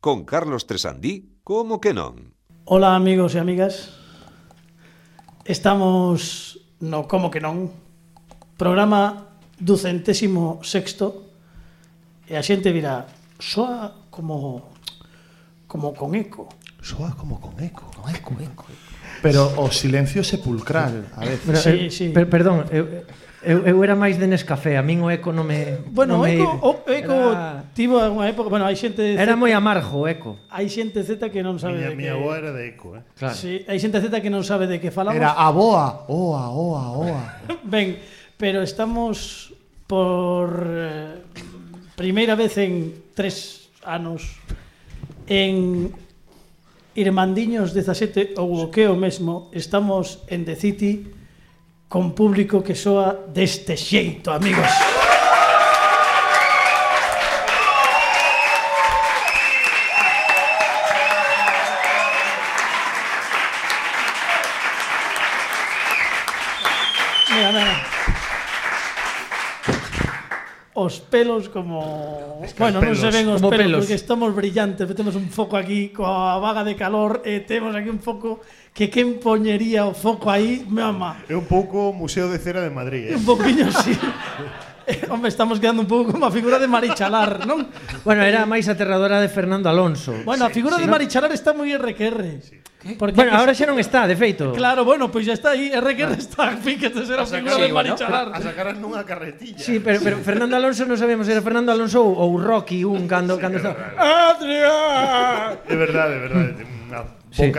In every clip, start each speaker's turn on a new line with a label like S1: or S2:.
S1: Con Carlos Tresandí, como que non?
S2: Ola amigos e amigas Estamos no Como que non Programa ducentésimo sexto E a xente virá Soa como Como con eco
S3: Soa como con eco.
S4: Pero o silencio sepulcral, a veces.
S3: Pero,
S2: Sí,
S3: eh,
S2: sí.
S3: Per, perdón, eu, eu, eu era máis de Nescafé, a min o eco non me non
S2: Bueno, o
S3: me
S2: eco,
S3: ibe.
S2: o eco
S3: Era-
S2: Tivo unha época Bueno, hai xente
S3: Era moi amargo o eco.
S2: Hai xente Z que non sabe
S5: Miña,
S2: de
S5: miña
S2: que...
S5: boa era de eco, eh.
S3: Claro.
S2: Sí, hai xente Z que non sabe de que falamos
S4: Era a boa, oa, oa, oa.
S2: Ben, pero estamos por eh, primeira vez en tres anos en Irmandiños 17 ou o que é o mesmo, estamos en The City con público que soa deste xeito, amigos. Mira, mira. Os pelos como... Es que bueno, non se
S5: pelos,
S2: ven os
S3: como
S2: pelos, pelos,
S3: pelos.
S2: porque estamos brillantes, temos un foco aquí coa vaga de calor e temos aquí un foco que quen poñería o foco aí, mamá.
S5: É un pouco Museo de Cera de Madrid, eh.
S2: Un poquinho así. Eh, Hombre, estamos quedando un pouco como a figura de Marichalar, non?
S3: Bueno, era a máis aterradora de Fernando Alonso.
S2: Bueno, a figura de Marichalar está moi RQR. Porque
S3: Bueno,
S2: que-
S3: ahora xa non está, de feito.
S2: Claro, bueno, pois pues ya está aí, RQR está, en fin, que este será a figura de Marichalar.
S5: A sacaran nunha carretilla.
S3: Sí, pero, pero Fernando Alonso non sabemos, era Fernando Alonso ou, ou Rocky un cando cando estaba.
S2: Adrián!
S5: É verdade, é verdade. Ten Unha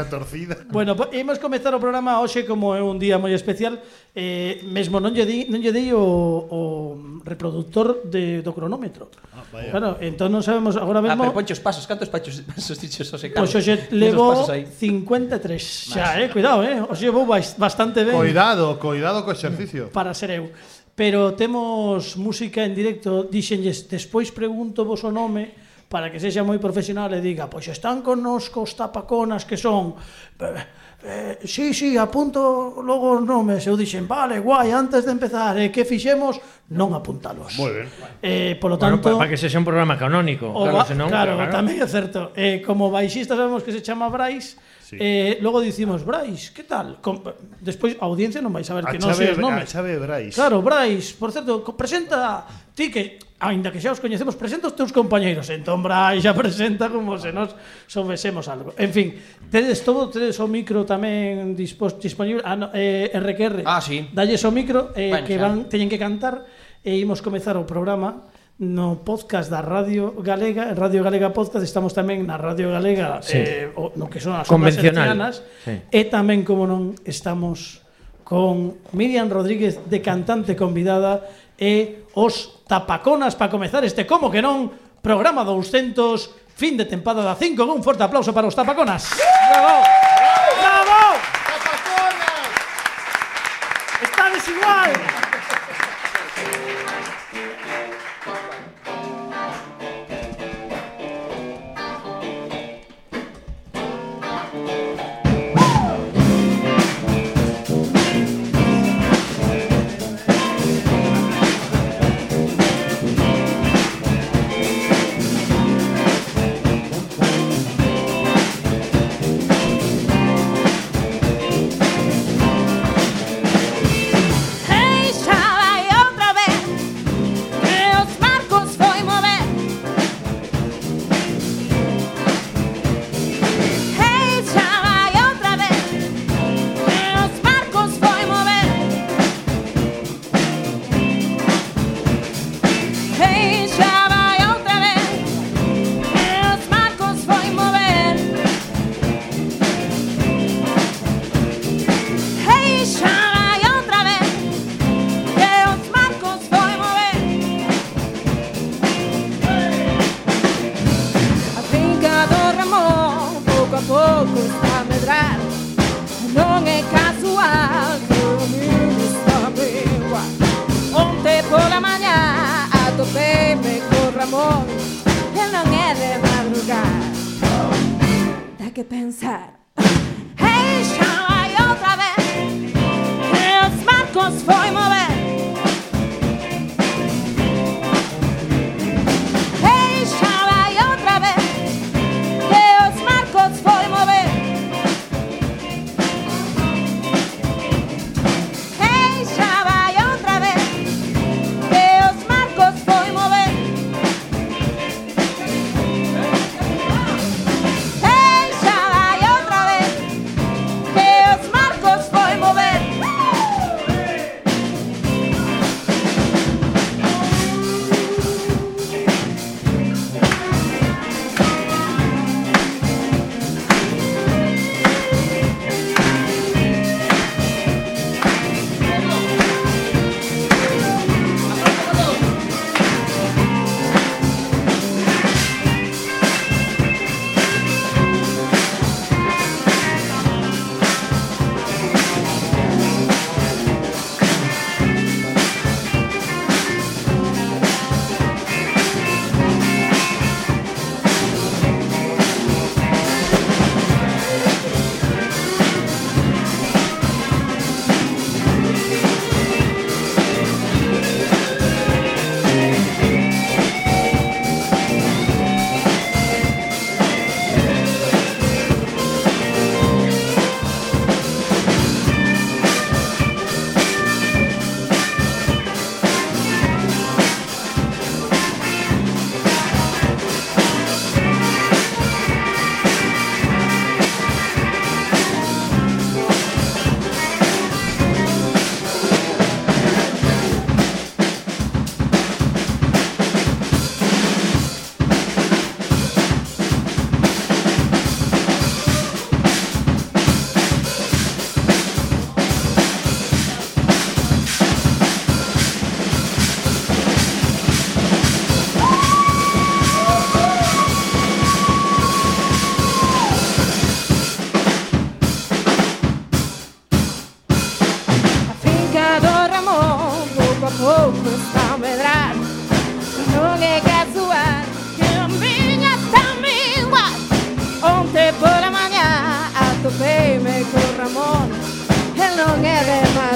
S5: boca torcida.
S2: Bueno, po- imos comezar o programa hoxe como é un día moi especial eh, Mesmo non lle dei, non lle dei o, o reproductor de, do cronómetro ah, Claro, entón non sabemos agora
S6: Ah,
S2: mesmo
S6: pero ponche os pasos, cantos pachos, pasos dichos o se
S2: Pois hoxe levo 53 xa, eh, cuidado, eh Hoxe vou bas- bastante ben
S4: Cuidado, cuidado co exercicio.
S2: para ser eu. Pero temos música en directo, dixenlles, despois pregunto vos o nome para que sexa moi profesional e diga, pois están connosco os tapaconas que son eh, eh, sí, sí, apunto logo os nomes. Eu dixen, vale, guai, antes de empezar, eh, que fixemos? Non apuntalos.
S5: Moi ben.
S2: Eh, polo
S3: Bueno,
S2: tanto...
S3: para que sexa un programa canónico,
S2: O
S3: claro,
S2: ba-
S3: senón,
S2: claro,
S3: pero
S2: tamén é certo. Eh, como baixista sabemos que se chama Brais, sí. eh, logo dicimos, Brais, que tal? Com despois a audiencia non vai saber
S5: A
S2: que non sei os
S5: chave,
S2: nomes.
S5: a chave Brais.
S2: Claro, Brais, por certo, co- presenta ti que aínda que xa os coñecemos, presenta os teus compañeiros. Entón Brais xa presenta como se nos soubesemos algo. En fin, tedes todo, tedes o micro tamén dispos, disponible, ah, no, eh, RQR.
S6: Ah, sí.
S2: Dalles o micro eh,
S6: Bueno,
S2: que
S6: xa.
S2: van teñen que cantar e imos comezar o programa no podcast da Radio Galega, Radio Galega Podcast, estamos tamén na Radio Galega,
S3: Sí.
S2: eh, o, no que son as
S3: Convencional.
S2: ondas hercianas,
S3: Sí.
S2: E tamén, como non, estamos con Miriam Rodríguez de cantante convidada e os tapaconas para comezar este como que non programa 200 fin de temporada 5 un forte aplauso para os tapaconas. Bravo! Bravo! Tapaconas! Estades igual.
S7: Ei, xa vai outra vez Que os barcos foi mover Ei, xa vai outra vez Que os barcos foi mover Ei, xa vai outra vez Que os barcos foi mover Ei, xa vai outra vez que os marcos foi mover. A finca do Ramón pouco a pouco está a medrar. Non é casual que o mundo está meua. Onte pola mañá atopeime co Ramón. El non é de madrugar. Dá que pensar. Hey, xa vai outra vez. Que os marcos foi mover. Ei, xa vai outra vez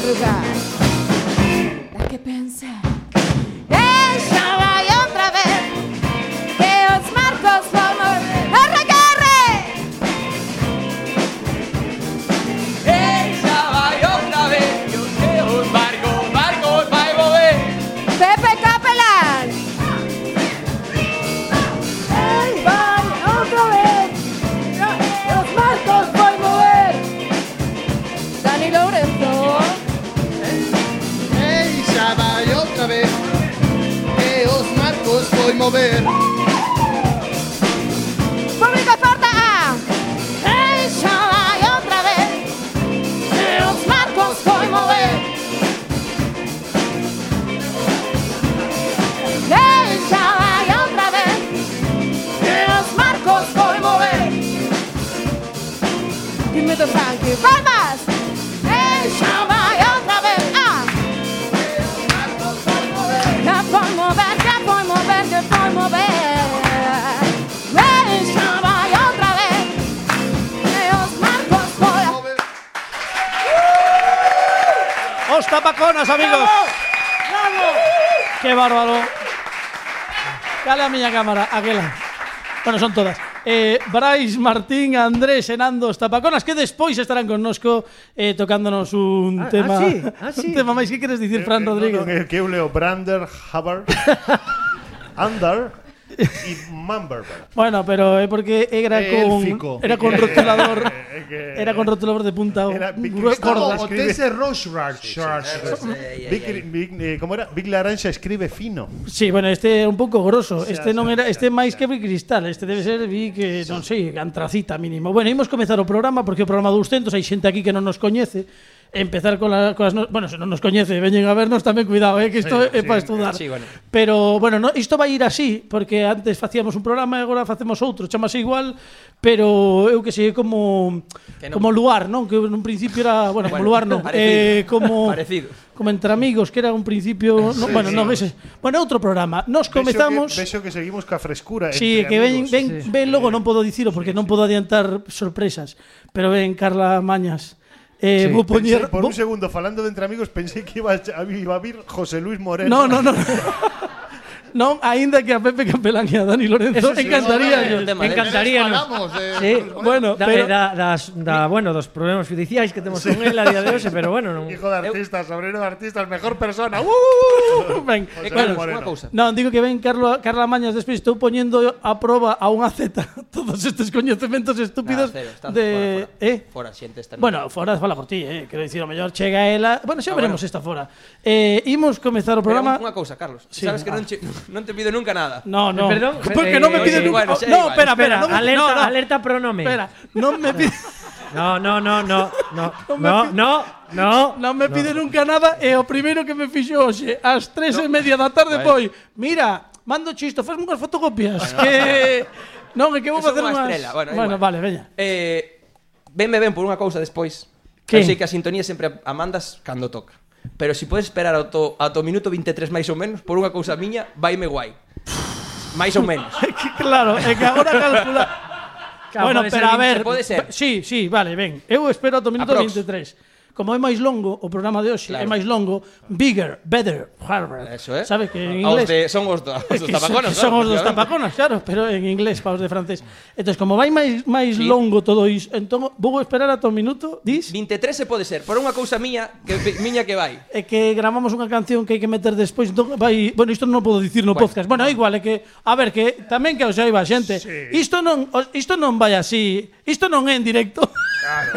S7: lugar. Da que pensar. Ella vai outra vez. Que os marcos vão morrer. Arregarre!
S6: Ella va otra vez, yo que os barco, barco, va a mover.
S7: Pepe Capelán. Ei, vai outra vez. Que os marcos vão morrer. Dani Lourenço.
S8: Ella va otra vez, que os marcos voy mover.
S7: Público Esparta A. Ella vai outra vez. E os marcos foi mover. Ella vai outra vez. E os marcos foi mover. Dime do Frank. Palmas. Ella vai outra vez. Ah. Ya voy a mover, ya voy a mover, ya voy a mover. Ven, ya voy otra vez. Que os marcos voy a-
S2: ¡Os tapaconas, amigos! ¡Qué bárbaro! Cala a miña cámara, aquela. Bueno, son todas. Eh, Brais, Martín, Andrés, Enando, os tapaconas, que despois estarán connosco eh, tocándonos un
S3: Ah,
S2: tema...
S3: ah, sí, ah, sí.
S2: Un tema máis que queres
S5: Eh,
S2: dicir, Fran Rodríguez?
S5: el que eu leo Brander, Haber, Under y Mumberberg.
S2: Bueno, pero é porque era
S3: Eh,
S4: Élfico.
S2: con era con rotulador,
S5: É Eh, que-
S2: era con rotulador de punta.
S5: Era Big
S2: grueso.
S5: Gustavo.
S4: Como T.S. Rorschach.
S5: Big- Big- eh, ¿Cómo era? Big Laranja escribe fino.
S2: Sí, bueno, este é un pouco grosso. Este non era, este é máis
S5: xa.
S2: que Big Cristal, este debe ser Big, eh, non sei, antracita mínimo. Bueno, imos comezar o programa porque o programa 200 hai xente aquí que non nos coñece. Empezar con la, coas no, bueno, se non nos coñece, veñen a vernos tamén cuidado, eh, que isto
S5: Sí,
S2: é
S5: sí,
S2: para estudar.
S6: sí, bueno.
S2: Pero bueno, no, isto vai ir así porque antes facíamos un programa e agora facemos outro, chamase igual, pero eu que sei é como
S6: Que non.
S2: como luar, non? Que nun principio era, bueno,
S6: Bueno,
S2: como luar non,
S6: parecido,
S2: eh como
S6: parecido.
S2: como entre amigos, que era un
S5: Ah,
S2: principio. no, bueno, no, ese- bueno, outro programa. Nos comezamos.
S5: Beso que, beso que seguimos coa frescura.
S2: Sí,
S5: entre
S2: que ven,
S5: amigos.
S2: ven, ven logo non podo dicilo porque non podo adiantar sorpresas, pero ven Carla Mañas. Eh, vou
S5: Pensei,
S2: poñer
S5: por
S2: vou-
S5: un segundo, falando de entre amigos, pensei que iba a, ch- iba a vir José Luis Moreno.
S2: No, no, no. non, aínda que a Pepe Capelán e a Dani
S3: Eso
S2: Lorenzo
S3: sí,
S2: encantaría
S6: no,
S2: yo.
S6: el tema,
S3: Encantaría, ¿no?
S8: Hablamos de-
S3: Sí,
S2: Bueno,
S3: da, eh,
S2: pero-
S3: da, das, da, bueno, dos problemas judiciais que temos con el a día de hoxe, pero bueno, non...
S5: Hijo de artista, sobrino de artista, mejor persona. ¡Uh!
S2: Ben,
S6: Eh,
S5: Bueno,
S6: Carlos,
S5: Moreno.
S6: una cosa.
S2: Non, digo que ven Carlo, Carla Mañas despois estou poñendo a proba a unha Z todos estes coñecementos
S6: Nada,
S2: estúpidos
S6: cero, Ah, está
S2: de
S6: fuera, fuera.
S2: eh
S6: Fuera, siente esta
S2: Bueno, fora fala por ti, eh. Quero dicir, o mellor chega ela. Bueno, xa
S6: Ah,
S2: veremos
S6: bueno.
S2: esta fora. Eh, imos comezar o programa.
S6: Una cosa, Carlos.
S2: Sí,
S6: Sabes que
S2: ah.
S6: non, che- non te pido nunca nada.
S2: No, no.
S3: Perdón,
S2: porque
S3: eh,
S2: non me
S3: eh,
S2: piden
S3: sí,
S2: nunca.
S6: bueno, xa igual,
S2: no, espera, espera,
S6: espera.
S2: non me-
S3: Alerta,
S2: no, no,
S3: alerta pronome.
S2: Espera, non me piden
S3: No, no, no, no, no,
S2: No me
S3: no,
S2: pi-
S3: no, no.
S2: non me pide nunca nada e o primeiro que me fixo hoxe ás tres e media da tarde foi, mira, mando chisto, fazme unhas fotocopias que non, é que vou
S6: Eso é
S2: facer
S6: unha
S2: unhas.
S6: estrela, bueno, é
S2: bueno
S6: igual.
S2: vale, veña.
S6: Eh, venme ben por unha cousa despois. Que?
S2: Que?
S6: Eu sei que a sintonía sempre a mandas cando toca. Pero se si podes esperar ao to, ao to minuto 23 máis ou menos por unha cousa miña, vaime guai. máis ou menos.
S2: Que claro, é que agora calcula.
S3: Claro,
S2: bueno,
S3: pode
S2: pero
S3: ser
S2: a ver,
S6: veinte, pode ser.
S2: Sí, sí, vale, ben. Eu espero ata o minuto
S6: Aprox.
S2: 23. Como é máis longo o programa de hoxe,
S6: Claro.
S2: é máis longo, bigger, better, harder.
S6: Eso, eh?
S2: Sabes que en
S6: Aos
S2: inglés
S6: de, son os, do, os dos
S2: que son-
S6: tapaconos,
S2: que son os dos
S6: Obviamente.
S2: tapaconas, claro, pero en inglés para os de francés. Entón, como vai máis máis longo todo iso, entón vou esperar ata o minuto, dis?
S6: 23 se pode ser, por unha cousa miña que miña que vai.
S2: É que gravamos unha canción que hai que meter despois, entón vai, bueno, isto non podo dicir no
S6: Bueno.
S2: podcast. Bueno, é igual, é que a ver que tamén que os oiva a xente. Isto non os- isto non vai así, isto non é en directo.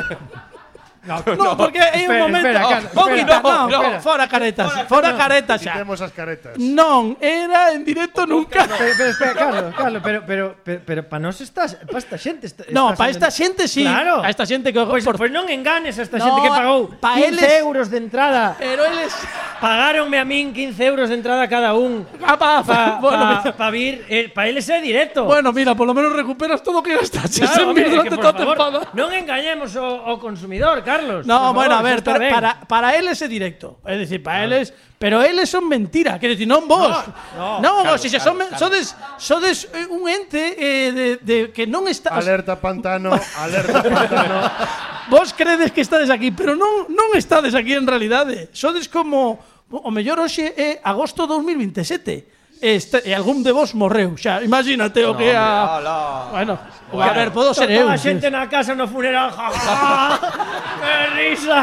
S2: Claro. No, porque é un
S3: Espera,
S2: momento.
S3: espera, Carlos,
S2: Vou
S3: espera.
S2: quitar, non,
S6: No,
S2: no,
S6: espera.
S2: fora caretas, fora caretas xa.
S5: Quitemos as caretas.
S2: Non era en directo nunca.
S3: Pero, pero, espera, Carlos, Carlos, pero, pero, pero, pero para nos estás, para esta xente está,
S2: No,
S3: estás
S2: para esta
S3: entendendo.
S2: xente sí.
S3: Claro.
S2: A esta xente que
S3: Pois,
S2: por-
S3: pois non enganes a esta
S2: No,
S3: xente que pagou
S2: pa
S3: 15
S2: eles-
S3: euros de entrada.
S2: Pero eles
S3: Pagaronme a min 15 euros de entrada cada un.
S2: Ah, pa-
S3: Para
S2: bueno,
S3: pa,
S2: mira.
S3: pa vir, eh, para eles é directo.
S2: Bueno, mira, por lo menos recuperas todo que gastaste en
S3: hombre,
S2: vir
S3: é que, por
S2: durante toda a
S3: favor,
S2: temporada.
S3: Non engañemos o, o consumidor, Carlos.
S2: No,
S3: por
S2: bueno,
S3: favor,
S2: a ver,
S3: eso está
S2: para,
S3: ben.
S2: para, para él ese directo. Es decir, para él es. Pero él es son mentira. Quiero decir, no vos. No,
S3: no,
S2: vos. Si se son, men- sodes, sodes, eh, un ente eh, de, de que no está. o sea,
S5: Alerta pantano, alerta pantano.
S2: vos credes que estades aquí, pero non non estades aquí en realidade. Sodes como o mellor hoxe é agosto 2027. Este, e algún de vos morreu, xa, imagínate o que a... Bueno, a ver, podo ser eu.
S3: Toda a xente na casa no funeral. Ja, ja, ja. que risa.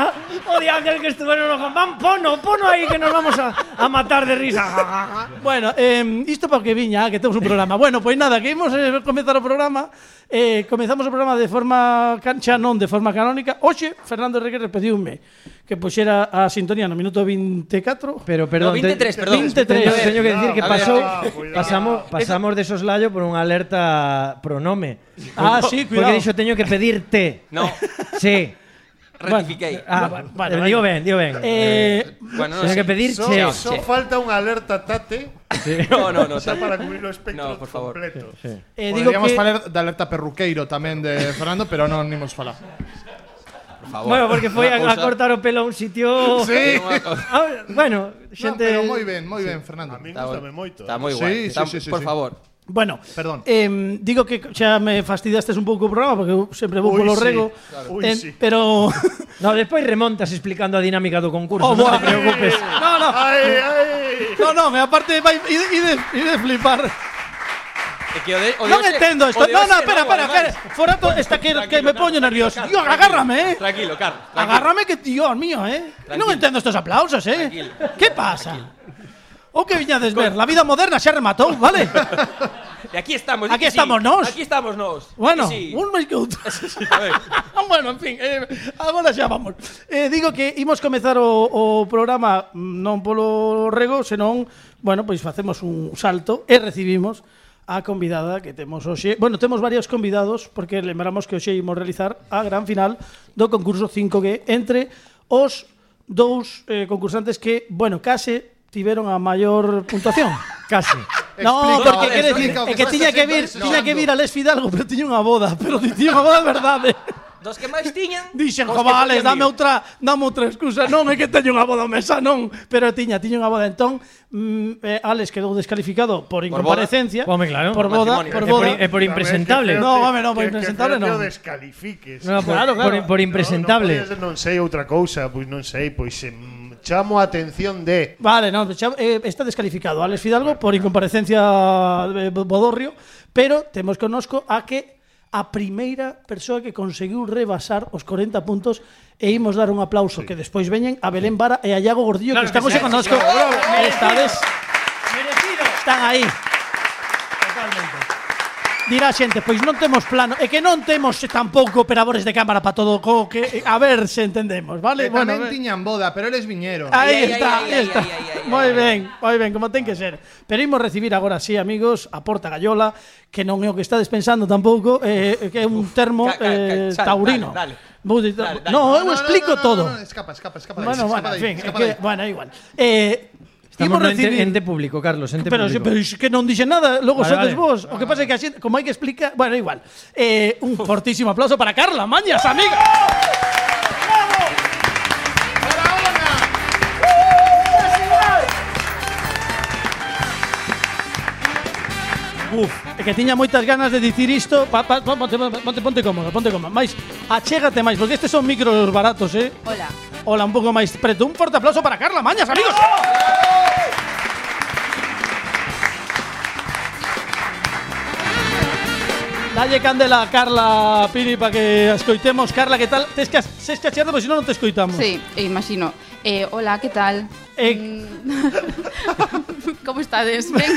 S3: O de aquel que estuveron no van pono, pono aí que nos vamos a, a matar de risa. Ja, ja, ja.
S2: Bueno, eh, isto para que viña, que temos un programa. Bueno, pois nada, que imos eh, comezar o programa. Eh, comezamos o programa de forma cancha, non de forma canónica. Hoxe, Fernando Reguer pediume que puxera a sintonía no minuto e 24.
S3: Pero perdón,
S6: No,
S2: e
S3: te-
S6: 23,
S3: 23.
S6: perdón.
S3: Teño, teño que decir que
S6: e A ver,
S3: pasou,
S5: ah, cuidado.
S3: pasamos, pasamos de soslayo por unha alerta pronome.
S2: Ah, sí, cuidado.
S3: Porque dixo teño que pedirte.
S6: No,
S3: Sí.
S6: rectifiquei.
S3: Ah,
S2: Bueno,
S3: vale,
S2: vale.
S3: digo ben, digo ben.
S2: Eh,
S6: bueno, no
S3: teño
S6: sé.
S3: que pedir
S5: Só,
S3: che.
S5: só falta unha alerta tate
S6: No, no, no. tal-
S5: xa para cubrir o espectro
S6: No, por favor.
S5: completo.
S2: eh, digo
S4: Podríamos
S2: que...
S4: falar da alerta perruqueiro tamén de Fernando, pero non imos falar.
S6: Por favor.
S3: Bueno, porque foi a, a
S6: Unha cousa-
S3: cortar o pelo a un sitio...
S4: Sí.
S6: Unha cousa-
S3: Ah, bueno,
S4: No,
S3: xente...
S4: pero moi ben, moi ben, Fernando.
S5: A min
S6: Está bueno.
S5: gustame moito.
S6: Está moi
S4: Sí,
S6: guai.
S4: sí,
S6: Está-
S4: sí, sí,
S6: por
S4: sí.
S6: favor.
S2: Bueno,
S4: Perdón.
S2: Eh, digo que xa me fastidiastes un pouco o programa porque eu sempre vou
S5: Ui,
S2: polo
S5: sí.
S2: rego.
S5: Claro. Ui, sí.
S2: Pero
S3: No, despois remontas explicando a dinámica do concurso.
S2: Oh,
S3: non
S2: boa.
S3: te preocupes.
S2: No, no.
S5: Ai, ai.
S2: No, no, me aparte vai ide, ide, ide flipar.
S6: É que o de- o de
S2: Non
S6: hoxe-
S2: entendo
S6: o
S2: isto.
S6: de
S2: No,
S6: hoxe
S2: no,
S6: é
S2: espera,
S6: novo,
S2: espera,
S6: ademais.
S2: espera. Forato está que, que
S6: Tranquilo,
S2: me poño
S6: Carlos,
S2: nervioso.
S6: tranquilo,
S2: Tío,
S6: tranquilo.
S2: agárrame, eh.
S6: Tranquilo, Carlos. tranquilo.
S2: Agárrame que, Dios mío, eh. Non entendo estos aplausos, eh.
S6: Tranquilo.
S2: Que pasa? Oh, O que viñades ver, la vida moderna xa rematou, vale?
S6: E aquí estamos.
S2: Aquí
S6: que
S2: estamos nós.
S6: Aquí estamos nós.
S2: Bueno,
S6: Que sí.
S2: un máis que outro.
S6: A ver.
S2: bueno, en fin, eh, agora xa vamos. Eh, digo que imos comezar o, o programa mm, non polo rego, senón, bueno, pois facemos un salto e recibimos a convidada que temos hoxe. Bueno, temos varios convidados porque lembramos que hoxe imos realizar a gran final do concurso 5G entre os dous eh, concursantes que, bueno, case tiveron a maior puntuación.
S3: Casi.
S2: No,
S4: Explica,
S6: Alex,
S2: porque quere dicir
S4: explica o
S2: é
S4: que
S2: que
S4: estás
S2: tiña que
S4: haciendo,
S2: vir,
S4: estás
S2: tiña que vir a Les Fidalgo, pero tiña unha boda, pero tiña unha boda de verdade.
S6: Dos que máis tiñan.
S2: Dixen,
S6: os
S2: jo,
S6: que
S2: vale,
S6: tiñan
S2: dame
S6: mil".
S2: outra, dame outra excusa, non é que teño unha boda mesa, "Ah, non, pero tiña, tiña unha boda, entón, mm, eh, Alex quedou descalificado por incomparecencia,
S3: Home, claro.
S2: por boda,
S6: Matrimonio.
S2: por
S3: É por,
S2: boda,
S3: é eh, por impresentable.
S2: No, home, no, por impresentable
S5: non.
S2: non.
S5: Que o descalifiques.
S3: No, por,
S2: Claro, claro.
S3: por, por impresentable.
S5: No, non sei outra cousa, pois non sei, pois em, chamo a atención de
S2: Vale, no, xa, eh, está descalificado Alex Fidalgo por incomparecencia eh, bo- bodorrio, pero temos connosco a que a primeira persoa que conseguiu rebasar os 40 puntos e imos dar un aplauso sí. que despois veñen a Belén Vara e a Iago Gordillo
S3: Claro
S2: que están
S3: que sí,
S2: hoxe
S3: sí,
S2: connosco.
S3: bravo, bravo.
S2: Estades,
S3: Merecido.
S2: están aí.
S3: Totalmente.
S2: Dirá a xente, pois non temos plano, e que non temos tampouco operadores de cámara para todo o co que eh, a ver se entendemos,
S3: Eh,
S2: vale?
S4: Que tamén
S2: a ver.
S4: tiñan boda, pero eles viñeron.
S6: Ay,
S2: Ahí
S6: ay,
S2: está,
S6: ay,
S2: ahí
S6: ay,
S2: está.
S6: ay, ay, ay,
S2: Moi
S6: ay,
S2: ben, moi ben, como ten que ser. Pero imos recibir agora sí, amigos, a Porta Gallola, que non é o que estades pensando tampouco, eh, que é un termo
S6: Ca- ca- ca-
S2: eh,
S6: sal,
S2: taurino.
S6: dale, dale.
S2: Vou dicir-
S6: Dale, dale.
S4: No,
S2: No, eu
S4: no, no,
S2: explico
S4: no, no,
S2: todo.
S4: no, escapa, escapa, escapa. de ahí,
S2: Bueno,
S4: escapa
S2: bueno,
S4: de ahí,
S2: en fin, é
S4: escapa de
S2: que,
S4: ahí.
S2: bueno, é igual. Eh,
S3: Estamos
S2: imos
S3: no ente,
S2: recibir
S3: ente público, Carlos, ente
S2: pero,
S3: público.
S2: pero es que non dixen nada, logo
S3: Vale, vale.
S2: sodes vos. O que pasa é que a xente, como hai que explicar, bueno, é igual. Eh, un fortísimo aplauso para Carla Mañas, amiga. Uf, é que tiña moitas ganas de dicir isto pa, pa, pa, ponte, ponte, ponte cómodo, ponte cómodo Mais, achégate máis, porque estes son micros baratos, eh
S7: Hola.
S2: Hola, un pouco máis preto Un forte aplauso para Carla Mañas, amigos Dalle candela a Carla Pini para que a escoitemos Carla, que tal? Tes que, as- tes que achardo, porque senón non te escoitamos
S7: Sí, imagino. Eh, hola, ¿qué tal?
S2: Eh.
S7: Mm. ¿Cómo estades? Ben.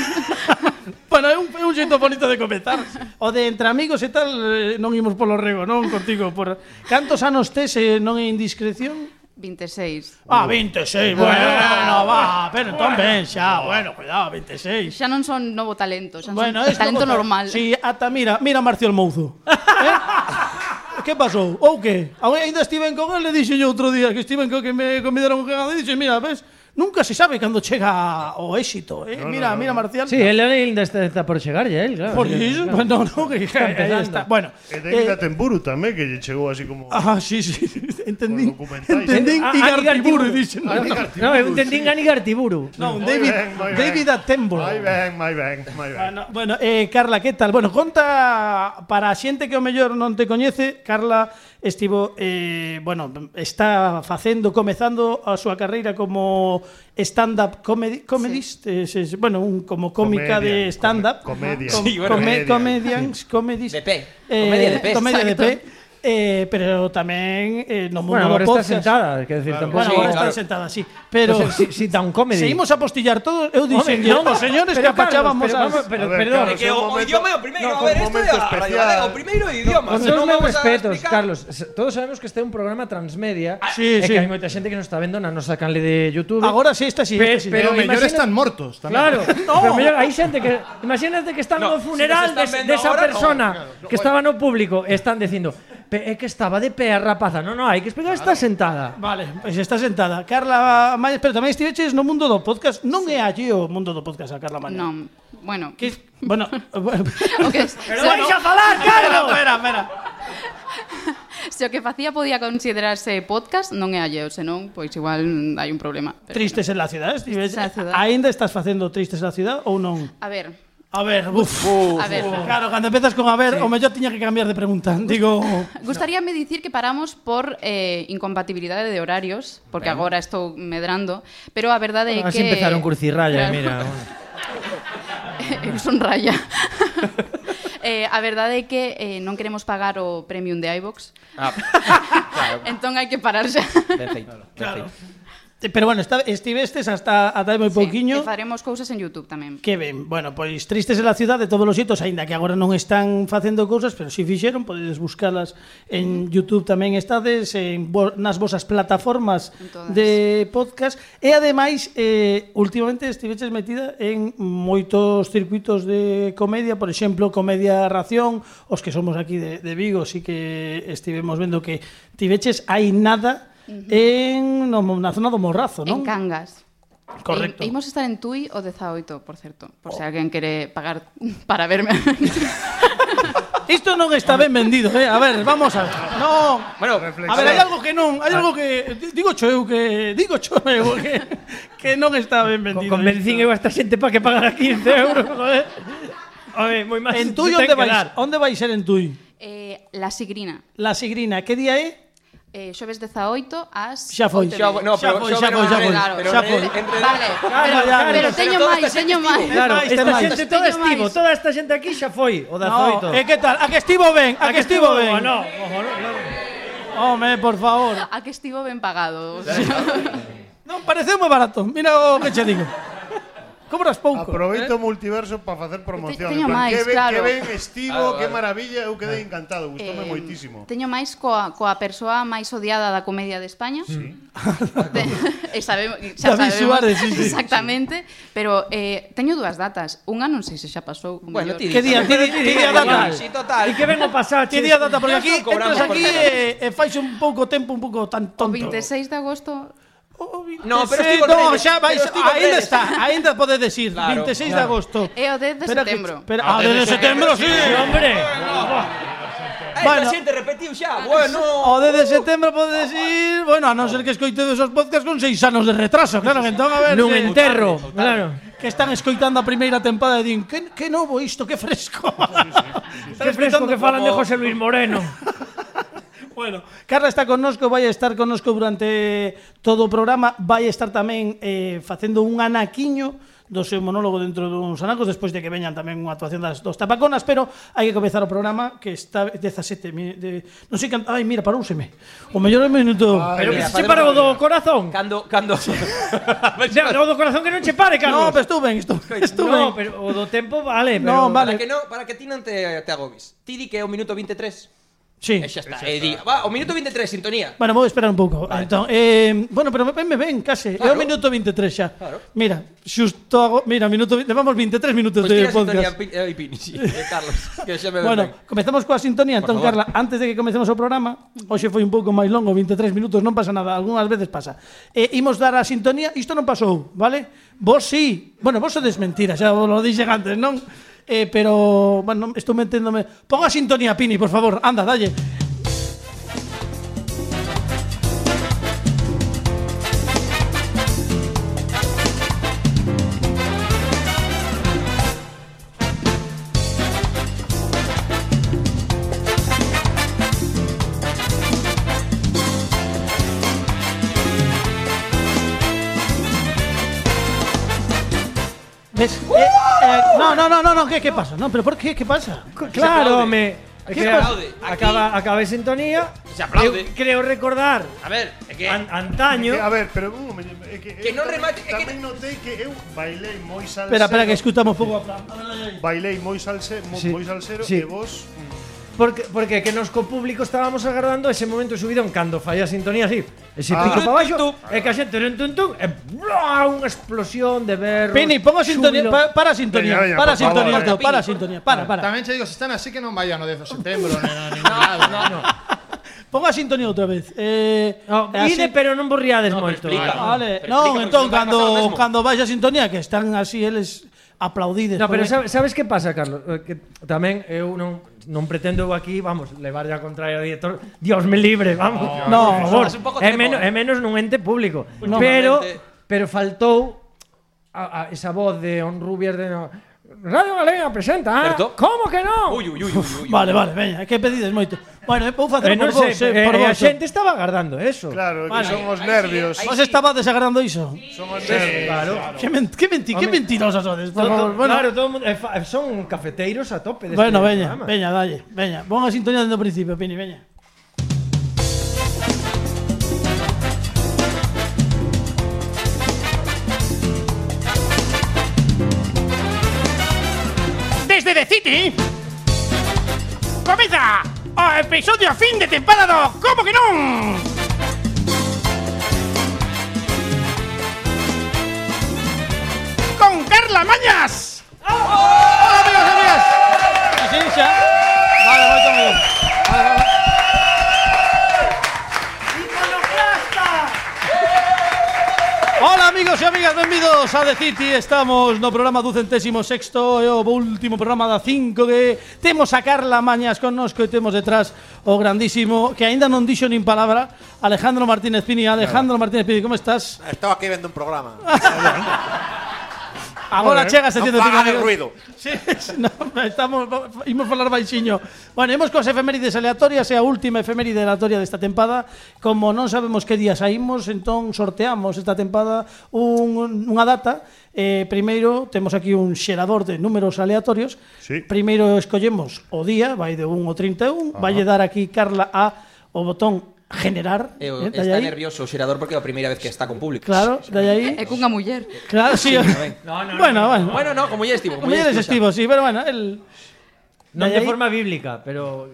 S2: Bueno, é un, é un xeito bonito de comezar. O de entre amigos e tal, eh, non imos polo rego, non contigo. Por... Cantos anos tes e non é indiscreción?
S7: 26.
S2: Ah, 26, bueno, bueno, va, pero entón ben xa, bueno, cuidado, 26.
S7: Xa non son novo talento, xa non
S2: Bueno,
S7: son
S2: es
S7: talento
S2: como tal.
S7: normal.
S2: Sí, ata mira, mira Marcio el Mouzo. eh? Que pasou? Ou que? Ainda estiven con el e dixen outro día que estiven co que me convidaron un cagado e dixen, mira, ves, nunca se sabe cando chega o éxito, eh?
S5: No, no,
S2: mira,
S5: no,
S2: mira
S5: no.
S2: Marcial.
S9: Sí, él ainda está, está por chegar, ya él, claro.
S2: Por
S9: Sí,
S2: iso,
S9: claro.
S2: no, no, que
S9: Está
S2: eh, ya
S9: empezando.
S2: está. Bueno,
S5: E de
S2: eh,
S5: Temburu tamén, que lle chegou así como...
S2: ah, sí, sí, entendín.
S5: Os documentais.
S2: Entendín
S9: Ah,
S2: y
S9: ah, Igartiburu.
S2: Gartiburu, dixen. No,
S5: Ai,
S9: No, eu
S5: Gartiburu,
S9: entendín
S5: sí.
S9: a Nigartiburu.
S2: no,
S5: Moi
S2: David,
S5: ben, moi ben.
S2: David Attenborough.
S5: Moi ben, moi ben, moi ben.
S2: Bueno, bueno eh, Carla, que tal? Bueno, conta para a xente que o mellor non te coñece, Carla estivo, eh, bueno, está facendo, comezando a súa carreira como stand-up comedy, comedist, eh, se- se- bueno, un, como cómica de
S5: Comedian,
S2: stand-up.
S5: come- comedia.
S2: Com-
S5: Sí, bueno,
S2: come-
S5: comedian.
S2: comedians, comedist.
S6: De pé. Comedia de pé,
S2: eh, Comedia de
S6: exacto.
S2: pé. Eh, pero tamén eh, no mundo
S9: Bueno,
S2: do
S9: agora está
S2: podcast.
S9: sentada, quer decir,
S5: Claro.
S9: tampoco...
S2: Bueno,
S6: Sí,
S2: agora
S6: claro.
S2: está sentada, sí. Pero
S9: Pues, si- si dan comedy.
S2: Seguimos a postillar todo. Eu dixen,
S9: Home, non,
S2: os señores que
S9: pero, Carlos,
S2: apachábamos
S9: pero
S2: as-
S9: vamos- pero-
S5: A ver,
S9: perdón,
S5: Carlos,
S9: que
S5: é un
S6: o
S5: momento-
S6: idioma é o primeiro,
S5: No,
S6: a ver,
S5: un
S6: esto é
S5: momento
S6: a radio
S5: especial.
S6: galega, o primeiro é o idioma.
S9: Con
S6: se
S9: todos
S6: non
S9: meus
S6: vamos a
S9: respetos,
S6: explicar-
S9: Carlos, se- todos sabemos que este é un programa transmedia
S2: Ah, Sí,
S9: e
S2: sí.
S9: que hai moita xente que non está vendo na nosa canle de YouTube.
S2: Agora sí, esta sí.
S9: Pe-
S2: esta sí.
S9: pero
S4: Pero mellor
S9: imagina-
S4: están mortos tamén.
S9: Claro,
S2: No.
S9: pero mellor hai xente que imagínate que están
S6: No,
S9: no, no
S6: si
S9: funeral
S6: nos están
S9: de,
S6: vendo
S9: de esa
S6: ahora, no,
S9: persona
S6: claro,
S9: que estaba no público e están dicindo, "Pe- é que estaba de pé a rapaza". No, no, hai que explicar, está sentada.
S2: Vale, pois está sentada. Carla Malles, pero tamén estiveches no mundo do podcast. Non é allí o mundo do podcast a Carla Malles.
S10: Non, bueno.
S2: Que, bueno, bueno,
S10: O que,
S2: Pero
S10: se-
S2: vais a falar, Carla. Espera, espera.
S10: se o que facía podía considerarse podcast, non é alleo, senón, pois igual mm, hai un problema. Pero
S2: Tristes en la ciudad, estives.
S10: Tristes en la ciudad.
S2: Ainda estás facendo Tristes na ciudad ou non?
S10: bueno. A ver,
S2: A ver, uf.
S10: a ver.
S2: Claro, cando empezas con a ver, o mellor tiña que cambiar de pregunta. Digo,
S10: Gustaríame dicir que paramos por eh, incompatibilidade de horarios, porque agora estou medrando, pero a verdade é
S9: Así
S10: que...
S9: empezaron
S10: Claro.
S9: curcirraya, mira.
S10: Eu son raya. eh, a verdade é que eh, non queremos pagar o premium de iVox,
S6: Ah, claro,
S10: entón hai que parar xa.
S6: ben feito, ben
S2: Claro.
S6: feito.
S2: pero bueno, está, estivestes hasta ata hai moi
S10: Sí,
S2: pouquiño.
S10: e faremos cousas en YouTube tamén.
S2: Que ben, bueno, pois tristes en la ciudad de todos os xitos, aínda que agora non están facendo cousas, pero si fixeron, podedes buscalas en YouTube tamén estades, en vo, nas vosas plataformas
S10: En todas.
S2: de podcast, e ademais, eh, últimamente estiveches metida en moitos circuitos de comedia, por exemplo, Comedia Ración, os que somos aquí de, de Vigo, si que estivemos vendo que tiveches hai nada
S10: Eh,
S2: en no, na zona do Morrazo,
S10: En
S2: non?
S10: Cangas. E,
S2: Correcto. Oh.
S10: imos estar en Tui o 18, por certo, por se alguén quere pagar para verme.
S2: Isto non está ben vendido, eh? A ver, vamos a ver. No.
S6: Bueno,
S2: A ver, hai algo que non, hai algo que di- digo cho eu que digo cho eu que que non está ben vendido.
S9: Convencín eu a esta xente para que pagara 15 euros, joder. Home, moi máis.
S2: En Tui
S9: ten que
S2: onde vais?
S9: dar.
S2: Onde vai ser en Tui?
S10: eh, la Sigrina.
S2: La Sigrina, que día é?
S10: Eh, xoves 18 ás
S2: Xa foi.
S6: Xa foi, no,
S2: Xa
S6: pero-
S2: foi,
S6: xa
S2: xa
S6: foi,
S2: foi, xa foi.
S6: claro, pero
S2: Xa
S6: en
S2: foi.
S6: realidad- en
S10: Vale,
S6: realidad-
S10: pero,
S2: claro.
S10: pero teño
S6: Pero toda
S10: máis,
S6: esta
S10: teño
S6: xente
S10: máis.
S9: Claro,
S2: máis,
S9: esta
S2: ten máis.
S9: xente toda
S10: Teño
S9: estivo,
S10: máis.
S9: toda esta xente aquí xa foi, o da
S2: No,
S9: zoito.
S2: e que tal? A que estivo ben, a que estivo ben.
S9: O no, ojo, no, claro.
S2: Home, por favor.
S10: A que estivo ben pagado.
S2: Non pareceu moi barato. Mira o que che digo. Cobras pouco. eh.
S5: Aproveito o multiverso para facer promoción.
S10: Teño
S5: En
S10: máis,
S5: plan, que ben,
S10: claro.
S5: que ben
S6: Claro,
S5: estivo, que
S6: claro.
S5: maravilla, eu quedei encantado,
S10: Eh,
S5: gustoume moitísimo.
S10: Teño máis coa, coa persoa máis odiada da comedia de España. Sí. e sabemos, xa sabemos
S2: David Suárez, sí, sí.
S10: exactamente, pero eh, teño dúas datas. Unha non sei se xa pasou. o mellor.
S6: Bueno, ti
S2: Que día, ti di- ti día data.
S6: Sí, total.
S9: E que vengo pasar,
S2: Que día data? Porque aquí
S6: Nós non cobramos
S2: entras aquí
S6: por
S2: e, e fais un pouco tempo un pouco tan
S10: O
S2: tonto.
S10: 26 de agosto
S2: O 26,
S6: No, pero estivo en
S2: no,
S6: redes,
S2: xa vais,
S6: pero estivo en
S2: ainda
S6: redes.
S2: está, ainda podes decir,
S6: Claro,
S2: 26 de
S9: claro.
S2: agosto.
S10: e o 10 de
S2: Espera que-
S10: setembro.
S2: espera- ah, desde setembro sí.
S9: Hombre,
S6: Ai,
S2: Bueno. Ah,
S6: esta xente repetiu xa. Bueno.
S2: O desde setembro podes decir, bueno, a non ser que escoitedes esos podcasts con seis anos de retraso, claro, que entón a ver.
S9: nun
S2: se-
S9: enterro, claro.
S2: Que están escoitando a primeira tempada e din, que, que novo isto, que fresco.
S9: Que fresco que falan de José Luis Moreno.
S2: Bueno, Carla está connosco, vai estar connosco durante todo o programa, vai estar tamén eh, facendo un anaquiño do seu monólogo dentro duns anacos despois de que veñan tamén unha actuación das dos tapaconas, pero hai que comezar o programa que está 17 mi- de non sei canta, ai mira, parouseme. O mellor é minuto.
S9: Pero que
S6: mira,
S9: se
S6: padre
S9: para o
S6: Manuel.
S9: do corazón.
S6: Cando, cando...
S9: Ya, O do corazón que non che pare,
S2: no,
S9: Carlos.
S2: pero estou ben, estou, estou ben.
S9: No, pero o do tempo vale, pero
S2: No, vale.
S6: Para que, no, para que ti non te, te agobis. Ti di que é o minuto 23.
S2: Sí.
S6: E xa está. E di, va, o minuto 23, sintonía.
S2: Bueno, vou esperar un pouco. Vale. Entón, eh, bueno, pero ven, me ven, case. Claro. É o
S6: Claro.
S2: minuto 23 xa.
S6: Claro.
S2: Mira, xusto hago, mira, minuto, vi- levamos 23 minutos
S6: Pues
S2: de
S6: tira
S2: podcast.
S6: sintonía Pi- eh, Pini, sí, eh, Carlos, que xa me ven
S2: Bueno,
S6: ben.
S2: comezamos coa sintonía, entón,
S6: favor.
S2: Carla, antes de que comecemos o programa, hoxe foi un pouco máis longo, 23 minutos, non pasa nada, algunhas veces pasa. E imos dar a sintonía, isto non pasou, vale? Vos sí, bueno, vos sodes mentiras, xa vos lo dixen antes, non? Eh, pero, bueno, estou meténdome... Pon a sintonía, Pini, por favor, anda, dalle. ¿Ves? Eh, eh, no, no, no, no, no, ¿qué, qué pasa? No, pero ¿por qué? ¿Qué pasa?
S9: Claro, me.
S6: Aquí
S9: que
S6: se aplaude, aquí.
S9: acaba, acaba en sintonía.
S6: Se aplaude.
S9: Eu creo recordar
S6: A ver, é que
S9: an- antaño.
S5: Que, a ver, pero un momento, é que,
S6: Que
S5: eu
S6: non
S5: tamén-
S6: remate- é que-
S5: tamén notei que eu bailei moi salsero.
S2: Espera, espera, que escutamos pouco a Fran.
S5: Bailei moi salse, mo,
S9: Sí.
S5: moi salsero
S9: Sí.
S5: e vos mm,
S9: Porque, porque que nos co público estábamos agardando ese momento de subidón cando falla a sintonía así. Ese
S5: Ah.
S9: pico
S5: Tun,
S9: para baixo
S6: tun,
S9: e que a xente tun, tun, tun, e blua, unha explosión de berros.
S2: Pini, pongo sintonía,
S9: xúbilo.
S2: pa- para sintonía,
S5: Veña, veña,
S2: para
S5: por favor, eh.
S2: sintonía,
S5: veña.
S2: todo, para sintonía, para, para.
S8: Tamén che digo, se están así que non vayan o 10 de setembro, nen, a ningún lado. No, no.
S2: Pongo a sintonía outra vez. Eh,
S9: No,
S2: eh,
S9: ide, pero non vos riades moito.
S6: explica.
S9: Vale.
S2: Vale,
S6: Pero
S2: non,
S6: explícame,
S2: entón
S6: se vai pasar o
S2: cando
S6: mesmo.
S2: cando vais a sintonía que están así eles aplaudides.
S9: No, pero
S2: porque-
S9: sabes, sabes que pasa, Carlos? Eh, Que tamén eu non non pretendo eu aquí, vamos, levarlle a contraria ao director. Dios me libre, vamos.
S2: No,
S9: por favor.
S6: es un pouco
S9: É
S6: tremo,
S9: menos,
S6: eh.
S9: é menos nun ente público.
S6: No,
S9: pero
S6: realmente.
S9: pero faltou a, a esa voz de Onrubias de no, Radio Galega presenta, ah,
S6: Certo.
S9: como que non?
S6: Ui, ui, ui, ui, ui.
S2: Vale, vale, veña, é que pedides moito. Bueno, eh, vou
S9: Eh,
S2: facer por
S9: non
S2: vos,
S9: sei,
S2: eh,
S9: eh,
S2: por
S9: a
S2: vos.
S9: xente estaba agardando eso.
S5: claro,
S2: Vale.
S5: que son os
S6: Ahí
S5: nervios.
S6: sigue, ahí
S2: Vos
S6: sigue.
S2: estaba desagradando iso.
S5: Son os nervios.
S9: Claro.
S2: Que men- que menti, que
S9: Home.
S2: mentirosas sodes, por
S9: Todo-
S2: favor. Bueno,
S9: claro, todo o mundo, eh, fa- eh, son cafeteiros a tope deste
S2: Bueno, veña,
S9: programa.
S2: veña, dalle, veña. Pon a sintonía dentro principio, Pini, veña.
S3: Desde The City comeza o episodio fin de temporada do Como que non? Con Carla Mañas
S8: Hola, amigos e amigas.
S2: Así xa. Vale, moito mellor. Hola amigos e amigas, benvidos a The City Estamos no programa do centésimo sexto E o último programa da 5 Que temos a Carla Mañas connosco E temos detrás o grandísimo Que aínda non dixo nin palabra Alejandro Martínez Pini Alejandro Martínez Pini, como estás?
S11: Estaba aquí viendo un programa.
S2: Agora chegas a
S11: non
S2: 105
S11: faga de
S2: minutos.
S11: ruido.
S2: Sí, no, estamos, imos falar baixiño Bueno, imos cos efemérides aleatorias E a última efeméride aleatoria desta tempada Como non sabemos que día saímos Entón sorteamos esta tempada un, Unha data eh, Primeiro, temos aquí un xerador De números aleatorios
S5: Sí.
S2: Primeiro escollemos o día Vai de 1 ao 31 Vai dar aquí Carla a o botón generar
S6: Eh,
S2: eh, dalle
S6: está
S2: aí.
S6: nervioso o xerador porque é a primeira vez que está con público.
S2: Claro, dalle aí
S10: É cunha muller.
S2: Claro, sí,
S9: No, no, no.
S2: Bueno, bueno
S6: Bueno, no, como ya estivo.
S2: Como ya estivo, sí, pero bueno, el
S9: non
S2: Dalle
S9: de
S2: aí.
S9: forma bíblica, pero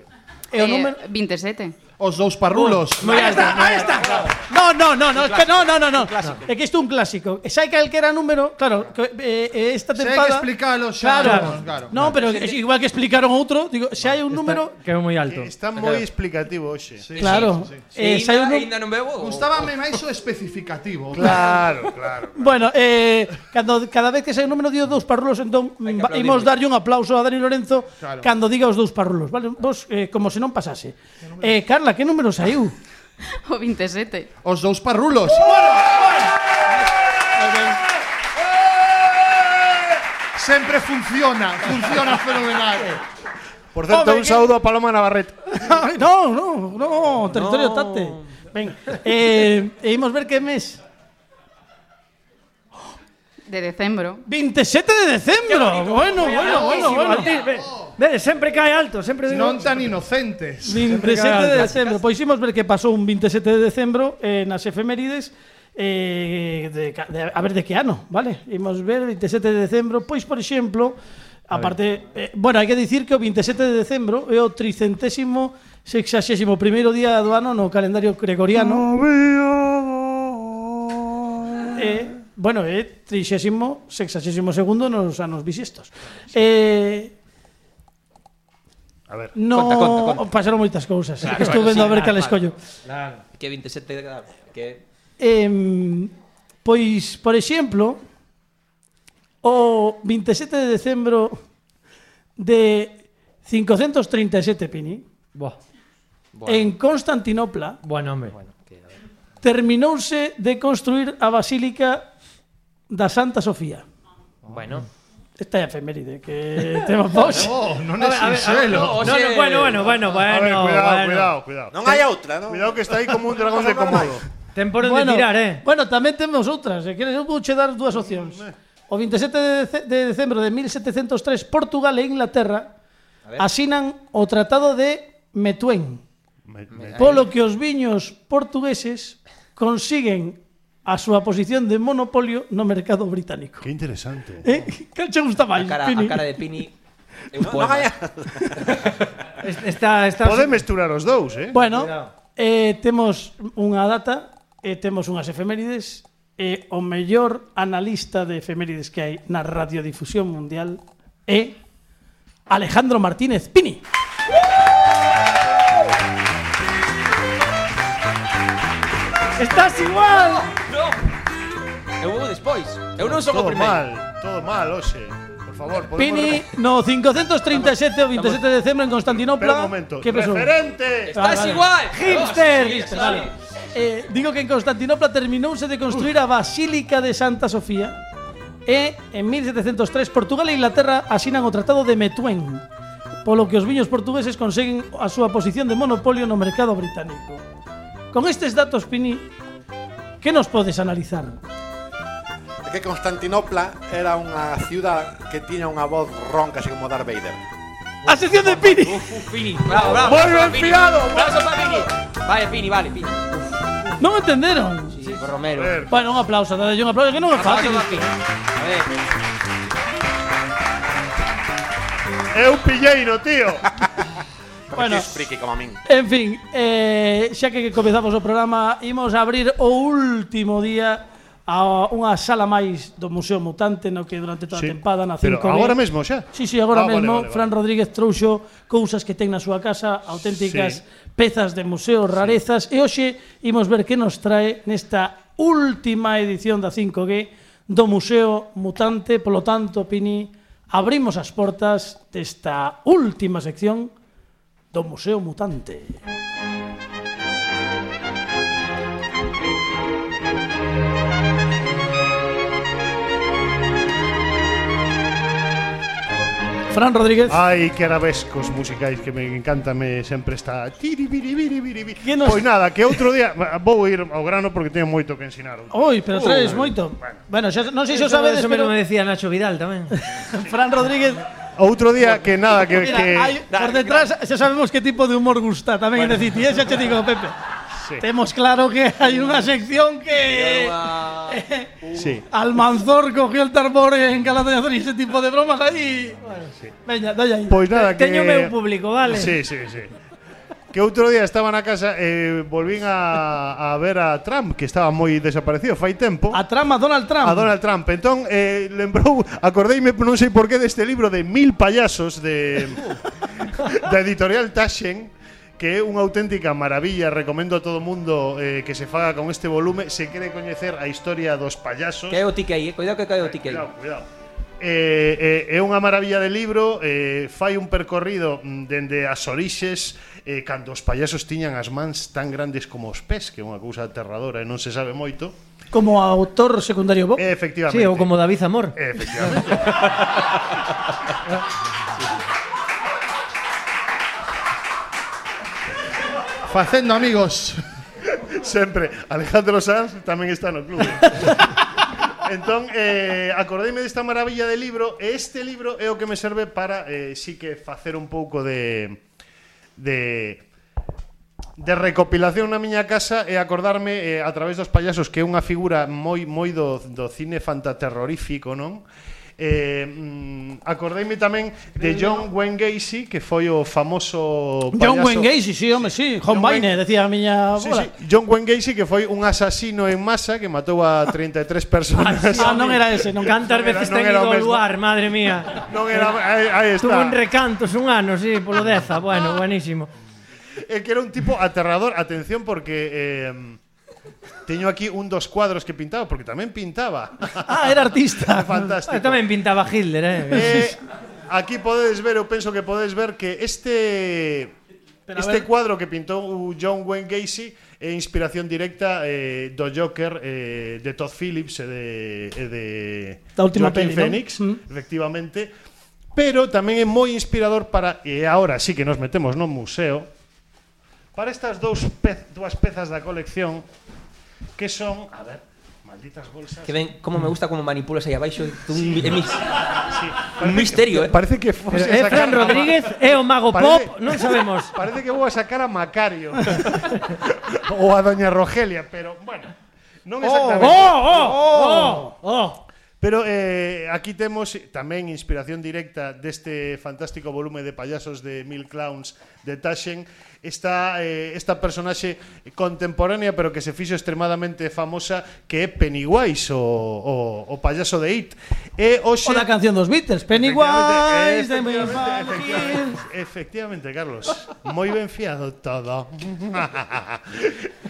S2: e
S10: Eh,
S2: o número
S10: 27.
S8: Os dous parrulos.
S2: No, no, no, no, es que no, no, no, no. É que isto é un clásico. E sai cal que era número, claro, que, eh, eh, esta
S8: Se hai
S2: tempada
S8: que explicalo xa.
S2: Claro.
S8: vamos, claro.
S2: No, pero é igual que explicaron outro, digo, se hai un número,
S9: que é moi alto.
S5: Que Está moi explicativo hoxe.
S2: claro. Eh, se hai un nu-
S6: Ainda non veo. o-
S8: Gustábame máis o especificativo.
S5: Claro, claro.
S2: Bueno, eh, cando, cada vez que sai un número dio dous parrulos, entón
S6: Hai que
S2: va- imos
S6: aplaudirlle.
S2: darlle un aplauso a Dani Lorenzo
S8: Claro.
S2: cando diga os dous parrulos, vale? Vos, eh, como se non pasase. Eh, Carla, que número saiu?
S10: O 27.
S8: Os dous parrulos. Sempre funciona, funciona fenomenal.
S5: Por certo,
S2: Home,
S5: un
S2: que-
S5: saúdo a Paloma Navarrete.
S2: Ai, no, no, no, Oh, territorio no. tate. Ven, eh, e imos ver que mes.
S10: De decembro.
S2: 27 de decembro. Bueno, bueno, bueno, bueno.
S9: Ve, sempre cae alto, sempre digo.
S8: Non tan inocentes.
S2: 27 de decembro. Pois imos ver que pasou un 27 de decembro eh, nas efemérides eh, de, ca- de, a ver de que ano, vale? Imos ver 27 de decembro, pois por exemplo, pues, Aparte, eh, bueno, hai que dicir que o 27 de decembro é o tricentésimo sexaxésimo primeiro día do ano no calendario gregoriano. Eh, bueno, é trixésimo sexaxésimo segundo nos anos bisiestos. Eh,
S5: A ver.
S2: No,
S6: Conta, conta, conta.
S2: pasaron moitas cousas.
S6: Claro,
S2: Claro, Estou
S6: bueno,
S2: vendo
S6: sí,
S2: a ver
S6: claro,
S2: cal
S6: claro.
S2: escollo.
S9: Claro.
S6: Que 27 de cada... Que...
S2: Em, pois, por exemplo, o 27 de decembro de 537 Pini,
S9: Buah.
S2: en Constantinopla,
S9: Bueno, hombre.
S2: terminouse de construir a Basílica da Santa Sofía.
S9: Bueno.
S2: Esta é a efeméride que temos vos.
S4: Oh, non
S9: A ver, a ver,
S4: sinxelo.
S9: a ver, o
S3: No, no,
S9: sea-
S3: bueno, bueno, bueno, bueno.
S5: A ver, cuidado,
S3: bueno.
S5: cuidado, cuidado.
S11: Non hai outra, non?
S5: Cuidado que está ahí como un dragón de Komodo.
S9: Ten por onde tirar, eh.
S2: bueno, tamén temos outras. Se queres, eu vou che dar dúas opcións. O 27 de, dece- de decembro de 1703, Portugal e Inglaterra asinan o Tratado de Metuén,
S5: Me- me-
S2: polo que os viños portugueses consiguen a súa posición de monopolio no mercado británico.
S5: Qué interesante.
S2: Eh? Que che gusta máis,
S6: A cara,
S2: Pini?
S6: a cara de Pini... é un
S11: Non, non
S6: poema.
S11: hai...
S9: Es- Está, está.
S5: Pode mesturar os dous, eh?
S2: Bueno,
S9: Cuidado.
S2: eh, temos unha data, eh, temos unhas efemérides, e o mellor analista de efemérides que hai na radiodifusión mundial é Alejandro Martínez Pini.
S3: Estás igual.
S6: No. Eu vou despois. Eu non son o
S5: todo
S6: primeiro.
S5: mal, todo mal, hoxe. Por favor, podemos...
S2: Pini, no 537 o 27 de decembro en
S5: Espera un
S2: Constantinopla.
S5: momento.
S2: ¿Qué pasó?
S5: ¡Referente!
S6: Estás
S2: Ah, vale.
S6: igual.
S2: Hipster.
S6: Sí,
S2: Hipster,
S6: sí.
S2: vale. Eh, digo que en Constantinopla terminouse de construir a Basílica de Santa Sofía e en 1703 Portugal e Inglaterra asinan o Tratado de Metuén polo que os viños portugueses conseguen a súa posición de monopolio no mercado británico. Con estes datos, Pini, que nos podes analizar?
S11: É que Constantinopla era unha ciudad que tiña unha voz ronca, así como Darth Vader.
S2: A sección de Pini!
S6: Uf, Pini. Bravo, bravo.
S5: Moi
S6: Bravo,
S5: ben
S6: Pini.
S5: fiado,
S6: Bravo para Pini. Vale, Pini, vale, Pini.
S2: Non entenderon?
S6: Sí, por Romero.
S5: A ver.
S2: Bueno, un aplauso, dadelle un aplauso, que non é
S6: Bravo
S2: fácil.
S6: para Pini. A ver.
S5: É un pilleiro, tío.
S2: Bueno.
S11: Bueno. Friki, friki como a min.
S2: En fin, eh, xa que comezamos o programa, imos abrir o último día a unha sala máis do Museo Mutante no que durante toda a
S5: Sí.
S2: tempada nace
S5: Pero agora mesmo xa.
S2: Sí, sí, agora
S5: Ah, vale,
S2: mesmo
S5: vale, vale.
S2: Fran Rodríguez trouxo cousas que ten na súa casa, auténticas pezas de museo, rarezas, e hoxe imos ver que nos trae nesta última edición da 5G do Museo Mutante, polo tanto, Pini, abrimos as portas desta última sección do Museo Mutante. Fran Rodríguez.
S5: Ai, que arabescos musicais que me encanta, me sempre está tiri biri biri biri biri.
S2: Que nos-
S5: Pois nada, que outro día vou ir ao grano porque teño moito que ensinar.
S2: Oi, pero traes moito. Bueno, xa, non sei se o
S9: Eso-
S2: sabedes,
S9: Eso
S2: pero
S9: mismo me decía Nacho Vidal tamén.
S2: Fran Rodríguez
S5: Outro día que nada que
S2: Mira,
S5: que
S2: hai, por detrás xa sabemos que tipo de humor gusta tamén bueno. en City, eh? xa che digo, Pepe.
S5: Sí.
S2: Temos claro que hai unha sección que
S5: sí.
S2: Almanzor cogió el tambor en Calada de hacer ese tipo de bromas aí. Veña, dalle aí.
S5: Pois nada que
S9: Teño meu público, vale?
S5: Sí, sí, sí. Que outro día estaba na casa e eh, volvín a, a ver a Trump, que estaba moi desaparecido fai tempo.
S2: A trama Donald Trump.
S5: a Donald Trump. Entón, eh, lembrou, acordeime, non sei por qué, deste libro de Mil Payasos de da editorial Taschen, que é unha auténtica maravilla, recomendo a todo mundo eh, que se faga con este volume, se quere coñecer a historia dos payasos.
S6: Que é o tique aí, eh? Cuidado que cae o tique aí.
S5: Cuidado, cuidado. Eh, eh, é unha maravilla de libro eh, Fai un percorrido mm, dende as orixes eh, Cando os payasos tiñan as mans tan grandes como os pés Que é unha cousa aterradora e non se sabe moito
S2: Como autor secundario Bob.
S5: E, Efectivamente
S9: Sí, ou como David Zamor.
S5: Eh, Efectivamente.
S4: Facendo amigos.
S5: Sempre. Alejandro Sanz tamén está no clube. entón, eh, acordeime desta maravilla de libro e este libro é o que me serve para eh, sí que facer un pouco de de de recopilación na miña casa e acordarme eh, a través dos payasos que é unha figura moi moi do, do cine fantaterrorífico, non? eh, mm, acordeime tamén de John Wayne Gacy que foi o famoso
S2: John
S5: payaso-
S2: Wayne Gacy, sí, home, sí. John
S5: Wayne-
S2: Wayne, decía a miña
S5: Sí,
S2: abuela.
S5: sí, John Wayne Gacy que foi un asasino en masa que matou a 33 personas.
S9: Ah, non
S2: era ese, non.
S9: Cantas veces ten ido ao luar, madre mía.
S5: Non era- aí- aí está.
S9: Tuve un recanto un ano, sí, polo deza. Bueno, buenísimo.
S5: É que era un tipo aterrador. Atención porque eh, teño aquí un dos cuadros que pintaba, porque tamén pintaba.
S2: Ah, era artista.
S5: Fantástico.
S9: Tamén pintaba Hitler, eh.
S5: Eh, aquí podedes ver, eu penso que podedes ver que este
S9: Pero a
S5: este
S9: ver.
S5: cuadro que pintou o John Wayne Gacy é inspiración directa eh, do Joker eh, de Todd Phillips e de, e de
S2: Da última peli, non?
S5: Phoenix,
S9: Mm.
S5: efectivamente. Pero tamén é moi inspirador para e agora sí que nos metemos no museo para estas dous pez, dúas pezas da colección que son, a ver, malditas bolsas.
S6: Que ven como me gusta como manipulas aí abaixo tú, un, mi- mi-
S5: Parece
S6: un misterio, eh.
S5: que- Parece que
S9: Pero
S5: fose
S9: é
S5: a
S9: Fran Rodríguez, é o mago
S5: Parece-
S9: pop, non sabemos.
S5: Parece que vou a sacar a Macario. ou a Doña Rogelia, pero bueno. Non exactamente.
S9: oh, oh,
S5: Pero eh, aquí temos tamén inspiración directa deste fantástico volume de payasos de Mil Clowns de Taschen. Esta, eh, esta personaxe contemporánea pero que se fixo extremadamente famosa que é Pennywise, o, o, o payaso de It. E hoxe...
S2: O da canción dos Beatles, Pennywise, de
S5: este
S2: mi infancia.
S5: Efectivamente, efectivamente, Carlos. Moi ben fiado todo.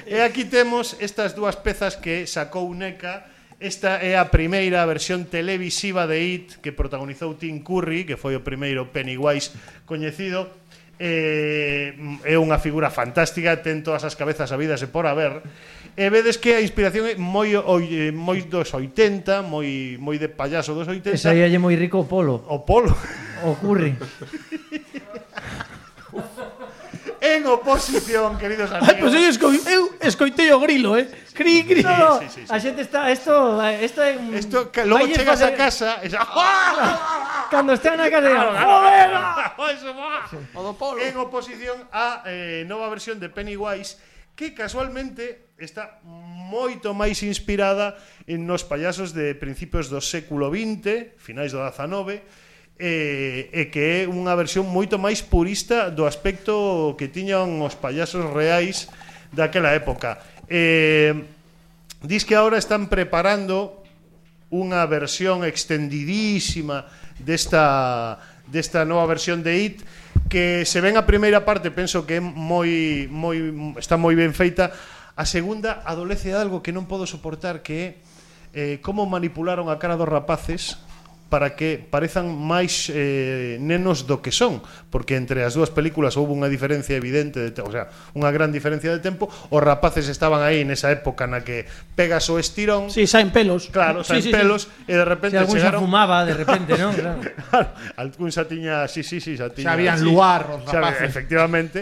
S5: e aquí temos estas dúas pezas que sacou Neca. Esta é a primeira versión televisiva de It que protagonizou Tim Curry, que foi o primeiro Pennywise coñecido. Eh, mm, é unha figura fantástica, ten todas as cabezas habidas e por haber. E vedes que a inspiración é moi oi- eh, moi dos 80, moi moi de payaso dos 80.
S9: Esa aí é moi rico o polo.
S5: O polo.
S9: O curry.
S5: En oposición, queridos
S2: Ai,
S5: amigos.
S2: pois eu, escoi, eu escoitei o grilo, eh. Cri, cri.
S9: No, a xente está esto esto é un-
S5: Esto que logo
S9: Vai
S5: chegas
S9: facer-
S5: a casa e xa, ¡Ah!
S9: Cando estean na casa dirán,
S5: "Joder,
S9: "Joder,
S5: ah, eso va". En oposición a eh, nova versión de Pennywise que casualmente está moito máis inspirada en nos payasos de principios do século XX, finais do XIX, eh, e que é unha versión moito máis purista do aspecto que tiñan os payasos reais daquela época. Eh, Diz que ahora están preparando unha versión extendidísima desta desta nova versión de It que se ven a primeira parte, penso que é moi moi está moi ben feita. A segunda adolece de algo que non podo soportar que é eh, como manipularon a cara dos rapaces para que parezan máis eh, nenos do que son, porque entre as dúas películas houve unha diferencia evidente, de, te- o sea, unha gran diferencia de tempo, os rapaces estaban aí nesa época na que pegas o estirón.
S2: Si, sí, saen pelos.
S5: Claro,
S2: Sí,
S5: saen
S2: sí, sí.
S5: pelos e de
S9: Si
S5: repente
S9: algún xa
S5: chegaron...
S9: fumaba de repente, non? Claro.
S5: Algún xa tiña, sí, sí, sí, xa
S4: Xa
S5: tiña.
S4: habían
S5: sí.
S4: luar os
S5: Xa había-
S4: rapaces.
S5: Efectivamente.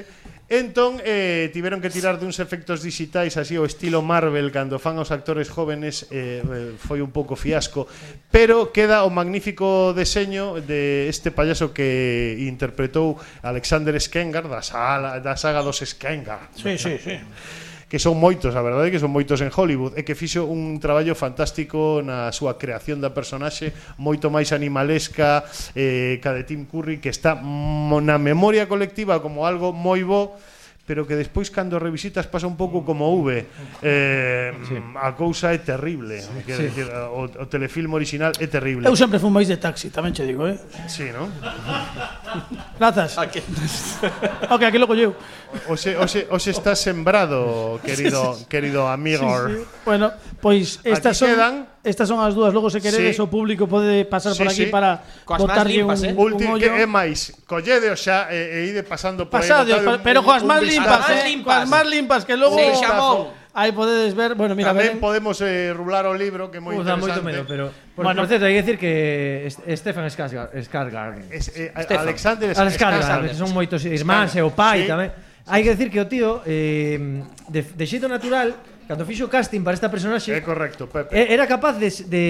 S5: Entón, eh, tiveron que tirar duns efectos digitais así o estilo Marvel cando fan aos actores jóvenes eh, eh, foi un pouco fiasco pero queda o magnífico deseño de este payaso que interpretou Alexander Skarsgård da, sala, da saga dos Skarsgård
S2: Sí, sí, sí.
S5: que son moitos, a verdade é que son moitos en Hollywood e que fixo un traballo fantástico na súa creación da personaxe moito máis animalesca eh, ca de Tim Curry que está mo- na memoria colectiva como algo moi bo pero que despois cando revisitas pasa un pouco como V eh, a cousa é terrible Quer
S2: sí.
S5: decir, o, o telefilm original é terrible
S2: Eu sempre fun máis de taxi, tamén che digo, eh.
S5: Sí, non?
S2: Grazas. ok, aquí logo eu.
S5: Oxe, oxe, oxe está sembrado, querido, querido amigo.
S2: Sí, sí. Bueno, pois estas
S5: Aquí
S2: son
S5: quedan.
S2: estas son as dúas, logo se queredes
S5: Sí.
S2: o público pode pasar por aquí para botarlle un, un
S5: Ulti-
S2: ollo.
S5: que é máis, collede xa e, e ide pasando por aí,
S2: Pasade,
S5: botade un-
S2: pero coas
S5: un
S2: máis
S5: vistazo.
S2: limpas, eh, coas máis limpas que logo
S5: Sí, xamón.
S2: Aí podedes ver, bueno, mira,
S5: Tamén
S2: ver,
S5: podemos eh, rular o libro que é moi
S9: Uf, dá moito
S5: interesante.
S9: medo, pero por,
S5: Bueno.
S9: por certo, hai que decir que es- Stefan Skarsgård, Skarsgård.
S5: Es- eh, Stefan. Alexander
S9: Skarsgård,
S5: Skarsgård.
S9: que son moitos irmáns e o
S5: Sí.
S9: pai tamén. Hai que decir que o tío eh, de, de xeito natural, cando fixo casting para esta personaxe,
S5: É correcto, Pepe.
S9: E- Era capaz de, de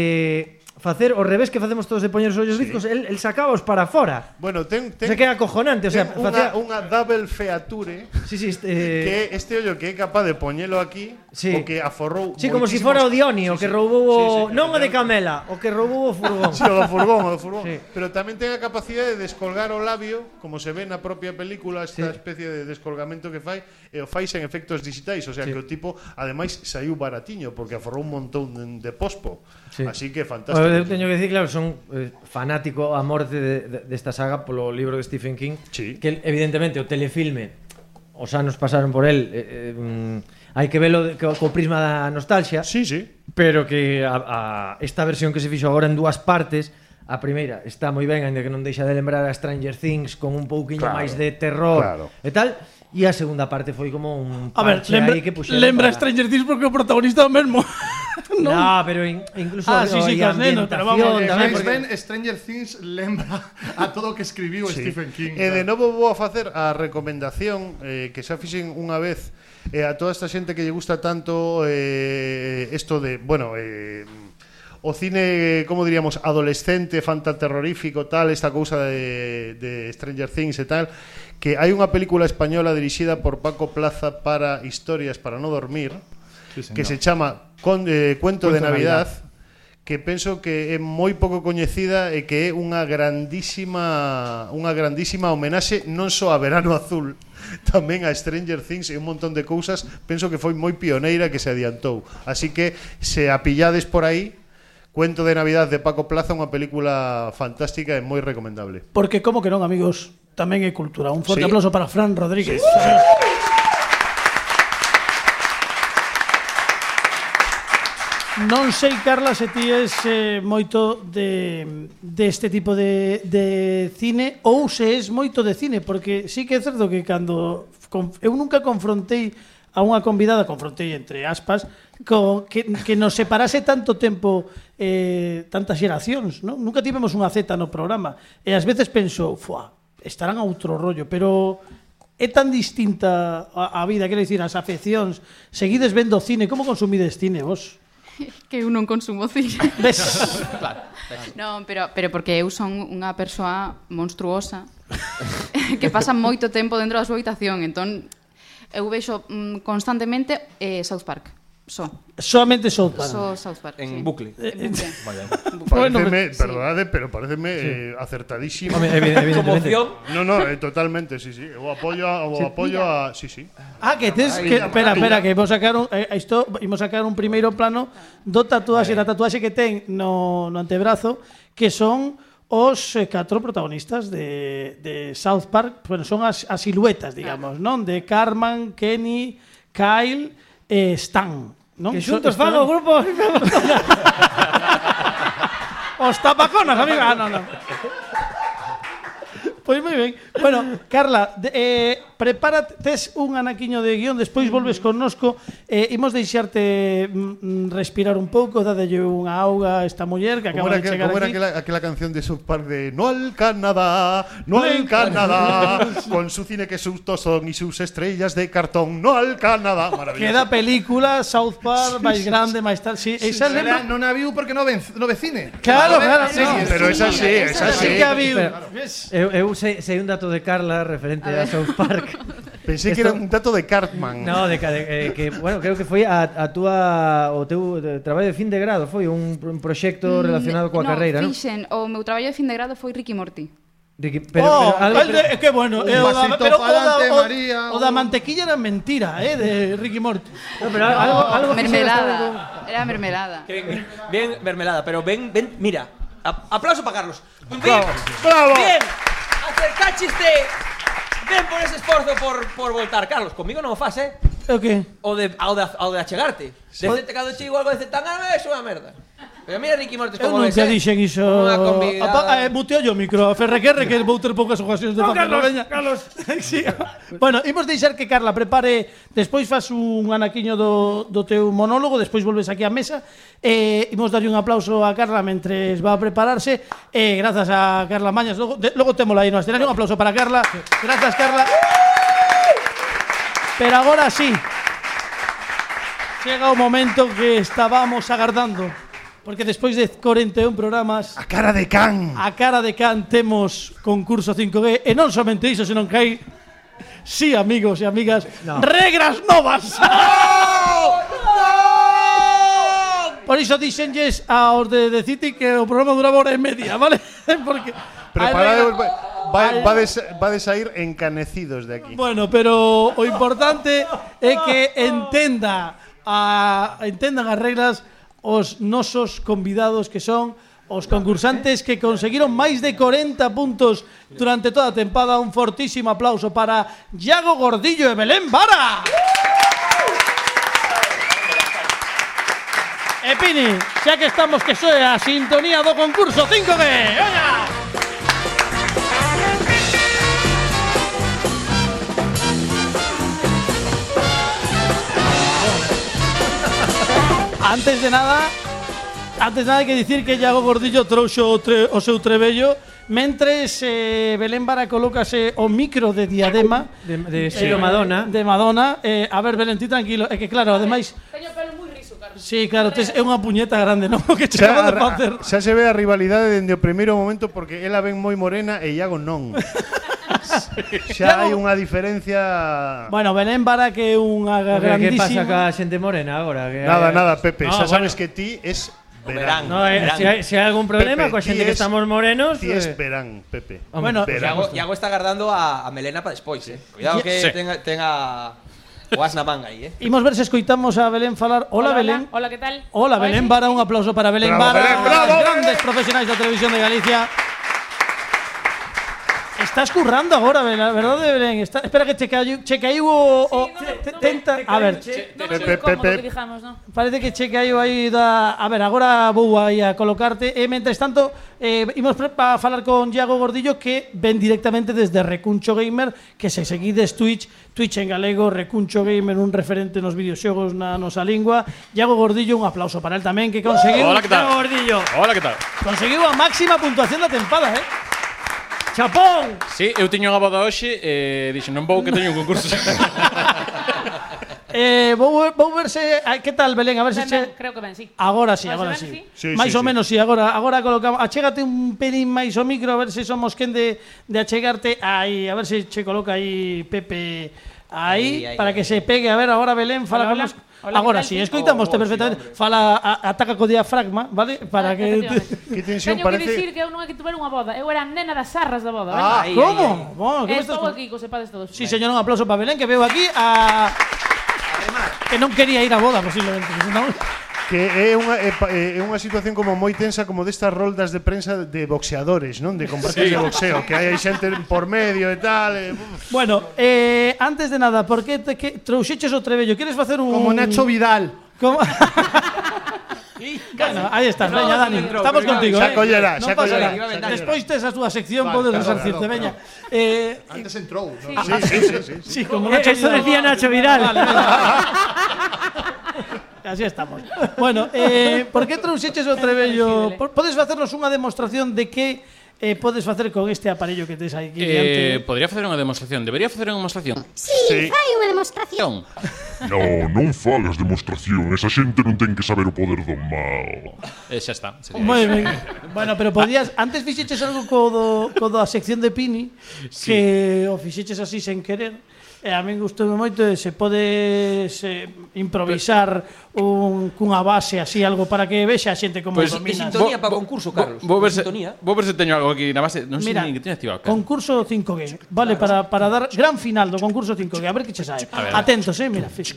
S9: facer o revés que facemos todos de poñer os ollos bizcos, el, el sacaos para fora.
S5: Bueno, ten,
S9: ten, o sea, que é acojonante, o sea,
S5: ten unha, unha double feature
S9: sí, sí, este, eh,
S5: que este ollo que é capaz de poñelo aquí
S9: Sí.
S5: o que aforrou
S9: Sí, como se si
S5: moitísimos-
S9: fora o Dioni, o que roubou o...
S5: Sí, sí,
S9: non o de Camela, o que roubou o furgón.
S5: Sí, o do furgón, o do furgón. Pero tamén ten a capacidade de descolgar o labio, como se ve na propia película,
S9: Sí.
S5: esta especie de descolgamento que fai, e o fai sen efectos digitais, o sea
S9: Sí.
S5: que o tipo ademais saiu baratiño porque aforrou un montón de, de pospo.
S9: Sí.
S5: Así que fantástico.
S9: Fantástico. Eu teño que dicir, claro, son eh, fanático a morte de- de- desta saga polo libro de Stephen King,
S5: sí.
S9: que evidentemente o telefilme os anos pasaron por el, eh, eh, mm, hai que velo de- co, co prisma da nostalgia.
S5: Sí, sí.
S9: Pero que a, a esta versión que se fixo agora en dúas partes, a primeira está moi ben, aínda que non deixa de lembrar a Stranger Things con un pouquiño
S2: Claro,
S9: máis de terror
S2: claro.
S9: e tal, e a segunda parte foi como un
S2: A ver,
S9: parche
S2: lembra,
S9: aí que puxeron
S2: lembra
S9: para-
S2: Stranger Things porque o protagonista é o mesmo.
S9: No, pero in- incluso
S2: Ah, sí,
S9: aí
S2: sí, que
S9: a
S2: os nenos, pero vamos,
S9: ambientación tamén,
S4: Máis
S9: porque-
S4: ben, eh, Stranger Things lembra a todo o que escribiu
S5: Sí.
S4: Stephen
S2: Eh,
S4: King.
S5: E de novo vou a facer a recomendación eh, que xa fixen unha vez eh, a toda esta xente que lle gusta tanto eh, esto de, bueno, eh, o cine, como diríamos, adolescente, fantaterrorífico, tal, esta cousa de, de Stranger Things e tal, que hai unha película española dirixida por Paco Plaza para historias para no dormir,
S4: Sí, señor.
S5: que se chama Con, eh, Cuento,
S4: Cuento
S5: de
S4: de
S5: Navidad,
S4: Navidad.
S5: que penso que é moi pouco coñecida e que é unha grandísima unha grandísima homenaxe non só a Verano Azul, tamén a Stranger Things e un montón de cousas, penso que foi moi pioneira que se adiantou. Así que se apillades por aí, Cuento de Navidad de Paco Plaza, unha película fantástica e moi recomendable.
S2: Porque como que non, amigos, tamén é cultura. Un forte
S5: Sí.
S2: aplauso para Fran Rodríguez. Non sei, Carla, se ti es eh, moito de, de este tipo de, de cine ou se es moito de cine, porque sí que é certo que cando conf- eu nunca confrontei a unha convidada, confrontei entre aspas, co, que, que nos separase tanto tempo eh, tantas xeracións, non? Nunca tivemos unha Z no programa, e ás veces penso, fuá, estarán a outro rollo, pero é tan distinta a, a vida, quero dicir, as afeccións, seguides vendo cine, como consumides cine vos?
S10: que eu non consumo cine.
S2: Ves?
S10: claro. Non, pero, pero porque eu son unha persoa monstruosa que pasa moito tempo dentro da súa habitación, entón eu vexo mm, constantemente eh, South Park. Só.
S2: Solamente South Park.
S10: Só South Park.
S6: En
S10: sí.
S6: bucle.
S10: En
S2: Eh,
S10: bucle.
S5: Pareceme,
S10: sí.
S5: perdonade, pero pareceme eh, acertadísimo.
S9: Home, evi- evidentemente.
S5: Como opción. No, no, eh, totalmente, sí, sí. O apoio, a,
S9: Sí.
S5: o apoio a, sí, sí.
S2: Ah, que tes que espera, espera, que vou sacar un eh, isto imos sacar un primeiro plano do tatuaxe, da tatuaxe que ten no no antebrazo, que son os eh, catro protagonistas de, de South Park, bueno, son as,
S9: Ah.
S2: as siluetas, digamos, non? De Carmen, Kenny, Kyle e Stan, non?
S9: Que
S2: Son-
S9: xuntos fan o grupo.
S2: Os tapaconas, amiga. Ah, no, no. Pois moi ben. Bueno, Carla, de, eh, prepárate, tes un anaquiño de guión, despois volves connosco, eh, imos deixarte mm, mm, respirar un pouco, dadelle unha auga a esta muller que acaba
S5: Como era,
S2: de
S5: aquel-
S2: chegar
S5: como era
S2: aquí.
S5: aquela, aquela canción de South Park de No al Canadá, no al Canadá, con su cine que sustos son y sus estrellas de cartón, no al Canadá. Maravilloso.
S2: Queda película, South Park,
S5: Sí,
S2: máis
S5: sí,
S2: grande, máis tal. Sí, esa
S4: Será-
S2: lembra...
S4: non a viu porque non ven, no ve cine. Non
S2: Claro,
S4: ve-
S2: claro,
S4: non
S2: sí,
S4: ve
S5: pero
S4: cine.
S5: esa sí, esa sí.
S2: que a viu.
S9: Pero, eu, eu sei, sei un dato de Carla referente a, a South Park.
S5: Pensé que
S9: Esto-
S5: era un dato de Cartman.
S9: No, de, ca- de, eh, que bueno, creo que foi a, a túa o teu de, traballo de fin de grado, foi un, un proxecto relacionado coa
S10: Mm, no,
S9: carreira, non?
S10: fixen, o meu traballo de fin de grado foi Ricky Morty.
S9: Ricky, pero,
S2: Oh,
S9: pero,
S2: el de- que bueno,
S9: Un
S2: eh, o da,
S9: pasito
S2: pero o da,
S9: pa'lante,
S2: o-
S9: María,
S2: o da mantequilla era mentira, eh, de Ricky Morty.
S9: No, pero algo- algo
S10: mermelada. Era mermelada.
S6: Bien, mermelada, pero ven, ven, mira. A- aplauso para Carlos. Bien,
S5: bravo.
S6: bien. Acercaste. Ven por ese esforzo por, por voltar. Carlos, conmigo no fas, eh?
S2: O que?
S6: O de, ao de, ao de achegarte. Desde cando chego algo de tan ah, es unha merda. Pero mira Ricky Mortes
S2: Eu
S6: como ves,
S2: nunca
S6: eh?
S2: dixen iso.
S6: Como unha convidada.
S2: Apa, eh, muteo yo o micro, a Ferrequerre que vou ter poucas ocasións de
S3: No,
S2: facer
S3: Carlos,
S2: veña.
S3: Carlos.
S2: sí. Bueno, imos deixar que Carla prepare, despois fas un anaquiño do, do teu monólogo, despois volves aquí á mesa, e imos darlle un aplauso a Carla mentres va a prepararse, e grazas a Carla Mañas, logo, de, logo témola aí no escenario, un aplauso para Carla, grazas Carla. Pero agora sí, chega o momento que estábamos agardando. Porque despois de 41 programas A
S5: cara de can
S2: A cara de can temos concurso 5G E non somente iso, senón que hai Sí, amigos e amigas Regras novas Por iso dixenlles aos de, de City que o programa duraba hora e media, vale? Porque
S5: Preparade,
S2: vai,
S5: va, va, des- va a salir encanecidos de aquí.
S2: Bueno, pero o importante é que entenda a entendan as regras os nosos convidados que son os concursantes que conseguiron máis de 40 puntos durante toda a tempada. Un fortísimo aplauso para Iago Gordillo e Belén Vara. E Eh, Pini, xa que estamos que soe a sintonía do concurso 5G. Oia! Antes de nada, antes de nada hai que dicir que Iago Gordillo trouxo o, tre, o seu trebello Mentres eh, Belén Vara colócase o micro de diadema
S9: De- de estilo Madonna.
S2: De Madonna eh, A ver, Belén, ti tranquilo É que claro, ademais
S7: Teño pelo moi riso, Carlos.
S2: Sí, claro, tes, é unha puñeta grande, non? O que che
S5: Xa,
S2: acabo de
S5: a-
S2: facer
S5: xa se ve a rivalidade dende o primeiro momento porque ela ven moi morena e Iago non. Xa hai unha diferencia
S2: Bueno, Belén Vara que é unha
S9: Que pasa
S2: grandísima
S9: ca xente morena agora? Que
S5: Nada, nada, Pepe,
S9: No,
S5: xa sabes
S9: bueno.
S5: que ti es
S9: verán,
S5: verán.
S9: No, eh, verán. si hai- si hai algún problema
S5: Pepe,
S9: coa
S5: ti
S9: xente que
S5: es-
S9: estamos morenos,
S5: Ti es
S9: eh.
S5: verán, Pepe.
S9: Hombre, Bueno,
S5: verán.
S6: Iago, Iago está agardando a, a melena para despois, eh. Cuidado
S2: Ya-
S6: que
S2: Sí.
S6: tenga, tenga o as na manga aí, eh.
S2: Imos ver se escoitamos a Belén falar Hola, Belén
S7: Hola, que tal?
S2: Hola, Belén Vara, un aplauso para Belén
S7: Bravo,
S2: Vara,
S7: Belén,
S2: unha
S7: bravo,
S2: das grandes profesionais da televisión de Galicia. Estás currando agora, Belén, a verdade, Belén? Está, espera que che caiu, che caiu o, o te- tenta, a ver.
S7: Non me foi cómodo que dijamos, non?
S2: Parece que che caiu aí da, a ver, agora vou aí a colocarte e mentres tanto eh, imos para falar con Iago Gordillo que ven directamente desde Recuncho Gamer, que se seguides Twitch, Twitch en galego, Recuncho Gamer, un referente nos videoxogos na nosa lingua. Iago Gordillo, un aplauso para el tamén que conseguiu.
S12: Hola, que tal?
S2: Iago Gordillo.
S12: Hola, que tal?
S2: Conseguiu a máxima puntuación da tempada, eh? Chapón!
S12: Sí, eu tiño unha boda hoxe e dixen non vou que teño un concurso.
S2: Eh, vou, vou ver se a- que tal Belén, a ver se
S7: Ben,
S2: che
S7: ben, creo que ben, sí.
S2: Agora sí,
S7: Máis ou
S2: agora
S7: menos,
S2: sí.
S7: sí? Sí,
S2: máis
S7: sí,
S2: ou
S7: sí.
S2: menos sí, agora agora colocamos. Achégate un pelín máis o micro a ver se somos quen de de achegarte aí, a ver se che coloca aí Pepe aí,
S7: Aí, aí,
S2: para que se pegue. A ver, agora Belén fala
S7: Hola, hola.
S2: connosco.
S7: Hola,
S2: agora
S7: que tal,
S2: Oh, sí,
S7: tío?
S2: escoitamoste perfectamente. fala a- ataca co diafragma, ¿vale?
S7: Ah,
S2: Para que
S5: Que
S7: Teño que dicir que eu non é que tuver unha boda, eu era a nena das sarras da boda,
S2: Ah,
S7: vale?
S2: como? Bueno, que me
S7: Eh,
S2: estás
S7: Estou
S2: con-
S7: aquí cos sepades todos.
S2: Sí, señor, un aplauso para Belén que veo aquí a que non quería ir a boda posiblemente, senón
S5: Que é unha é, pa- é é unha situación como moi tensa como destas roldas de prensa de boxeadores, non? De combates
S2: Sí.
S5: de boxeo, que hai xente por medio e tal. E,
S2: Bueno, eh, antes de nada, por que, te, que trouxeches o trebello? Queres facer un...
S5: Como Nacho
S2: Vidal. Como... bueno, aí estás,
S5: No,
S2: veña,
S5: non
S2: Dani,
S5: entrou,
S2: estamos
S5: pero
S2: contigo,
S5: xa
S2: eh.
S5: collera,
S2: non
S5: xa
S2: pasa
S5: collera,
S2: nada.
S5: xa collera.
S2: Despois tes a túa sección,
S9: Vale,
S2: podes
S9: claro,
S2: resarcirte,
S9: claro,
S2: veña. Eh,
S8: Antes entrou. ¿no?
S4: Ah,
S2: Sí, sí, sí, sí, sí. Sí, como Nacho
S9: Eso
S2: Vidal.
S9: decía Nacho Vidal.
S2: Vale, venga. Así estamos. Bueno, eh, por que trouxeches o trebello? Po- Podes facernos unha demostración de que eh, podes facer con este aparello que tes aí aquí
S12: eh,
S2: diante?
S12: podría facer unha demostración. Debería facer unha demostración.
S13: Sí, fai unha demostración.
S14: No, non fagas demostración, esa xente non ten que saber o poder do mal.
S12: Eh, xa está. sería
S2: Moi
S12: iso.
S2: ben. Bueno, pero podías antes fixeches algo co do, co da sección de Pini sí. que o fixeches así sen querer. E a min gustoume moito e se podes eh, improvisar un cunha base así algo para que vexa a xente como
S12: Pois,
S2: domina.
S12: vou- vou- vou- Vou ver se,
S2: Sintonía.
S12: vou ver se teño algo aquí na base. Non sei
S2: Mira,
S12: nin que teño activado. cara.
S2: Concurso 5G. Vale, para, para dar gran final do concurso 5G. A ver que che sae.
S12: A ver, a ver.
S2: Atentos, eh, mira. fixa.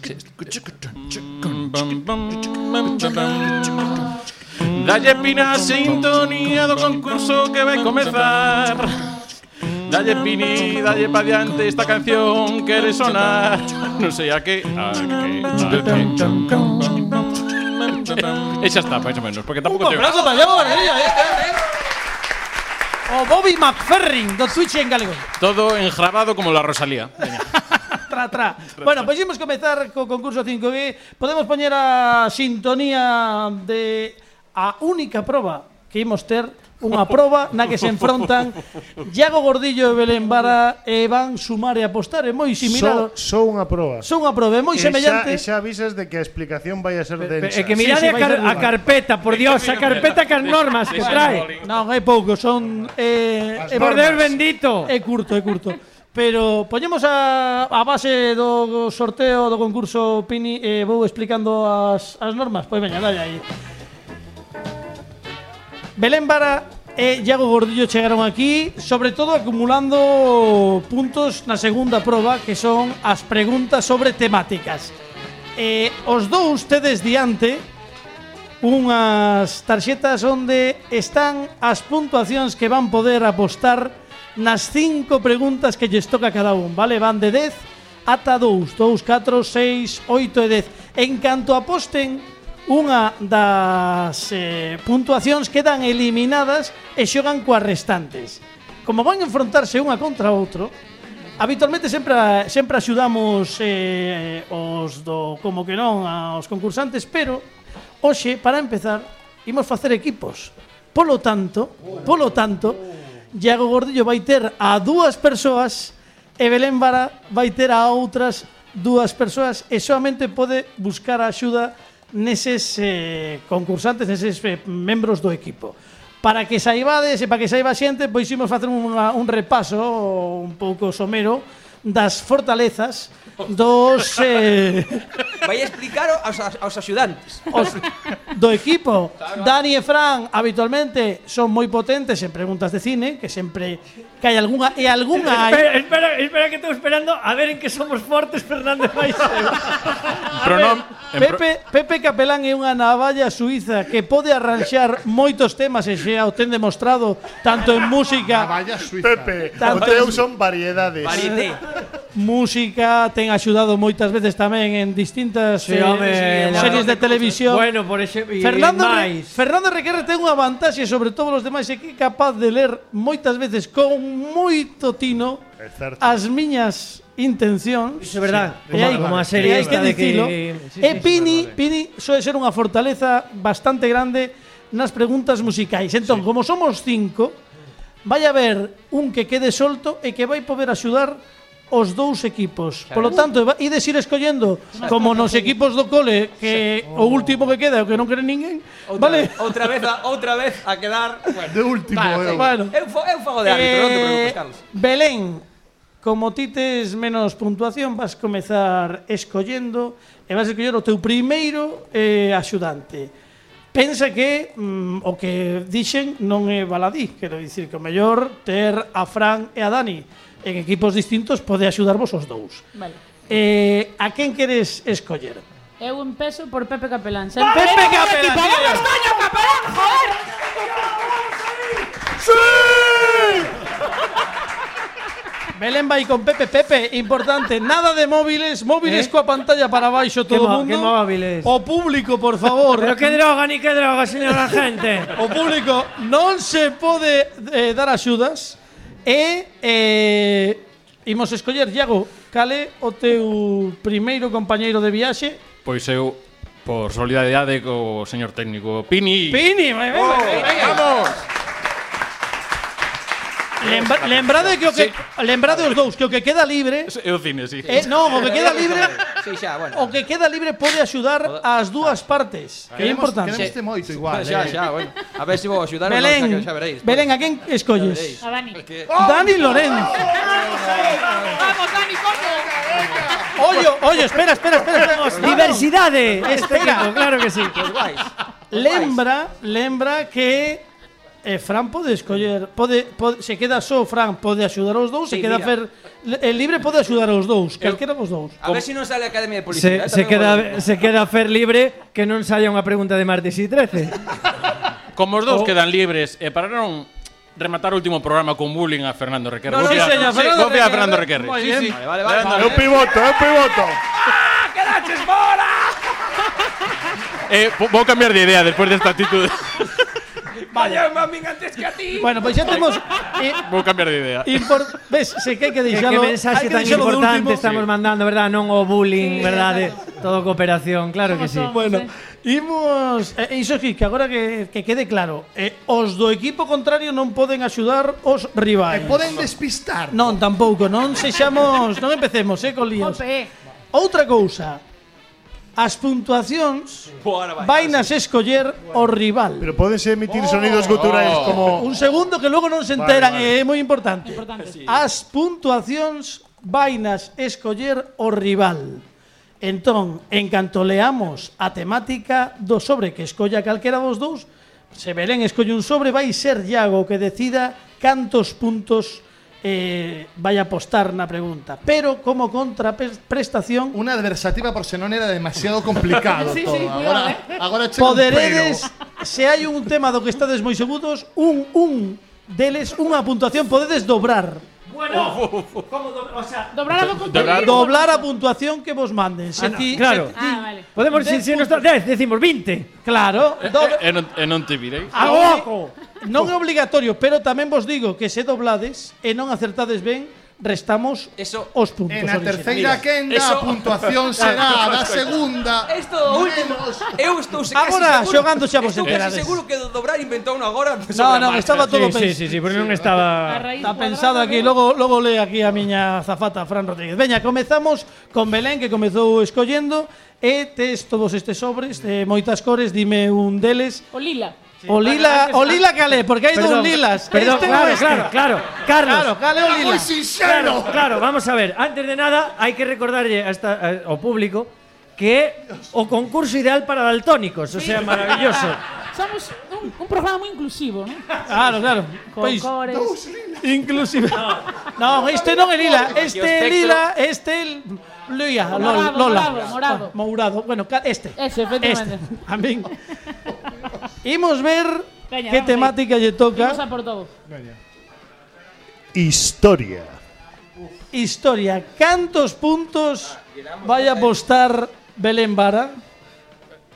S12: Dalle pina a sintonía do concurso que vai comezar Dalle pini, dalle pa diante esta canción quere sonar Non sei a que, a que, a que E xa está, máis ou menos, porque tampouco
S2: Un aplauso para Iago Gordillo, eh. O Bobby McFerrin do Twitch en galego.
S12: Todo enjabado como la Rosalía
S2: tra, tra. Bueno, pois imos comezar co concurso 5G. Podemos poñer a sintonía de a única proba que imos ter unha proba na que se enfrontan Iago Gordillo e Belén Vara e van sumar e apostar, é moi
S5: Só,
S2: similar.
S5: só unha proba.
S2: Son unha proba, é moi
S5: E xa-
S2: semellante.
S5: E xa avisas de que a explicación vai a ser densa.
S3: É eh, que mirade a, car a carpeta, por Dios, a carpeta que as normas que trae.
S2: Non, hai pouco, son eh,
S3: As Por Deus
S2: bendito. É curto, é curto. Pero poñemos a, a base do sorteo do concurso Pini e vou explicando as, as normas. Pois veña, dalle aí. Belén Vara e Iago Gordillo chegaron aquí, sobre todo acumulando puntos na segunda proba, que son as preguntas sobre temáticas. Eh, os dous tedes diante unhas tarxetas onde están as puntuacións que van poder apostar nas cinco preguntas que lles toca cada un, vale? Van de 10 ata 2, 2, 4, 6, 8 e 10. En canto aposten unha das eh, puntuacións quedan eliminadas e xogan coas restantes. Como van a enfrontarse unha contra outro, habitualmente sempre sempre axudamos eh, os do como que non aos concursantes, pero Hoxe, para empezar, imos facer equipos. Polo tanto, polo tanto, Iago Gordillo vai ter a dúas persoas e Belén Vara vai ter a outras dúas persoas e soamente pode buscar a axuda neses eh, concursantes, neses eh, membros do equipo. Para que saibades e para que saiba a xente, pois imos facer unha, un repaso un pouco somero das fortalezas dos eh,
S6: Vai explicar aos, aos axudantes.
S2: Os- do equipo. Dani e Fran habitualmente son moi potentes en preguntas de cine, que sempre que hai algunha e algunha
S3: Espera,
S2: hai.
S3: espera, espera que estou esperando a ver en que somos fortes Fernández Maisel.
S2: Pepe, Pepe Capelán é unha navalla suiza que pode arranxar moitos temas e xa o ten demostrado tanto en música
S5: Pepe, o
S2: Tanto
S5: teu
S2: es-
S5: son variedades.
S2: Variedé. música, ten axudado moitas veces tamén en distintas
S9: Sí,
S2: eh,
S9: home, la
S2: series
S9: verdad
S2: de
S9: que
S2: televisión.
S9: Bueno, por ese- y
S2: Fernando, Re-
S9: máis.
S2: Fernando Requerre ten unha vantaxe sobre todos os demais e que é capaz de ler moitas veces con moito tino
S5: É certo.
S2: as miñas intencións.
S9: é
S2: Iso
S9: verdad. Como
S2: E
S9: a-
S2: hai,
S9: como a
S2: e
S9: serie
S2: hai que
S9: esta de que-
S2: dicilo.
S9: sí,
S2: e Pini, Pini soe ser unha fortaleza bastante grande nas preguntas musicais. Entón, como somos cinco, vai haber un que quede solto e que vai poder axudar os dous equipos. Por lo tanto, va- ides ir escollendo como nos equipos do cole que o último que queda é o que non quere ninguén, vale?
S6: Outra vez a, outra vez a quedar, bueno.
S5: De último,
S6: eu.
S2: Bueno.
S6: Eu, fo- eu fago de árbitro, non te preocupes, Carlos.
S2: Eh, Belén, como ti tes menos puntuación, vas comezar escollendo e vas escoller o teu primeiro eh, axudante. Pensa que mm, o que dixen non é baladí, quero dicir que o mellor ter a Fran e a Dani en equipos distintos pode axudarvos os dous.
S15: Vale.
S2: Eh, a quen queres escoller?
S15: Eu empezo por Pepe Capelán. Sempre.
S2: Pepe
S15: ¡Venga,
S2: Capelán,
S15: aquí,
S2: tío!
S15: paramos, coño, Capelán, joder!
S2: Belén vai con Pepe Pepe, importante, nada de móviles, móviles
S9: Eh?
S2: coa pantalla para baixo todo o
S9: mo-
S2: mundo.
S9: que móviles?
S2: O público, por favor.
S3: Pero que droga, ni que droga, señora gente.
S2: O público non se pode eh, dar axudas e eh, imos escoller, Iago, cale o teu primeiro compañeiro de viaxe?
S12: Pois eu, por solidaridade co señor técnico Pini.
S2: Pini, vai, vai, vai, vai.
S12: Oh, ¡Vamos!
S2: Lembra, lembrade que o que lembrade os dous que o que queda libre
S12: É o cine, sí.
S2: Eh, non, o que queda libre
S6: Sí, xa, bueno.
S2: o que queda libre pode axudar ás dúas partes.
S6: Ah. Queremos-
S2: Que é importante.
S6: queremos este te
S4: moito
S6: Vale,
S5: eh.
S6: xa, xa, bueno. A ver se vou axudar ou non, xa
S2: Belén,
S6: que- xa veréis.
S2: Belén, a quen escolles?
S15: A Dani.
S2: Dani Lorenzo.
S15: Vamos, Dani,
S6: Oh,
S15: coño.
S2: Oye, oye, espera, espera, espera. espera.
S3: Diversidade
S2: Espera.
S3: este equipo, claro que sí.
S9: Pues
S2: Lembra, lembra que eh, Fran pode escoller, pode, pode, se queda só Fran, pode axudar os dous,
S6: Sí,
S2: se queda
S6: mira.
S2: Fer, el libre pode axudar os dous,
S9: Eh.
S2: calquera dos dous.
S6: A ver se non sale a Academia de Policía. eh,
S9: Se, se,
S6: tamén
S9: queda,
S6: vale.
S9: se queda Fer libre que non saia unha pregunta de martes e 13.
S12: Como os dous
S9: Oh.
S12: quedan libres e para non rematar o último programa con bullying a Fernando Requerre.
S9: No, no,
S12: Vou fiar-
S9: señor, Fernando
S12: vou fiar a
S9: Requerre.
S12: Fernando Requerre.
S9: Moi
S12: Sí,
S9: bien.
S12: sí.
S9: Vale, vale, vale.
S12: Fernando
S5: Eu
S12: Requerre.
S5: pivoto, eu pivoto.
S2: Ah,
S12: Eh, vo- vou cambiar de idea despois desta actitud.
S2: Vale.
S15: a min antes que a ti.
S2: Bueno, pues pois xa temos eh,
S12: Vou cambiar de idea.
S2: impor... ves, se que hai que
S9: Que,
S2: deixalo,
S9: que mensaxe
S2: hai que
S9: tan
S2: deixalo de
S9: importante
S2: último.
S9: estamos mandando, verdad? Non o bullying,
S2: Sí.
S9: verdade? Todo cooperación, claro que sí.
S2: Bueno, imos eh, iso aquí, que agora que, que quede claro, eh, os do equipo contrario non poden axudar os rivais.
S4: E poden despistar.
S2: Non, tampouco, non sexamos, non empecemos, eh, con líos. Outra cousa, as puntuacións vainas escoller o rival.
S5: Pero podense emitir
S4: Oh,
S5: sonidos guturais como-
S2: un segundo que logo non se
S5: Vale,
S2: enteran, eh,
S5: vale.
S2: é moi importante. As puntuacións vainas escoller o rival. Entón, en canto leamos a temática do sobre que escolla calquera dos dous, se Belén escolle un sobre, vai ser Iago que decida cantos puntos eh, vai apostar na pregunta. Pero como contraprestación...
S4: Unha adversativa por se non era demasiado complicado
S2: Sí, sí,
S4: todo.
S2: cuidado,
S4: agora,
S2: eh.
S4: agora chega un
S2: Poderedes, se hai un tema do que estades moi seguros, un, un deles, unha puntuación, podedes dobrar. Oh,
S15: Bueno,
S2: ¿cómo doblar? O sea,
S15: doblar algo con
S2: Doblar, doblar a puntuación que vos manden. Se
S9: Ah,
S2: ti- se
S9: claro.
S2: ti-
S15: Ah, vale.
S9: Podemos
S2: Dez
S9: si, si nos da- dez, decimos Ah, 20.
S2: Claro,
S12: E,
S2: dobre-
S12: e, e non, e non te virei.
S2: A oco. Non é obligatorio, pero tamén vos digo que se doblades e non acertades ben, restamos Eso, os puntos.
S4: En a
S2: orixinais.
S4: terceira quenda a puntuación será a da segunda.
S6: Esto do último. Eu estou se- casi
S2: Agora,
S6: seguro-
S2: xogando xa vos
S6: estou casi
S2: enterades.
S6: seguro que do dobrar inventou unha agora.
S2: No, no, estaba todo
S9: Sí, sí, sí, sí, pero non estaba...
S2: Está pensado aquí, logo, logo lee aquí a miña zafata Fran Rodríguez. Veña, comezamos con Belén que comezou escollendo e tes todos estes sobres de moitas cores, dime un deles.
S15: O lila.
S2: O lila, o lila calé, porque hai dos
S9: Perdón,
S2: lilas.
S9: Perdón,
S2: este
S9: claro,
S2: ou este.
S9: claro, claro. Carlos.
S2: Claro, cale o lila.
S9: Claro, claro, vamos a ver. Antes de nada, hay que recordarle hasta eh, ao público que é o concurso ideal para daltónicos, o sea, maravilloso.
S15: Somos un, un programa moi inclusivo, ¿no?
S2: Claro, claro.
S15: Con
S2: Pois,
S15: cores.
S2: Inclusive. No, este non é lila, este é lila, este é l- Luía, Lola.
S15: Morado, morado, morado.
S2: Bueno, mourado. Bueno, ca- este.
S15: Ese, efectivamente.
S2: Este. A min. Imos ver
S15: Veña,
S2: que
S15: vamos
S2: temática lle
S15: Vamos
S2: toca.
S15: a por todo.
S5: Historia.
S2: Historia. Cantos puntos vai apostar Belén Vara?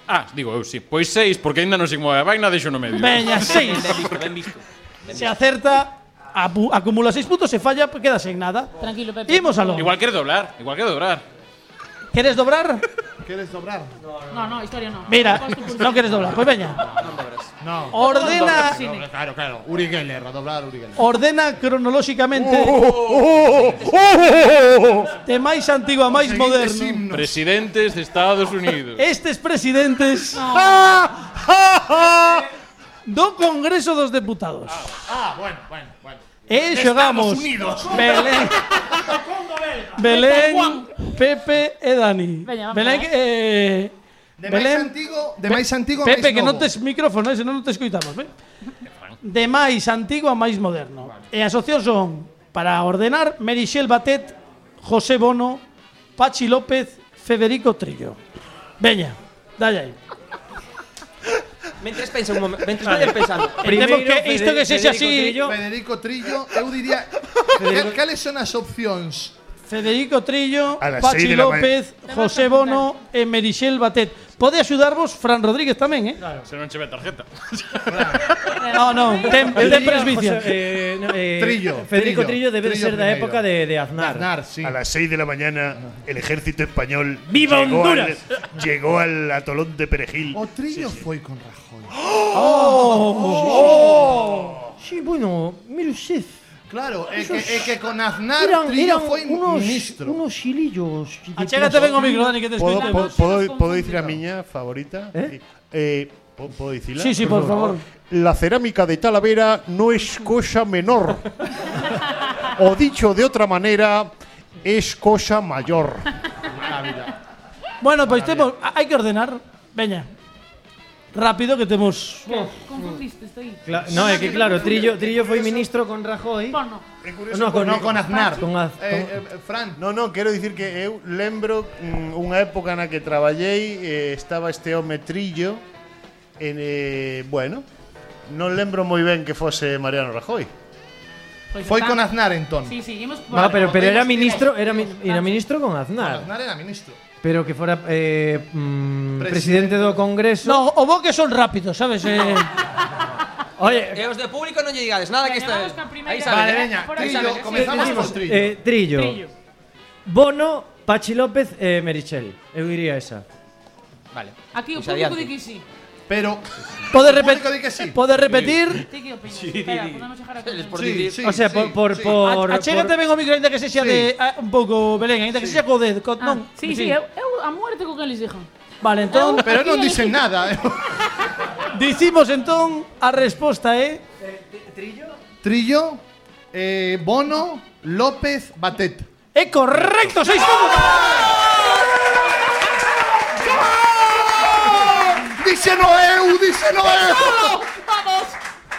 S12: Ah, digo eu, sí. Pois seis, porque ainda non se move a vaina, deixo no medio.
S2: Veña, seis. Se acerta, apu- acumula seis puntos, se falla, pues queda sen nada.
S15: Tranquilo, Pepe.
S2: Imos aló.
S12: Igual queres doblar, igual queres doblar.
S2: ¿Quieres dobrar?
S4: Queres dobrar?
S15: No, no, historia no.
S2: Mira,
S15: Costo pulso.
S2: no quieres doblar. Pues veña.
S4: No.
S2: Ordena-
S4: No, Claro, claro. Uri Geller, a dobrar Uri Geller.
S2: Ordena cronolóxicamente de máis antigo a máis moderno.
S12: Presidentes de Estados Unidos.
S2: Estes presidentes do Congreso dos Deputados.
S4: Ah, bueno, bueno, bueno.
S2: E
S4: De
S2: xogamos
S4: Estados Unidos.
S2: Belén, Belén, Pepe e Dani.
S15: Veña, vamos
S2: Belén,
S15: a ver.
S2: eh,
S4: De máis antigo, de
S2: Pe-
S4: máis antigo a
S2: Pepe,
S4: máis
S2: que non
S4: novo.
S2: tes micrófono, eh, se non te escoitamos, ben? De máis antigo a máis moderno. E as opcións son, para ordenar, Merichel Batet, José Bono, Pachi López, Federico Trillo. Veña, dalle aí.
S6: Mentres pensa un momento, mentres vale. pensando.
S2: Entendemos que isto que sexa así...
S4: Federico Trillo, eu diría cales son as opcións?
S2: Federico Trillo,
S5: A las
S2: Pachi
S5: seis de la
S2: López, José Bono e Merichel Batet. Pode axudarvos Fran Rodríguez tamén, eh?
S12: Se non che ve a tarjeta.
S2: No, no, ten, ten presbicia.
S9: José- eh, no, eh,
S4: Trillo,
S9: Federico
S4: Trillo,
S9: Trillo debe de
S4: Trillo
S9: ser da
S4: primeiro.
S9: época de, de Aznar.
S4: Aznar, sí.
S5: A las 6 de la mañana, el ejército español.
S9: ¡Viva
S5: llegó
S9: Honduras!
S5: Al, llegó al atolón de Perejil.
S4: O Trillo foi con Rajoy.
S9: ¡Oh! Sí, bueno, mire usted.
S4: Claro, é
S9: Eso
S4: que, é
S9: es-
S4: que con Aznar
S9: eran-
S4: Trillo
S9: eran
S4: foi
S9: unos,
S4: ministro.
S9: unos hilillos. de
S2: Achégate ben o micro, Dani, que te
S5: ¿Puedo,
S2: escoitamos.
S5: puedo, puedo, puedo decir a miña favorita? ¿Eh? ¿puedo, puedo decirla?
S2: Sí, sí, por favor.
S5: La cerámica de Talavera no es cosa menor. o dicho de otra manera, es cosa mayor.
S2: Bueno, pois temos, a- hai que ordenar. Veña. Rápido que temos
S15: Confundiste, estoy.
S9: Cla- no, é que claro, Trillo, Trillo foi ministro con Rajoy.
S15: Porno.
S9: No, con,
S4: no, con Aznar.
S9: Con Az- con-
S4: Eh, eh, Fran,
S5: No, no, quero dicir que eu lembro mm, unha época na que traballei eh, estaba este home trillo en, eh, bueno, non lembro moi ben que fose Mariano Rajoy.
S15: Pois
S4: foi
S15: Pues está.
S4: con Aznar entón.
S15: Sí, sí, imos por.
S9: Ah, pero, pero era
S4: Podemos ir-
S9: ministro, era, mi- era ministro con Aznar.
S4: Aznar era ministro.
S9: Pero que fora eh, mm, presidente do Congreso.
S2: No, o bo que son rápidos, sabes? Eh,
S9: Oye,
S6: E os de público non lle digades nada que
S15: Gañamos
S6: está.
S15: ca primeira
S6: Aí
S15: idea.
S6: saben,
S15: Vale,
S6: eh?
S15: veña,
S6: Aí
S15: trillo,
S6: saben, eh?
S15: comezamos
S6: Sí,
S15: con
S6: sí.
S15: trillo.
S9: Eh, trillo.
S15: Trillo.
S9: Bono, Pachi López e Merichel. Eu diría esa.
S6: Vale.
S15: Aquí o
S9: Pois
S15: público
S9: adiante.
S15: di que sí.
S4: Pero
S9: Podes repetir? Podes repetir?
S15: Ti que opinas?
S9: Sí,
S15: Espera,
S9: di, di.
S15: podemos chegar a
S6: por
S15: conclusión.
S6: dicir- Sí,
S9: o sea,
S6: sí,
S9: por, por,
S6: sí.
S9: por,
S2: A- Ah, achégate ben ao micro ainda que sexa
S9: Sí.
S2: de a- un pouco Belén, ainda que sexa co de co,
S15: Ah,
S2: non.
S15: sí, sí, eu, eu a muerte co que eles dixen.
S2: Vale, entón,
S15: Pero non dicen
S4: nada.
S2: Dicimos entón a resposta é
S9: Eh,
S4: Trillo, eh, Bono, López, Batet.
S2: É correcto, seis
S4: Díselo eu, díselo eu.
S2: Vamos.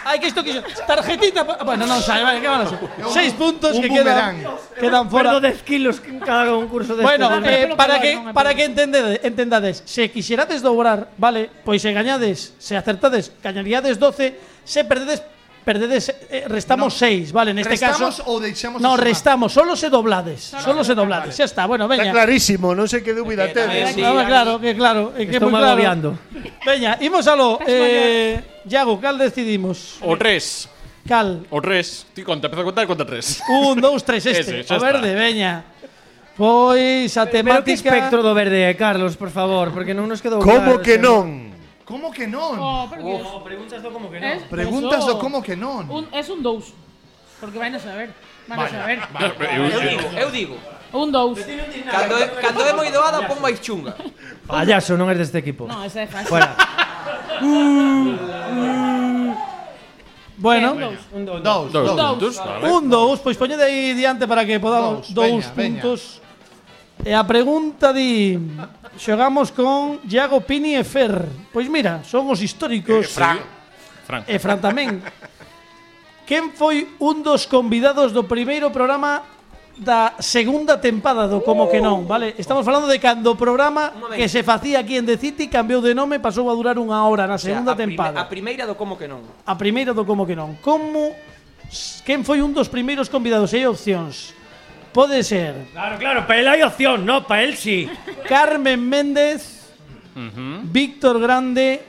S2: Ai, que isto quixo. Tarjetita. pa- Bueno, non sai, vale, que van a ser. Seis puntos
S9: un
S2: que
S9: boomerang.
S2: quedan, quedan fora.
S9: Perdo 10 kilos en cada concurso de este
S2: Bueno, eh, para que para que entendede, entendades, se quixerades dobrar, vale, pues pois se gañades, se acertades, gañaríades 12, se perdedes perdedes eh, restamos 6, vale, neste
S4: Restamos
S2: caso.
S4: ou deixamos a
S2: No,
S4: sumar?
S2: restamos, solo se doblades, solo, se doblades, xa está. Bueno, veña.
S5: Está clarísimo, non sei que dúbida tedes.
S2: Ah, claro, que claro, é que é
S5: Estou
S2: moi claro.
S5: mal agobiando.
S2: Veña, imos aló. Eh, Iago, cal decidimos?
S12: O tres.
S2: Cal.
S12: O tres. Ti conta, empeza a contar conta tres.
S2: Un, dous, tres,
S12: Ese,
S2: este.
S12: xa
S2: o verde,
S12: está.
S2: veña. Pois a
S9: Pero que
S2: temática...
S9: espectro do verde é, Carlos, por favor, porque non nos quedou claro,
S5: Como que
S9: o sea,
S5: non?
S4: Como que non?
S15: Oh, pero que-
S9: preguntas do como que
S15: Es-
S4: Preguntas
S15: eso.
S4: do como que non.
S15: Un, es un dous. Porque van a saber. Van a
S4: Vale,
S15: saber.
S6: Vale,
S12: vale.
S6: Eu digo, eu digo.
S15: Un dous.
S6: Cando é, cando é moi doada, pon máis chunga.
S9: Payaso, non es deste equipo.
S15: No, esa é fácil.
S9: Fuera.
S2: Bueno,
S15: Eh, un dous.
S4: Dous,
S12: dous. Dous, vale.
S2: Un dous, pois poñede aí diante para que
S4: Dous,
S2: podamos dous
S4: veña, veña.
S2: puntos. E a pregunta di xogamos con Iago Pini e Fer. Pois mira, son os históricos.
S12: Eh, Fran. Fran.
S9: Eh,
S2: E Fran tamén. Quen foi un dos convidados do primeiro programa da segunda tempada do Como que non, vale? Estamos falando de cando o programa
S6: momento.
S2: que se facía aquí en The City cambiou de nome e pasou a durar unha hora
S6: O
S2: na
S6: sea,
S2: segunda
S6: a prime-
S2: tempada.
S6: A primeira do como que non.
S2: A primeira do como que non. Como s- quen foi un dos primeiros convidados? E Hai opcións. Pode ser
S9: Claro, claro, para él hay opción, no, para él sí.
S2: Carmen Méndez, Víctor Grande,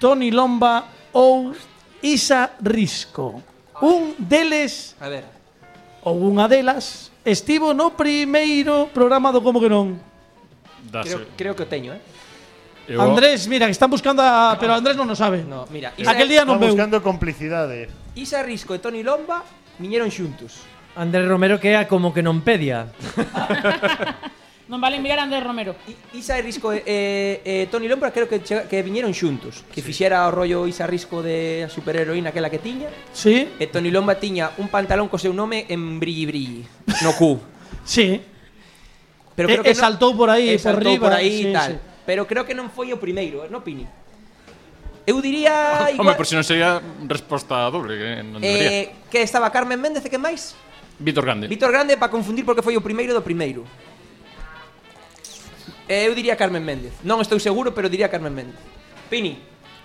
S2: Tony Lomba ou Isa Risco. Un deles
S6: A ver.
S2: ou unha delas estivo no primeiro programa do como que non.
S6: Creo, creo que o teño, eh.
S2: Andrés, mira, que están buscando a... Pero Andrés non o sabe.
S6: No, mira, Isa-
S2: Aquel día non
S5: Está
S2: veu.
S5: buscando complicidade.
S6: Isa Risco e Toni Lomba viñeron xuntos.
S9: Andrés Romero que é a como que non pedia.
S15: Non vale mirar a Andrés Romero.
S6: Isa Risco e, e, e Toni Lomba creo que chega- que viñeron xuntos, que fixera o rollo Isa Risco de a superheroína aquela que tiña.
S2: Sí,
S6: E Toni Lomba tiña un pantalón co seu nome en brilli brilli, no cu.
S2: sí.
S6: Pero
S2: E-
S6: creo que
S2: e saltou por aí,
S6: e
S2: por
S6: saltou
S2: riba,
S6: por aí e
S2: sí,
S6: tal.
S2: sí.
S6: Pero creo que non foi o primeiro, eh, no Pini. Eu diría
S12: Home,
S6: igual,
S12: por si non sería resposta doble, que non debería.
S6: eh, que estaba Carmen Méndez e que máis?
S12: Víctor Grande.
S6: Víctor Grande para confundir porque foi o primeiro do primeiro. E Eu diría Carmen Méndez. Non estou seguro, pero diría Carmen Méndez. Pini,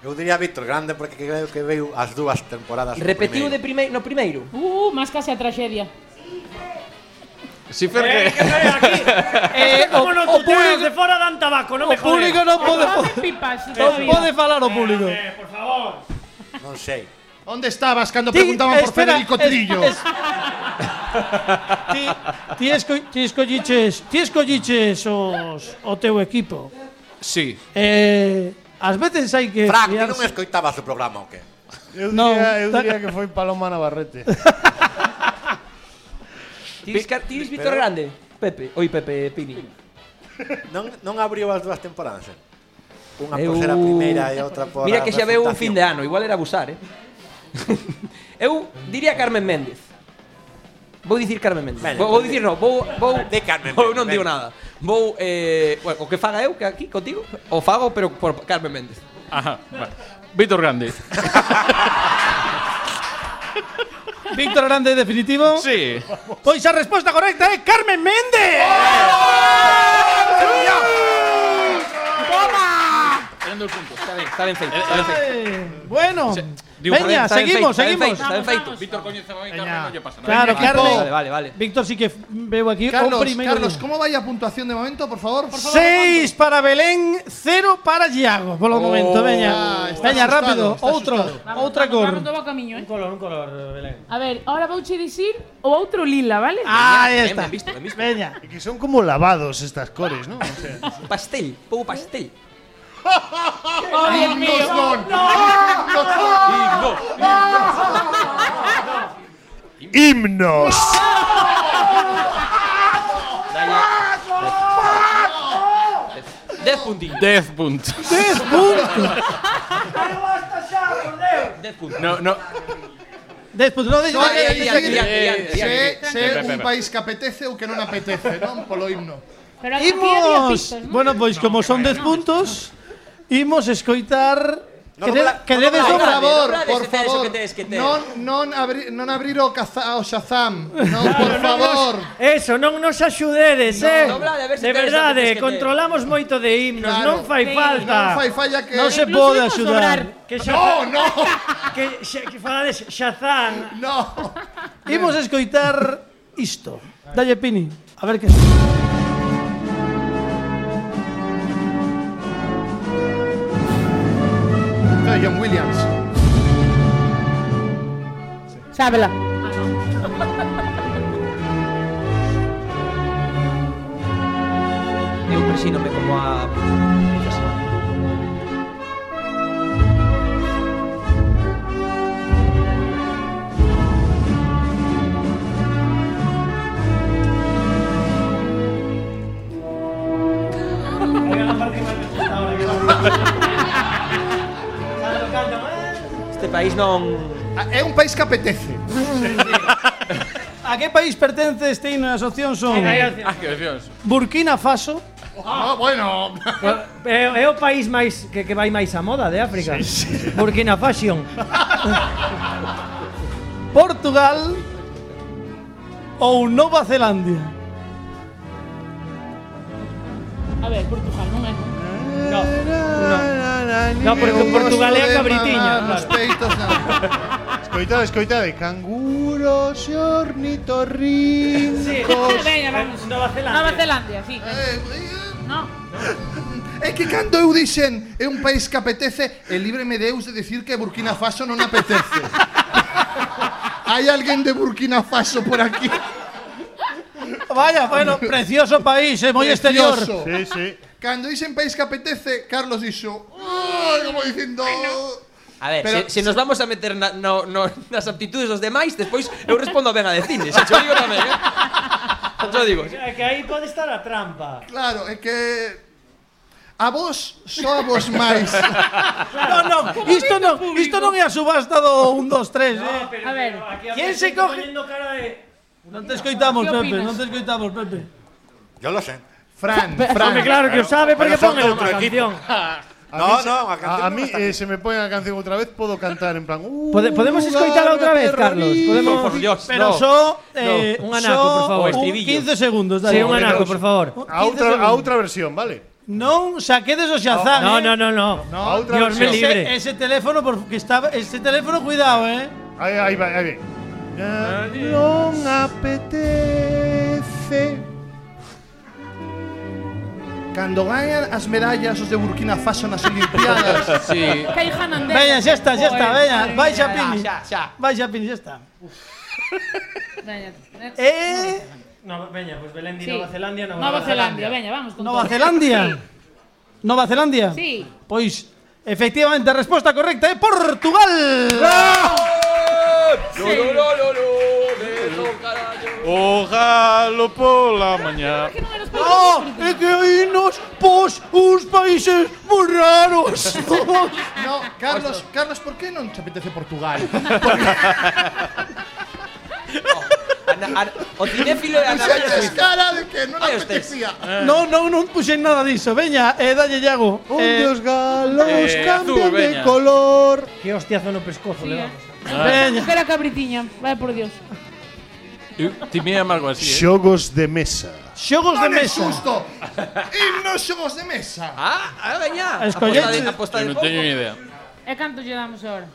S11: Eu diría Víctor Grande porque creo que veu as dúas temporadas do
S6: repetiu de
S11: primeiro.
S6: primeiro no primeiro.
S15: Uh, máis case a tragedia.
S12: Si Fer que...
S2: Eh, o,
S9: Como non
S2: o
S9: tuteas de
S2: público,
S9: fora dan tabaco, non
S2: o
S9: me jodes.
S2: público non pode...
S15: Pase pipas,
S2: Non
S15: todavía.
S2: pode falar o público.
S9: Eh, por favor.
S11: Non sei.
S4: Onde estabas cando
S2: Ti-
S4: preguntaban por
S2: espera,
S4: Federico
S2: es-
S4: Trillo?
S2: es- Ti, ti, esco, ti escolliches, ti escolliches os, o teu equipo.
S12: Sí.
S2: Eh, ás veces hai que
S11: Fran, ti
S2: fiarse-
S11: non escoitabas o programa o que?
S5: Eu
S2: No,
S5: diría, eu
S2: ta-
S5: diría que foi Paloma Navarrete.
S6: Tiris, Car- tiris Víctor Grande. Pepe, oi Pepe Pini.
S11: Non, non abriu as dúas temporadas, eh? Unha
S6: Eu-
S11: por ser a primeira e outra por
S6: Mira
S11: a
S6: que xa veu un fin de
S11: refutación.
S6: ano, igual era abusar, eh. Eu diría Carmen Méndez. Vou dicir Carmen Méndez.
S11: Vale,
S6: vou, vou dicir no, vou vou
S11: De Carmen
S6: vou
S11: Méndez,
S6: non digo
S11: venga.
S6: nada. Vou eh, bueno, o que faga eu que aquí contigo, o fago pero por Carmen Méndez.
S12: Ajá, vale. Víctor Grande.
S2: Víctor Grande definitivo.
S12: Sí.
S2: Pois a resposta pues correcta é Carmen Méndez.
S12: Eran dous puntos. Está ben.
S6: Está ben feito. Está ben
S2: Eh,
S6: feito.
S2: Ai, bueno,
S6: digo,
S2: veña,
S6: está ben
S2: seguimos,
S6: feito, está ben
S2: seguimos.
S6: feito, está ben feito.
S12: Víctor Coñez Zamoy, Carmen,
S2: Veña.
S12: non lle pasa nada.
S2: Claro,
S6: Veña,
S2: Carmen.
S6: equipo. Vale, vale, vale.
S2: Víctor sí que veo aquí o
S4: Carlos,
S2: primeiro.
S4: Carlos, ¿cómo vaya puntuación de momento, por favor? Por favor
S2: 6 para Belén, 0 para Iago, polo momento, veña.
S4: está
S2: Veña,
S4: asustado,
S2: rápido,
S4: está
S2: outro,
S15: Vamos,
S2: outra
S15: vamos, Vamos,
S2: cor.
S15: todo va camiño, eh.
S9: Color, un color, Belén.
S15: A ver, ahora vouche dicir o outro lila, vale?
S2: Ah,
S5: Ah,
S2: Ahí está. Veña.
S5: Que son como lavados estas cores, ¿no? O sea,
S6: Pastel, pouco pastel.
S15: ¡Oh, Dios mío!
S5: ¡Himnos!
S6: Dez puntiños.
S12: Dez puntos.
S2: Dez puntos.
S6: Dez puntos.
S12: No, no.
S2: Despois non deixo
S4: Só hai que decidir
S2: que
S6: adiante,
S4: se,
S6: adiante.
S4: se
S6: Pepe,
S4: un
S6: pepe.
S4: país que apetece ou que non apetece, non? Polo himno.
S15: Pero aquí había
S2: Imos.
S15: pistas, ¿no?
S2: Bueno, pois como son 10 puntos, imos escoitar que, de, que dedes
S4: por
S2: dobrar.
S4: favor,
S6: doblade,
S4: por
S6: se tedes o
S4: favor.
S6: que tedes que ter.
S4: Non, non, abri, non abrir o, caza, o Shazam. Non, por favor.
S9: Eso, non nos axudedes, eh.
S6: doblade, a ver se
S9: de
S6: tedes
S9: verdade,
S6: antes que te-
S9: controlamos moito de himnos,
S4: Claro.
S9: non fai
S15: Sí,
S9: falta.
S4: Non fai falla que...
S2: Non se
S15: Incluso
S2: pode
S15: imos dobrar.
S2: axudar.
S9: Que xa,
S4: No, no,
S9: que xa, que falades Shazam.
S4: no.
S2: Imos escoitar isto. Dalle Pini, a ver que
S4: Isto é John Williams.
S15: Sábela.
S6: Eu presínome como a... Este país non...
S4: Ah, É un país que apetece.
S2: A que país pertence este himno? As opcións son
S12: Ah, que opcións.
S2: Burkina Faso,
S4: Ah, bueno.
S9: É, é o país máis que, que vai máis a moda de África. Sí, sí. Burkina Fashion.
S2: Portugal ou Nova Zelandia.
S15: A ver, Portugal, non é?
S9: No. No, porque
S4: Eu
S9: Portugal é a
S4: gosto de
S9: cabritiña,
S4: mamar nos
S9: claro.
S4: peitos na-
S5: Escoitade, escoitade. Canguros e ornitorrincos.
S15: Veña, vamos.
S9: Nova Zelanda.
S15: Nova Zelandia, sí. No.
S4: É que cando eu dixen é un país que apetece, e líbreme Deus de decir que Burkina Faso non apetece. Hai alguén de Burkina Faso por aquí?
S2: Vaya, bueno, precioso país, é moi
S9: Este
S2: exterior.
S4: Precioso.
S5: Sí, sí.
S4: Cando dixen país que apetece, Carlos dixo, "Ai", como dicindo...
S6: A ver,
S4: Pero-
S6: se, se nos vamos a meter na, no, no, nas aptitudes dos demais, despois eu respondo ben a de cine, xa cho digo tamén, eh? Xa cho digo.
S9: É que aí pode estar a trampa.
S4: Claro, é que... A vos, só a vos máis.
S2: No, no, isto non, isto non é a subasta do 1 2 3, eh.
S15: A ver.
S2: ¿Quién se coge?
S9: Cara de...
S2: Non te
S15: ¿Qué
S2: escoitamos, Pepe,
S15: opinas?
S2: non te escoitamos, Pepe.
S11: Yo lo sé.
S4: Fran,
S9: Home,
S4: Fran.
S9: claro que o sabe porque
S11: Pero son
S9: pone
S11: de
S9: a
S11: outro equipo.
S9: canción.
S11: No, no, a canción
S5: A, a
S11: no
S5: mí,
S11: está
S5: eh,
S11: aquí.
S5: se me pone la canción otra vez, puedo cantar en plan. Uh,
S9: Pode- podemos escoitala outra vez, Carlos? Podemos-
S6: Oh, Por Dios, no.
S2: Pero só eh,
S9: un anaco, por
S2: só
S9: favor.
S2: un
S6: Estribillo.
S2: 15 segundos, dale.
S9: Sí, un anaco, por favor.
S5: A
S2: 15
S5: otra, a
S2: segundos.
S5: otra versión, ¿vale?
S2: Non saquedes o Shazam.
S9: No,
S2: eh.
S9: no, no, no.
S5: A otra
S9: Dios me
S5: versión.
S9: libre.
S2: Ese, ese teléfono porque está ese teléfono cuidado, eh.
S5: Ahí, ahí va, ahí va. No apetece.
S4: Cando gañan as medallas os de Burkina Faso nas Olimpiadas,
S6: Sí.
S15: Caihan Andrés.
S2: Veña, xa está, xa está,
S15: Joder,
S2: veña.
S15: madre
S2: Vai xa
S15: mía.
S2: Pini.
S6: Xa, xa.
S2: Vai xa Pini, xa está.
S15: Veña.
S2: Eh,
S9: No, veña, pues Belén di
S15: Sí.
S9: Nova Zelandia, Nova,
S15: Nova Zelandia, veña, vamos con
S2: Nova
S15: todo.
S2: Zelandia. Nova Zelandia.
S15: Sí.
S2: Pois efectivamente a resposta correcta é Portugal.
S6: Lo, lo, lo, lo, lo, le, lo, carallo.
S12: O galo pola mañá.
S15: Que non eras
S2: Ah,
S15: para
S2: é que himnos pos uns países moi raros.
S4: No, Carlos, Carlos, por que non te apetece Portugal?
S6: Oh, Ana- ana- o cinéfilo de Ana Bello
S4: Puxeches
S6: Suiza.
S4: cara de que non
S6: Ai, hostes.
S4: apetecía.
S2: non, non, non puxen nada diso. Veña, eh, dalle Iago. Eh,
S5: galos
S12: eh, cambian azul, de veña.
S5: color.
S9: Que hostiazo no pescozo,
S15: Sí, eh.
S9: le vamos.
S2: veña.
S15: Espera, cabritiña. Vaya por Dios.
S12: Eu timéame algo así, eh.
S5: Xogos de mesa.
S9: Xogos
S4: de mesa. susto. Himnos xogos de mesa.
S6: Ah, ah, veña.
S12: Escollete.
S6: Apostade-
S2: este-
S6: apostade
S12: Eu non
S6: pouco.
S12: teño ni idea.
S15: E canto lle damos ahora?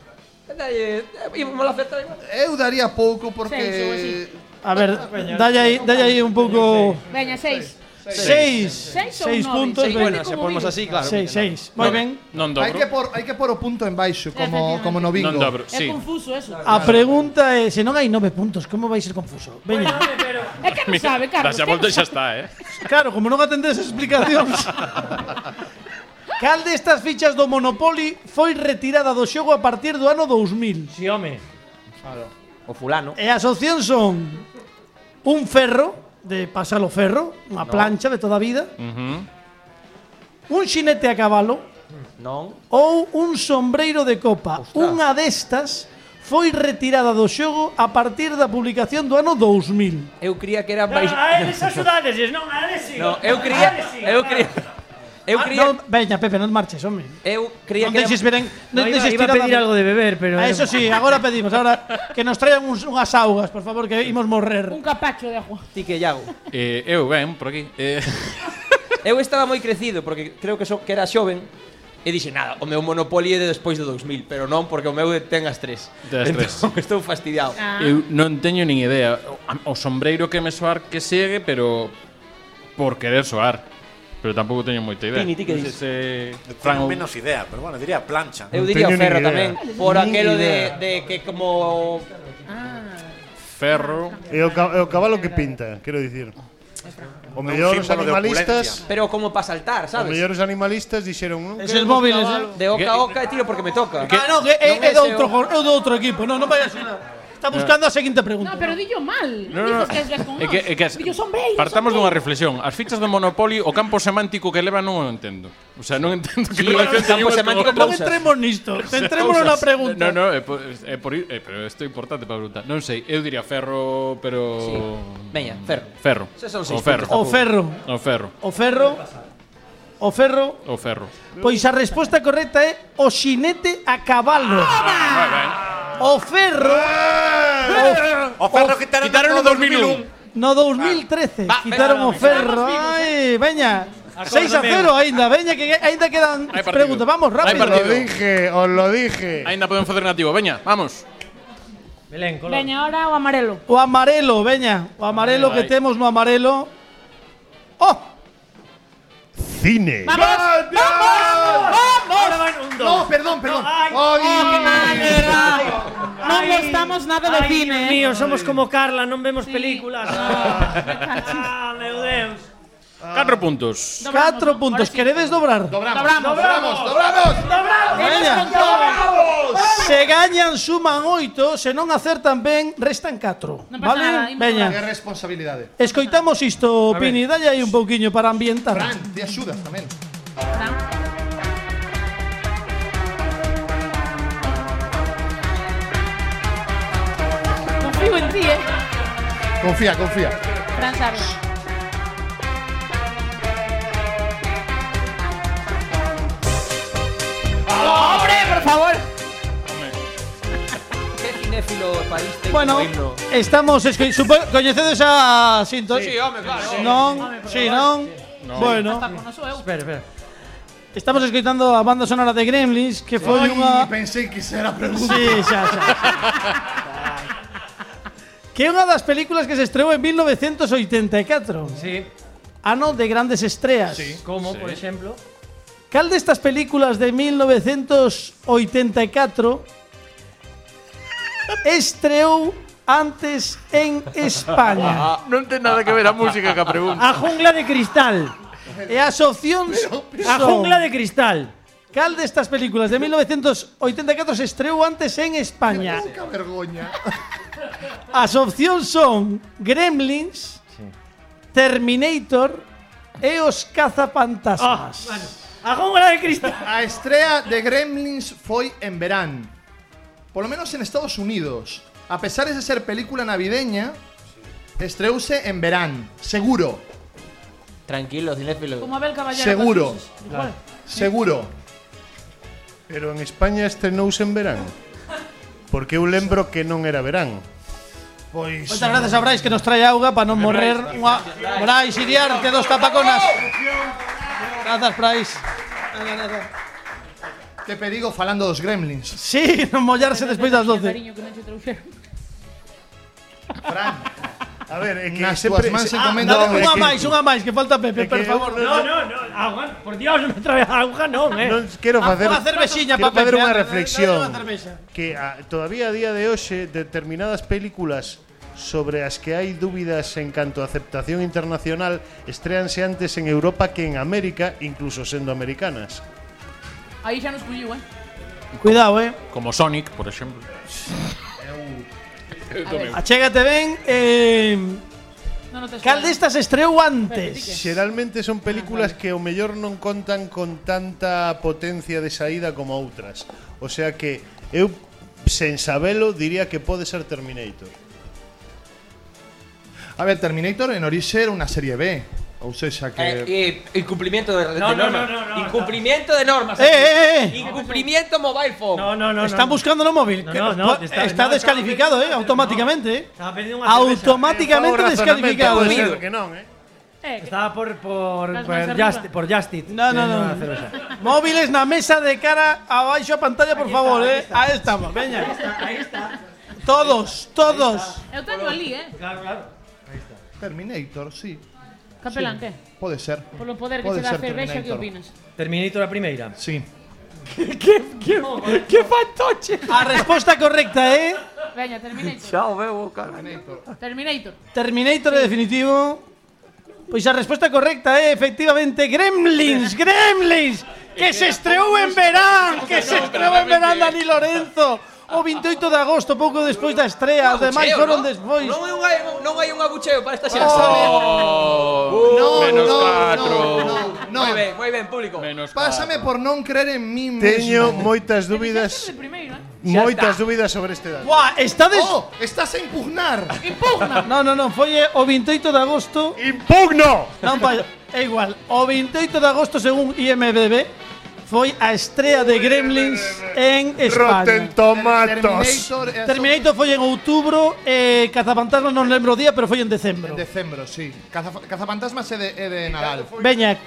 S6: Dalle, íbamos a acertar igual.
S4: Eu daría pouco
S15: Seis ou así.
S4: porque...
S2: A ver, dalle aí, dalle aí un pouco...
S15: Veña, seis.
S2: Seis.
S15: Seis ou
S2: Seis
S15: nove?
S2: puntos.
S15: Seis,
S2: ben.
S15: bueno, se ponemos así, claro,
S2: Seis,
S15: que non.
S2: seis. Moi
S15: Non,
S2: ben.
S12: Non
S4: Hai que por hai que por o punto en baixo como
S15: Efectivamente.
S4: como no bingo.
S12: Non dobro, sí.
S15: Confuso eso.
S2: A pregunta é, se non hai nove puntos, como vai ser confuso? Veña.
S15: É que non sabe, Carlos.
S12: Dase a
S15: que non
S12: volta e xa
S15: sabe.
S12: está, eh.
S2: Claro, como non atendes as explicacións. Cal destas fichas do Monopoly foi retirada do xogo a partir do ano 2000? Si, home.
S6: O fulano.
S9: Eh,
S2: E as opcións son un ferro, de pasar o ferro, unha
S6: No.
S2: plancha de toda a vida,
S12: Mhm.
S2: un xinete a cabalo
S6: Non.
S2: ou un sombreiro de copa. Unha destas foi retirada do xogo a partir da publicación do ano 2000.
S6: Eu cría que era
S9: Ah,
S6: baix...
S9: a eles axudadesles, non? A eles sí.
S6: No, eu cría, eu cría, eu
S2: Ah,
S6: cría,
S2: non, veña, Pepe, non marches, home.
S6: eu cría
S2: non
S6: que era-
S2: deixes ver en-
S9: No,
S2: non
S9: iba-
S2: deixes
S9: iba a
S2: tirada-
S9: pedir algo de beber, pero-
S2: Ah, eso sí, agora pedimos, agora que nos traian uns, unhas augas, por favor, que imos morrer.
S15: Un capacho de agua.
S6: Ti que Iago.
S12: Eh, eu ben por aquí. Eh,
S6: Eu estaba moi crecido porque creo que so, que era xoven e dixe nada, o meu Monopoly é de despois do 2000, pero non porque o meu ten as tres.
S12: Das tres.
S6: entón, estou fastidiado.
S12: eu non teño nin idea. O, o sombreiro que me soar que segue, pero por querer soar. Pero tampouco teño moita idea.
S6: Tini, ti que
S12: Non sei
S6: dis?
S12: se Fran
S11: Tengo
S12: ou-
S11: menos idea, pero bueno, diría plancha.
S6: Eu diría
S12: teño
S6: o
S12: nin
S6: ferro
S12: idea.
S6: tamén por
S12: Nin
S6: aquelo de,
S12: idea.
S6: de que como
S12: ferro.
S5: E o, ca- e o cabalo que pinta, quero dicir. O mellor os
S6: símbolo de
S5: animalistas,
S6: pero como para saltar,
S5: o
S6: sabes?
S5: mellor os animalistas dixeron, non
S2: Eses
S5: queremos
S2: móviles,
S5: cabalo".
S6: De oca a oca e tiro porque me toca.
S2: Ah, non, é, é,
S6: Non
S2: é
S6: ese
S2: do outro,
S6: o-
S2: jo- é do outro equipo, non, non vai a sonar. Está buscando a
S15: No,
S2: seguinte pregunta.
S15: pero dillo mal.
S12: No,
S15: No,
S12: no,
S15: no,
S12: no.
S15: que es con
S12: É que, é que as,
S15: Dillo sombreiro.
S12: partamos dunha reflexión. As fichas do Monopoly, o campo semántico que leva non o entendo. O sea, non entendo que
S6: Sí, o campo semántico
S2: non entremos nisto, centrémonos na pregunta.
S12: No, no, é por, é por ir- é, pero isto é importante para preguntar. Non sei, eu diría ferro, pero
S6: Sí. Veña, ferro.
S12: ferro.
S6: Esos son
S12: O
S6: seis
S12: ferro.
S2: O ferro.
S12: O ferro.
S2: O ferro, o ferro,
S12: O ferro.
S2: pois a resposta correcta é o xinete a cabalo.
S12: Moi ben.
S2: O ferro,
S11: Eh! O ferro quitaron,
S12: Quitaron o 2001.
S2: No 2013 quitaron
S12: venga,
S2: o ferro. Ai, veña. 6 a
S12: Acórdame.
S2: 0 aínda, veña que aínda quedan
S12: Hai partido.
S2: preguntas. Vamos
S12: Hai
S2: rápido.
S12: partido.
S5: Lo dije, os lo dije.
S12: Ainda podemos facer nativo. Veña, vamos.
S9: Belén, color.
S15: Veña, ahora o amarelo.
S2: O amarelo, veña, o amarelo que
S12: Ai.
S2: temos no amarelo. Oh,
S5: Cine.
S15: ¡Vamos! ¡Vamos!
S9: Ahora van un dos.
S4: No, perdón, perdón.
S9: ay,
S4: Ay,
S15: No gostamos nada de
S9: Ai,
S15: cine.
S9: Dios mío, somos como Carla, non vemos películas.
S15: Ah,
S9: Ah, meu Deus.
S12: 4 puntos.
S2: 4 puntos. Queredes dobrar?
S4: Dobramos,
S15: Dobramos.
S4: dobramos, dobramos.
S2: Veña. Se gañan suman 8, se non acertan ben restan 4.
S15: Non pasa
S2: vale?
S15: nada, imos
S2: veña.
S4: Que responsabilidade.
S2: Escoitamos isto, Pini, dalle aí un pouquiño para ambientar.
S4: Fran, te axudas tamén.
S15: Confío en ti, eh.
S4: Confía, confía.
S15: Fran sabe.
S6: ¡Hombre, por favor! Qué cinéfilo país ten
S2: Bueno,
S6: o himno.
S2: estamos escoi- supo- coñecedes a Sinton.
S6: Sí, home, claro.
S2: Non, si non. Bueno,
S15: Está con noso eu.
S9: Espera, espera.
S2: estamos escoitando a banda sonora de Gremlins, que foi
S4: Ai,
S2: unha
S4: pensei que será pregunta.
S2: Sí, xa, xa. que é unha das películas que se estreou en 1984.
S9: Sí.
S2: Ano de grandes estreas.
S9: Como, por exemplo,
S2: Cal destas películas de 1984 estreou antes en España?
S12: Non ten Ah, nada que ver a música que a pregunta.
S9: a jungla de cristal.
S2: e as opcións
S9: A
S2: son-
S9: jungla de cristal.
S2: Cal destas películas de 1984 se estreou antes en España?
S4: Pouca vergoña.
S2: As opcións son Gremlins, Terminator e os
S9: Ah,
S2: cazapantasmas.
S9: A jungla de cristal.
S4: A estrea de Gremlins foi en verán. Por lo menos en Estados Unidos. A pesar de ser película navideña, estreouse en verán. Seguro,
S6: Tranquilo, cinéfilo.
S15: Como Abel Caballero.
S4: Seguro.
S15: dos cruces. Igual.
S4: seguro.
S5: Pero en España estrenouse en verán. Porque eu lembro que non era verán.
S4: Pois
S2: Moitas gracias a Brais que nos trae auga para non morrer unha Brais Iriarte dos tapaconas. Grazas Brais.
S4: Te pedigo falando dos gremlins.
S2: Sí, non mollarse despois das 12.
S15: Cariño, que non che trouxeron.
S5: A ver, é que
S4: Nas
S5: sempre
S4: túas mans
S5: se-
S4: encomenda
S5: Ah,
S4: o
S5: é
S2: Unha
S5: que-
S2: máis, unha máis, que falta Pepe,
S5: É que
S2: por
S5: eu
S2: favor.
S5: non-
S2: no,
S9: no, auga, por Dios, non me trae auga, non, eh.
S5: Non quero
S2: Ah,
S5: facer
S2: unha cervexiña
S5: quero
S2: pa
S5: facer
S2: Pepe,
S5: unha
S2: anda,
S5: reflexión
S2: dale unha cervexa.
S5: que a, todavía a día de hoxe determinadas películas sobre as que hai dúbidas en canto a aceptación internacional estreanse antes en Europa que en América, incluso sendo americanas.
S15: Aí xa nos colliu, eh.
S2: Cuidado, eh.
S12: Como Sonic, por exemplo.
S2: Achégate ben eh
S15: Non, non te
S2: Cal destas estreou antes?
S5: Xeralmente
S9: Ah,
S5: son películas que o mellor non contan con tanta potencia de saída como outras. O sea que eu sen sabelo diría que pode ser Terminator.
S4: A ver, Terminator en orixe era unha serie B. Ou sexa que...
S6: Eh, eh, incumplimiento de, de
S4: No, no,
S6: normas.
S4: no, no, no,
S6: incumplimiento de normas.
S2: Eh, eh, eh.
S6: Incumplimiento mobile phone.
S9: No, no, no.
S2: Están buscando no móvil.
S9: No,
S2: que-
S9: no, no,
S2: po-
S9: está-
S2: está,
S9: no,
S2: descalificado, eh, automáticamente. eh.
S9: Estaba pedindo unha cerveza.
S2: Automáticamente
S9: Eh, por
S2: descalificado.
S9: razonamento,
S2: eh.
S9: puede ser que
S5: non, eh.
S9: Estaba por por
S2: Las
S9: por
S2: mans arriba.
S9: Justit, por Justit.
S2: No, no, no. Móviles na mesa de cara abaixo a pantalla, por favor, eh. Ahí estamos, veña.
S15: Aí está.
S2: Todos, todos.
S15: Eu teño ali, eh.
S9: Claro, claro.
S4: Terminator, sí.
S15: Capelán, que?
S4: Pode ser.
S15: Polo poder que
S4: Pode
S15: se dá a
S4: ser
S15: cervexa, que
S4: Terminator.
S15: opinas?
S9: Terminator a primeira.
S4: Sí.
S15: Que, que fantoche.
S2: A resposta correcta, eh.
S15: Veña, Terminator.
S2: Chao, bebo, cara.
S15: Terminator.
S2: Terminator é definitivo. Pois a resposta correcta é efectivamente Gremlins, Gremlins, que se estreou en verán, que se estreou en verán Dani Lorenzo. O 28 de agosto, pouco despois da estrea, os demais
S6: Abucheo,
S2: foron
S6: ¿no?
S2: despois.
S6: Non hai un, non hai un abucheo para esta
S12: Oh, menos catro.
S4: no.
S6: Moi ben, moi ben, público.
S4: Pásame por non creer en
S9: Mm.
S4: mí
S5: Teño
S4: mesmo.
S5: moitas dúbidas,
S15: Primeiro, eh.
S5: moitas dúbidas sobre este dato.
S2: Buah, estades...
S4: Oh, estás a impugnar.
S15: Impugna.
S2: Non, non, non, foi eh, o 28 de agosto.
S5: Impugno.
S2: Non, pa, é igual. O 28 de agosto, según IMDb, foi a estrea de Gremlins en España.
S5: Rotten Tomatoes.
S4: é a
S2: Terminator foi en outubro, eh, Cazapantasmas non lembro o día, pero foi en decembro.
S4: En decembro, sí. Caza, cazafantasmas é de, é de Nadal.
S2: Veña,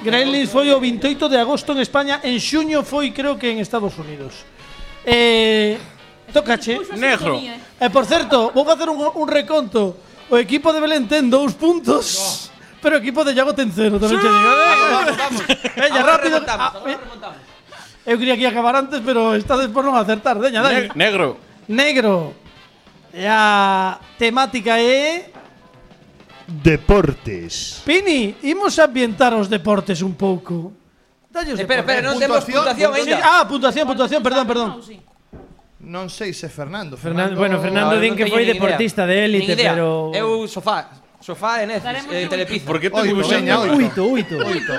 S2: Gremlins foi o 28 de agosto en España, en xuño foi creo que en Estados Unidos. Eh, tócache.
S12: Negro.
S6: eh.
S2: E por certo, vou facer un, un reconto. O equipo de Belén ten dous puntos, pero o equipo de Iago ten cero, tamén che digo. eh.
S6: Vamos, vamos.
S2: Veña,
S6: Agora
S2: rápido.
S6: remontamos,
S2: Ah, eh, Eu quería que acabar antes, pero está por non acertar. Veña, dai.
S12: Ne- negro.
S2: Negro. E a temática é
S5: Deportes.
S2: Pini, imos ambientar os deportes un pouco. Dalles
S6: Espera, espera, non
S2: deportes.
S6: temos puntuación aínda.
S2: Sí, Ah, puntuación, puntuación, perdón, perdón.
S4: Non sei se é Fernando.
S9: Fernando- bueno, Fernando
S6: No,
S9: din
S6: non
S9: que
S6: teño
S9: foi
S6: nin
S9: deportista
S6: idea.
S9: de
S6: Nin
S9: élite,
S6: idea. Eh,
S9: pero
S6: Eu sofá, sofá en Netflix, eh, Telepizza.
S12: ¿Por qué te
S4: Oito,
S12: dibujan?
S4: veña, oito.
S9: Oito, oito.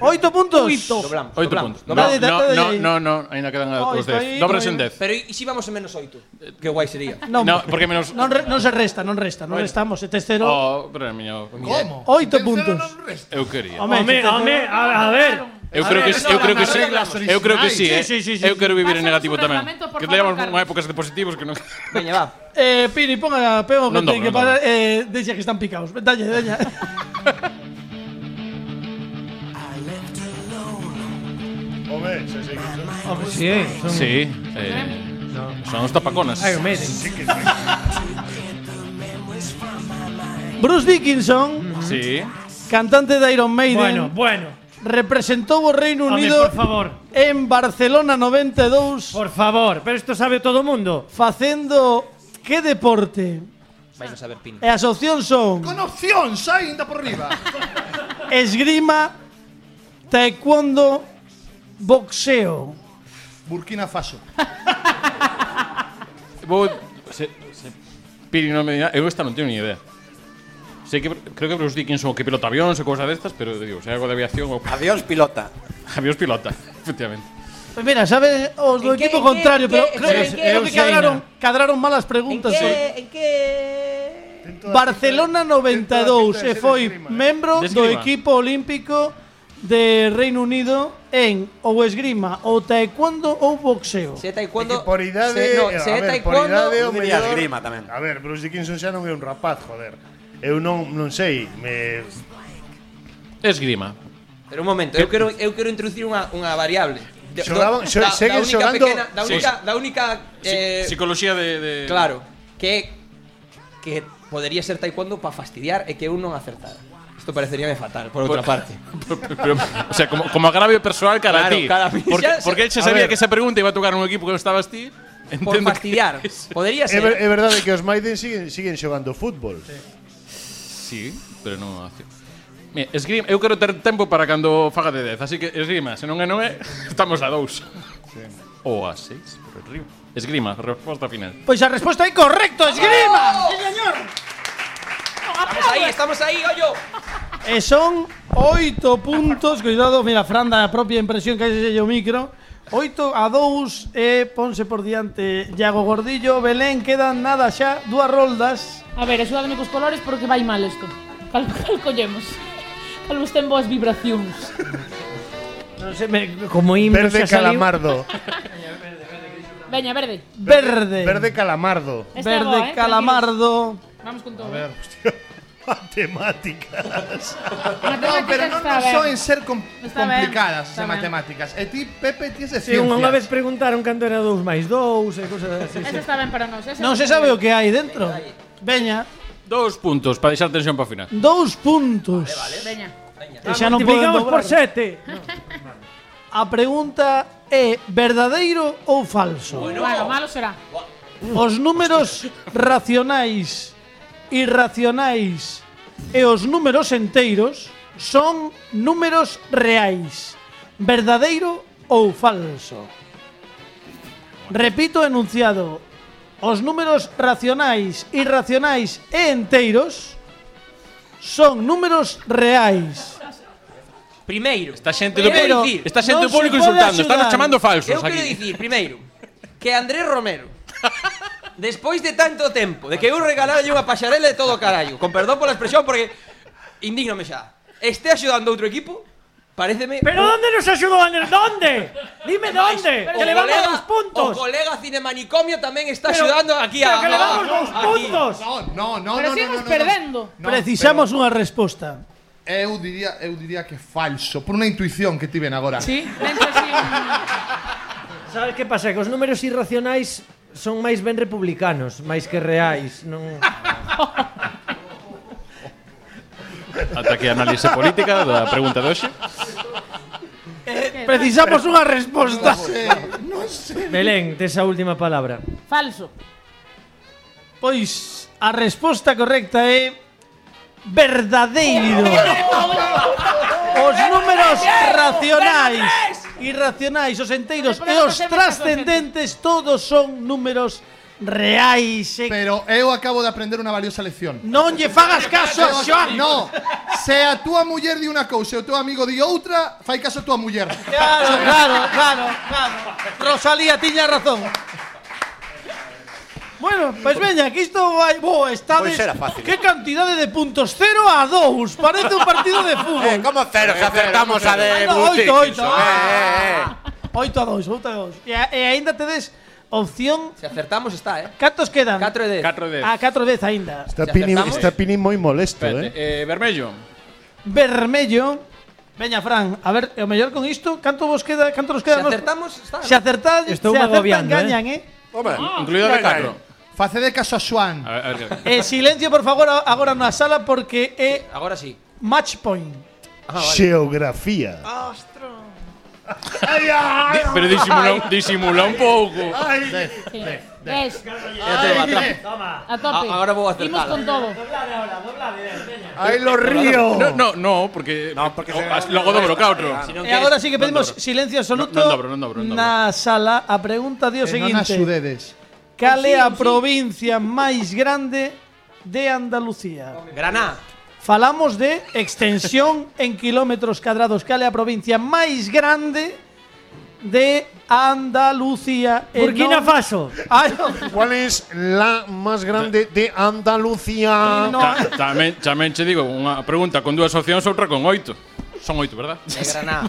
S2: Oito puntos.
S6: Doblamos,
S12: Oito puntos.
S6: doblamos,
S12: No,
S6: doblamos.
S12: no, no, no, no, ainda quedan
S2: Oh,
S12: os
S2: está
S12: dez.
S2: aí,
S12: Dobres
S2: moi
S12: en Eh, dez.
S6: Pero e se íbamos en menos 8? Que guai sería.
S2: Non,
S12: No, porque menos...
S2: non, re- non se resta, non resta, non restamos, este cero.
S12: Oh, pero miña...
S4: Como?
S2: Oito puntos.
S12: Eu quería.
S2: Home,
S9: Home,
S2: se te-
S9: home, a, a ver.
S12: Eu creo que eu creo que sí. Eu creo que sí, eh.
S2: Sí, sí, sí,
S12: Eu
S2: sí.
S12: quero vivir en
S15: Pásanos
S12: negativo
S15: un
S12: tamén.
S15: reglamento, por
S12: Que
S15: favor,
S12: teníamos
S15: Carlos.
S12: unha épocas de positivos que non
S6: Veña, va.
S2: Eh, Pini, ponga pego que
S12: Non
S2: ten
S12: dobro,
S2: que
S12: non
S2: parar, eh, deixa que están picados. Dalle, dalle.
S5: Home, xa sei que son.
S9: Home, sí,
S6: eh,
S9: son
S12: Sí, eh, son os tapaconas.
S9: Iron Maiden.
S2: Bruce Dickinson,
S12: Sí.
S2: cantante de Iron Maiden,
S9: Bueno, bueno.
S2: representou o Reino
S9: Home,
S2: Unido
S9: por favor.
S2: en Barcelona 92
S9: Por favor, pero isto sabe todo o mundo.
S2: facendo que deporte?
S6: Vais a saber pin.
S2: E as opcións son
S4: Con opción, sai, ainda por riba.
S2: esgrima, taekwondo, boxeo.
S4: Burkina Faso.
S12: Vou se, se Piri non me dirá, eu esta non teño ni idea. Sei que creo que Bruce Dickinson que pilota avións e cousas destas, pero digo, se hai algo de aviación ou
S11: Adiós, pilota.
S12: avións pilota, efectivamente.
S2: Pois Pues mira, sabe os do
S6: En que-
S2: equipo
S6: en que-
S2: contrario,
S6: en
S2: pero
S6: que-
S2: creo,
S6: en que-
S2: creo que
S9: eu sei
S2: cadraron, cadraron malas
S6: En
S2: preguntas.
S6: que,
S2: hoxe.
S6: en que
S5: Ten toda a
S2: Barcelona
S5: pinta de- ten toda a pinta
S2: 92
S5: de
S2: e
S5: ser
S2: foi
S5: esgrima, eh.
S2: membro
S12: De
S2: do
S12: esgrima.
S2: equipo olímpico de Reino Unido en ou esgrima, ou taekwondo ou boxeo.
S6: Se é taekwondo...
S5: Por idade,
S6: se, no,
S5: a
S6: se é
S5: ver, por
S6: taekwondo-
S5: idade o
S6: Eu
S11: diría
S5: mellor-
S11: esgrima tamén.
S5: A ver, Bruce Dickinson xa non é un rapaz, joder. Eu non non sei, me
S12: Esgrima.
S6: Pero un momento, eu quero, eu quero introducir unha, unha variable. De-
S5: Xogaban- xo- seguen
S6: única
S5: xogando-
S6: Pequena, da
S5: Sí.
S6: única, da única eh,
S12: Psicología de, de-
S6: Claro, que que podería ser taekwondo para fastidiar e que eu non acertara. Isto pareceríame fatal, por outra parte.
S12: Pero, o sea, como, como agravio personal cara a
S6: Claro,
S12: ti.
S6: cara a mí.
S12: porque,
S6: Ya sé.
S12: porque él se
S6: A
S12: sabía
S6: ver.
S12: que esa pregunta iba a tocar a un equipo que no estabas ti.
S6: Por fastidiar. Podría
S5: É,
S6: ser.
S5: ver, é verdade que os Maiden siguen siguen xogando fútbol.
S12: Sí, pero non hace. Mira, esgrima, eu quero ter tempo para cando faga de 10, así que esgrima, se non é non é, estamos a 2. Ou a 6, pero esgrima. Esgrima, resposta final.
S2: Pois a resposta é correcto, esgrima. Sí, señor.
S6: Estamos aí, estamos aí, ollo.
S2: E son oito puntos, cuidado, mira, Fran da propia impresión que hai selle o micro. 8 a 2 e ponse por diante Iago Gordillo, Belén, quedan nada xa, dúas roldas.
S15: A ver, axudadme cos colores porque vai mal isto. Cal, cal collemos? Cal vos ten boas vibracións.
S9: Non sei, me, como himno
S5: Verde
S9: xa saliu.
S5: calamardo.
S15: Veña, verde.
S2: Verde.
S5: Verde calamardo.
S15: Esta é boa, eh,
S2: calamardo.
S15: Vamos con todo.
S5: A ver, hostia. Matemáticas.
S4: No, pero no,
S15: está
S4: no
S15: ben.
S4: son en ser com-
S15: Está ben,
S4: complicadas
S15: está
S4: en
S15: ben.
S4: matemáticas. E ti, Pepe, tienes de
S9: Sí, unha
S4: ciencias.
S9: unha vez preguntaron canto era 2 máis 2 e eh, cosas así.
S15: Esa está ben para nós. esa
S2: Non se
S15: está
S2: sabe
S15: ben.
S2: o que hai dentro. Veña,
S12: Dous puntos para deixar tensión para o final.
S2: dous puntos.
S15: Veña.
S2: E xa non
S9: Multiplicamos
S2: podemos
S9: por
S2: dobrar.
S9: 7.
S2: A pregunta é verdadeiro ou falso?
S15: Bueno, malo será.
S2: Os números racionais, irracionais e os números enteiros son números reais. Verdadeiro ou falso? Repito o enunciado. Os números racionais, irracionais e enteiros son números reais.
S6: Primeiro.
S12: Esta xente do
S6: Primeiro,
S12: público, esta xente do
S2: non
S12: público
S2: se pode
S12: insultando, están
S2: axudar.
S12: chamando falsos
S6: eu quero
S12: aquí.
S6: dicir, primeiro, que Andrés Romero despois de tanto tempo de que eu regalarlle unha paxarela de todo o carallo, con perdón pola expresión porque indígnome xa. Este axudando outro equipo? Pareceme
S9: Pero
S6: o-
S9: onde nos axudou Ander? Onde? Dime onde?
S6: Pero
S9: Que
S6: o
S9: levamos
S6: colega-
S9: dous puntos.
S6: O colega Cinemanicomio tamén está
S9: Pero-
S6: axudando aquí a
S9: pero que levamos dous
S6: aquí.
S9: puntos.
S4: No, no,
S15: Pero
S4: no, no,
S15: sigamos
S4: no, no,
S15: perdendo.
S4: No,
S2: Precisamos unha resposta.
S4: Eu diría, eu diría que falso, por unha intuición que tiven agora.
S15: Sí, penso así.
S9: Sabes que pasa? Que os números irracionais son máis ben republicanos, máis que reais, non
S12: Ata aquí a análise política da pregunta de hoxe.
S2: Eh, Precisamos unha resposta.
S9: Belén, tes a última palabra.
S15: Falso.
S2: Pois a resposta correcta é verdadeiro. Os números racionais, irracionais, os enteiros e os trascendentes todos son números reais.
S4: Pero eu acabo de aprender unha valiosa lección.
S2: Non lle fagas caso a Xoan.
S4: No, se a túa muller di unha cousa e o teu amigo di outra, fai caso a túa muller.
S2: Claro, claro, claro, claro. Rosalía tiña razón. Bueno, pois veña, que isto vai bo, estades.
S11: Pois era fácil.
S2: Que cantidade de puntos 0 a 2, parece un partido de fútbol.
S11: Eh, como cero, que acertamos a de
S2: Bueno,
S11: Bruce
S2: oito, oito.
S11: Dickinson. Eh, eh, eh.
S2: 8 a 2, 8 a 2. E, a- e aínda tedes opción.
S6: Se acertamos está, eh.
S2: Cantos quedan? Ah,
S6: 4 e 10.
S12: 4 e 10.
S2: A 4 10 aínda.
S5: Está Pini, está Pini moi molesto,
S12: Espérate, eh,
S5: eh.
S12: vermello.
S2: Vermello. Veña, Fran, a ver, e o mellor con isto, canto vos queda, canto nos quedan?
S6: Se acertamos, está. Ah,
S2: Se acertades,
S9: Estou
S2: se acertan,
S9: agobiando, eh.
S2: gañan, eh?
S11: Hombre,
S12: Incluido a de catro.
S6: eh.
S4: Facede caso a Xuan.
S12: A ver, a ver.
S2: Eh, silencio, por favor, a- agora na sala porque é
S6: Agora sí. Ah,
S2: match point.
S5: Ah, Xeografía.
S12: Di- Pero disimula, un- disimula un pouco.
S15: Sí. Ves,
S9: Toma.
S15: a tope.
S6: A- ahora vou acertar.
S15: Imos con todo.
S9: Doblade ahora, doblade, ven,
S5: Ai, lo río.
S12: No, no, no, porque, o- as- logo dobro cautro.
S2: E agora sí que pedimos silencio absoluto
S12: Non dobro, non dobro, non dobro.
S2: na sala. A pregunta di o
S4: Que non a
S2: seguinte.
S4: sudedes.
S2: Cal é a
S15: Sí, sí.
S2: provincia máis grande de Andalucía?
S6: Graná.
S2: Falamos de extensión en kilómetros cadrados. Cal é a provincia máis grande de Andalucía? E
S9: Burkina
S2: non-
S9: Faso.
S2: Ai,
S5: ¿Cuál es la más grande de Andalucía?
S2: no.
S12: Ta- Tamén, tamén che digo, unha pregunta con dúas opcións, outra con oito. Son oito, verdad?
S2: De Granada.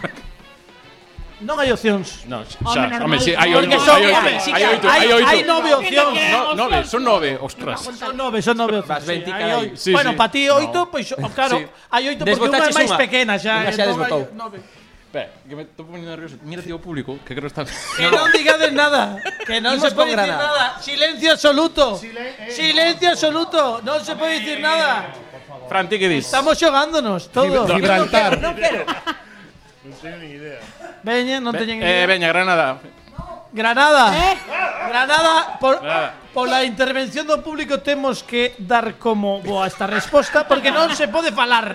S2: Non hai opcións.
S12: No, xa,
S2: Home,
S12: xa,
S2: normal.
S12: home, si, hai
S2: Porque
S12: oito,
S2: son-
S12: hai oito,
S2: home, si
S12: hai
S2: que
S12: oito,
S2: hai-
S12: hai oito.
S2: hai nove opcións.
S12: No, nove, son nove, ostras.
S2: Son nove, son nove opcións.
S12: Vas 20
S2: Hai
S12: cada
S2: oito.
S12: aí. Sí,
S2: bueno,
S12: sí.
S2: para ti
S12: No.
S2: oito, pois oh, claro,
S12: Sí.
S2: hai oito porque unha é
S12: Desbotaches
S2: máis
S12: unha.
S2: pequena xa.
S12: Unha xa
S2: entón hai
S12: desbotou.
S2: nove.
S12: Espera, que me estou poniendo nervioso. Mira, tío, público, que creo que está...
S2: Que non digades nada, que non
S12: Imos
S2: se pode
S12: con
S2: dicir
S12: Granada.
S2: nada. Silencio absoluto. Silencio absoluto, non se pode dicir nada.
S12: Fran, ti que dis?
S2: Estamos xogándonos todos.
S12: Gibra- Gibraltar.
S2: Non quero.
S5: Non teño ni idea.
S2: Veña, non teñen
S12: Eh,
S2: idea.
S12: veña, Granada.
S2: Granada. Granada por
S12: Granada.
S2: Pola intervención do público temos que dar como boa esta resposta porque non se pode falar.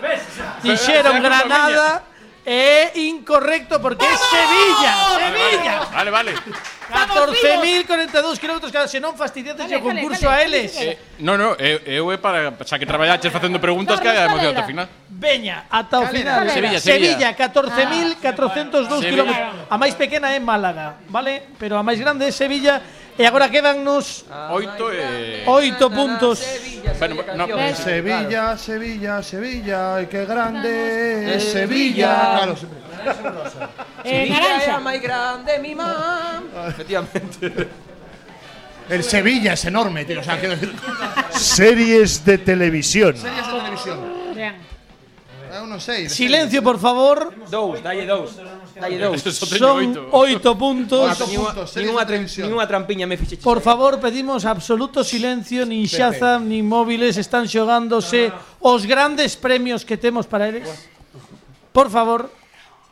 S2: Dixeron Granada é incorrecto porque é Sevilla. Sevilla.
S12: Vale, vale.
S2: 14.042 kilómetros cada se non fastidiates o concurso a eles.
S12: No, no, eu, eu é para xa que traballaches facendo preguntas que hai emoción ata o final.
S2: Veña, ata o final.
S12: Sevilla,
S2: Sevilla,
S12: Sevilla.
S2: 14.402
S12: Sevilla.
S2: kilómetros. A máis pequena é Málaga, vale? Pero a máis grande é Sevilla e agora quedannos
S12: Ah. Oito e...
S2: 8 puntos.
S12: Ah, Bueno, no,
S4: Sevilla, Sevilla, Sevilla, ay, qué grande es Sevilla. Claro, siempre.
S6: Eh,
S4: naranja.
S6: máis grande, mi mam.
S12: Efectivamente.
S4: El Sevilla es enorme, tío. O sea, quiero decir.
S5: Series de televisión.
S4: Series de televisión. Ah, unos seis.
S2: Silencio, por favor.
S6: Dous, dalle dous. Dalle dous.
S2: Son 8 puntos.
S6: Ninguna, ninguna trampiña me fixe.
S2: Por favor, pedimos absoluto silencio, nin Shazam, nin móviles, están xogándose os grandes premios que temos para eles. Por favor.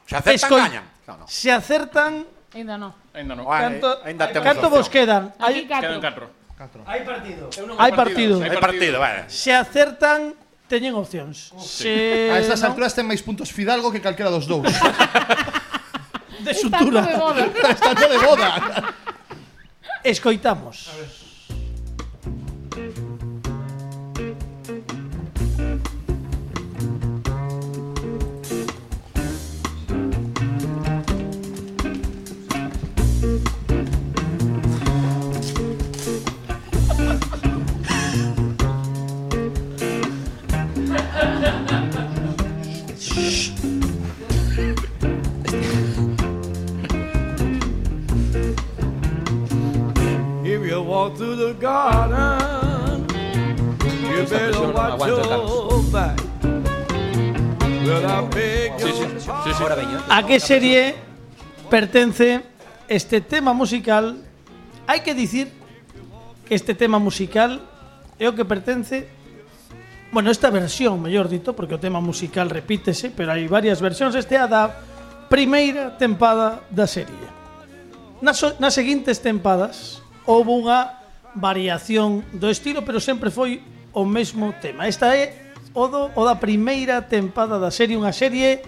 S11: Se acertan,
S2: escoi-
S11: gañan. No, no.
S2: Se acertan,
S15: Ainda non.
S12: Ainda non.
S2: canto,
S11: Ainda temos
S2: canto vos
S11: opción.
S2: quedan? Hai,
S12: Quedan catro.
S3: Hai partido.
S2: hai partido.
S11: Hay partido, vale.
S2: Se acertan, teñen opcións. Se,
S4: Oh, A estas
S2: non,
S4: alturas ten máis puntos Fidalgo que calquera dos dous.
S2: de sutura.
S15: de boda.
S4: Estando de boda.
S2: Escoitamos.
S16: If you walk through the garden, you better watch your back. Well, I beg your pardon.
S2: ¿A qué serie pertenece este tema musical? Hay que decir que este tema musical é o que pertence Bueno, esta versión, mellor dito, porque o tema musical repítese, pero hai varias versións. Este é a da primeira tempada da serie. Nas, o- nas seguintes tempadas houve unha variación do estilo, pero sempre foi o mesmo tema. Esta é o, do, o da primeira tempada da serie, unha serie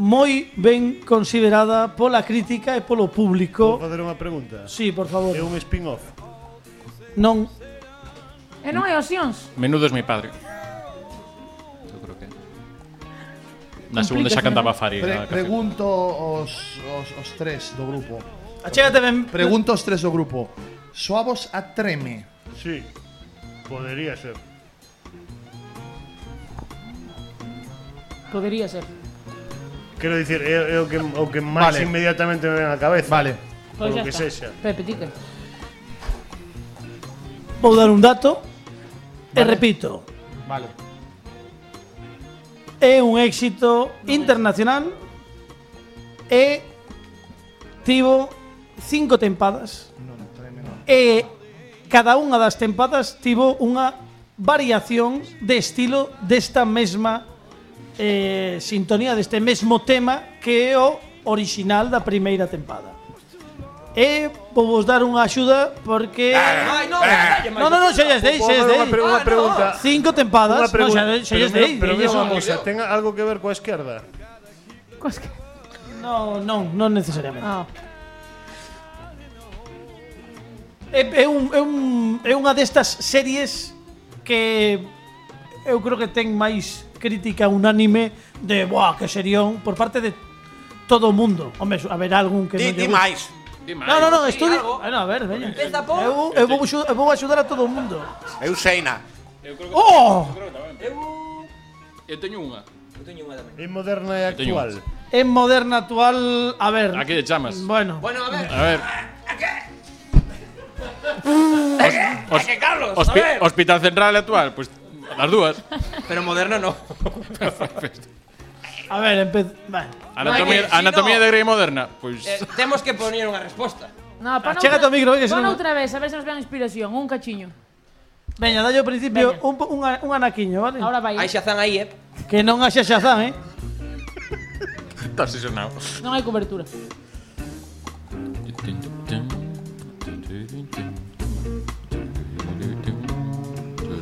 S2: moi ben considerada pola crítica e polo público.
S5: Vou facer unha pregunta.
S2: Sí, por favor.
S5: É un spin-off.
S2: Non,
S15: E non hai opcións.
S12: Menudo es mi padre. Eu creo que... Na segunda
S4: Explícaselo.
S12: xa cantaba Fari.
S4: Pre-
S12: na canción.
S4: pregunto os, os, os tres do grupo.
S2: Achégate ben.
S4: Pregunto os tres do grupo. Soavos a treme.
S5: Sí. Podería ser.
S15: Podería ser.
S5: Quero dicir, é, é o que, o que máis
S4: Vale.
S5: inmediatamente me ven á cabeza. Vale. Por
S15: Pois Pues ya
S5: lo que
S15: está.
S5: sexa.
S15: Pepe, ti que?
S2: vou dar un dato e repito.
S4: Vale.
S2: é un éxito internacional e tivo cinco tempadas e cada unha das tempadas tivo unha variación de estilo desta mesma eh, sintonía deste mesmo tema que é o original da primeira tempada e vou vos dar unha axuda porque
S6: Ai, no, dalle máis
S2: non, non, non,
S6: opcións.
S2: xalles deis,
S5: Vou
S2: xalles
S5: facer
S2: deis
S5: unha pre- unha pregunta.
S2: Cinco tempadas,
S5: Unha
S2: non,
S5: pregunta.
S2: xa, xa
S5: pero
S2: lles
S5: mira-
S2: dei,
S5: pero
S2: lles
S5: mira unha
S2: un-
S5: cosa, ten algo que ver coa esquerda?
S2: No, non, non necesariamente.
S15: Ah.
S2: É, é, un, é, un, é unha destas series que eu creo que ten máis crítica unánime de boa que serión por parte de todo o mundo. Home, haberá algún que
S11: Di,
S2: non
S11: di
S2: lle guste.
S11: máis.
S2: No, no, no, estudia. Bueno, a ver, veña. Eu, eu, vou, axu- eu vou axudar a todo o mundo.
S11: Eu sei na.
S12: Eu creo que...
S2: Oh!
S12: Eu teño unha.
S6: Eu teño unha tamén.
S5: É moderna e actual.
S2: É moderna actual, a ver.
S12: Aquí de chamas.
S2: Bueno.
S6: Bueno, a ver.
S12: A ver.
S6: Os, que Carlos, a
S12: Hospi-
S6: ver.
S12: Hospital Central actual, pues las dúas.
S6: Pero moderna no.
S2: A ver, empez... Vale.
S12: Anatomía,
S6: No, é que si
S12: anatomía de
S6: no-
S12: Grey moderna, pues
S6: Eh, temos que poñer unha resposta.
S15: No, pon
S2: Achégate
S15: outra-
S2: ao micro, oye,
S15: pon
S2: senón-
S15: outra vez, a ver se nos vean inspiración, un cachiño.
S2: Veña, dalle ao principio un, po- un, a- un anaquiño, vale?
S15: Ahora vai.
S6: Hai Shazam aí, eh?
S2: Que non haxa Shazam, eh?
S12: está sesionado.
S15: Non hai cobertura.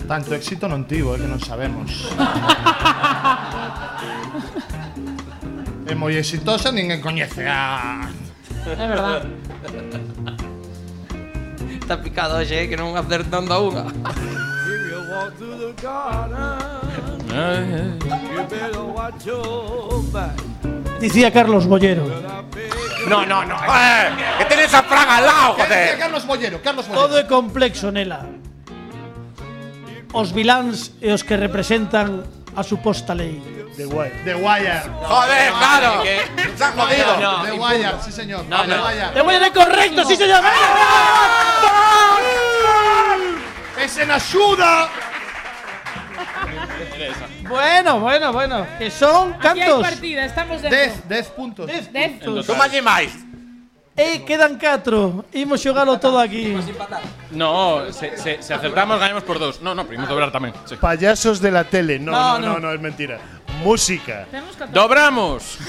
S4: Tanto éxito non tivo, é que non sabemos. é moi exitosa, ninguén coñece a...
S15: É verdad.
S6: Está picado hoxe, eh, que non acertando a unha.
S16: If you walk through the garden, you better watch your back.
S2: Dicía Carlos Bollero.
S11: No, no, no. ¡Eh! ¡Que tiene esa fraga al lado, joder!
S4: Carlos Bollero, Carlos Bollero.
S2: Todo é complexo nela. Os viláns e os que representan a suposta lei.
S5: The Wire.
S4: The Wire.
S11: Joder,
S4: Ah,
S11: claro.
S4: ¿Qué?
S11: Se ha jodido.
S4: The Wire, sí señor.
S11: No,
S4: The
S11: no.
S4: Wire.
S2: ¡Te voy a correcto, sí señor!
S11: Ah.
S4: ¡Es en ayuda!
S2: Bueno, bueno, bueno. Que son
S15: Aquí hai
S2: cantos.
S15: partida, estamos dentro.
S4: 10, 10 puntos.
S2: Dez
S15: Dez.
S2: puntos.
S11: máis.
S2: E quedan 4. Imos xogalo todo aquí.
S12: No, se, se, se acertamos, ganamos por dos. No, no, primero doblar tamén. Sí.
S5: Payasos de la tele. No,
S12: No,
S5: no, no,
S12: no.
S5: no, es mentira. Música.
S15: Temos que
S12: Dobramos,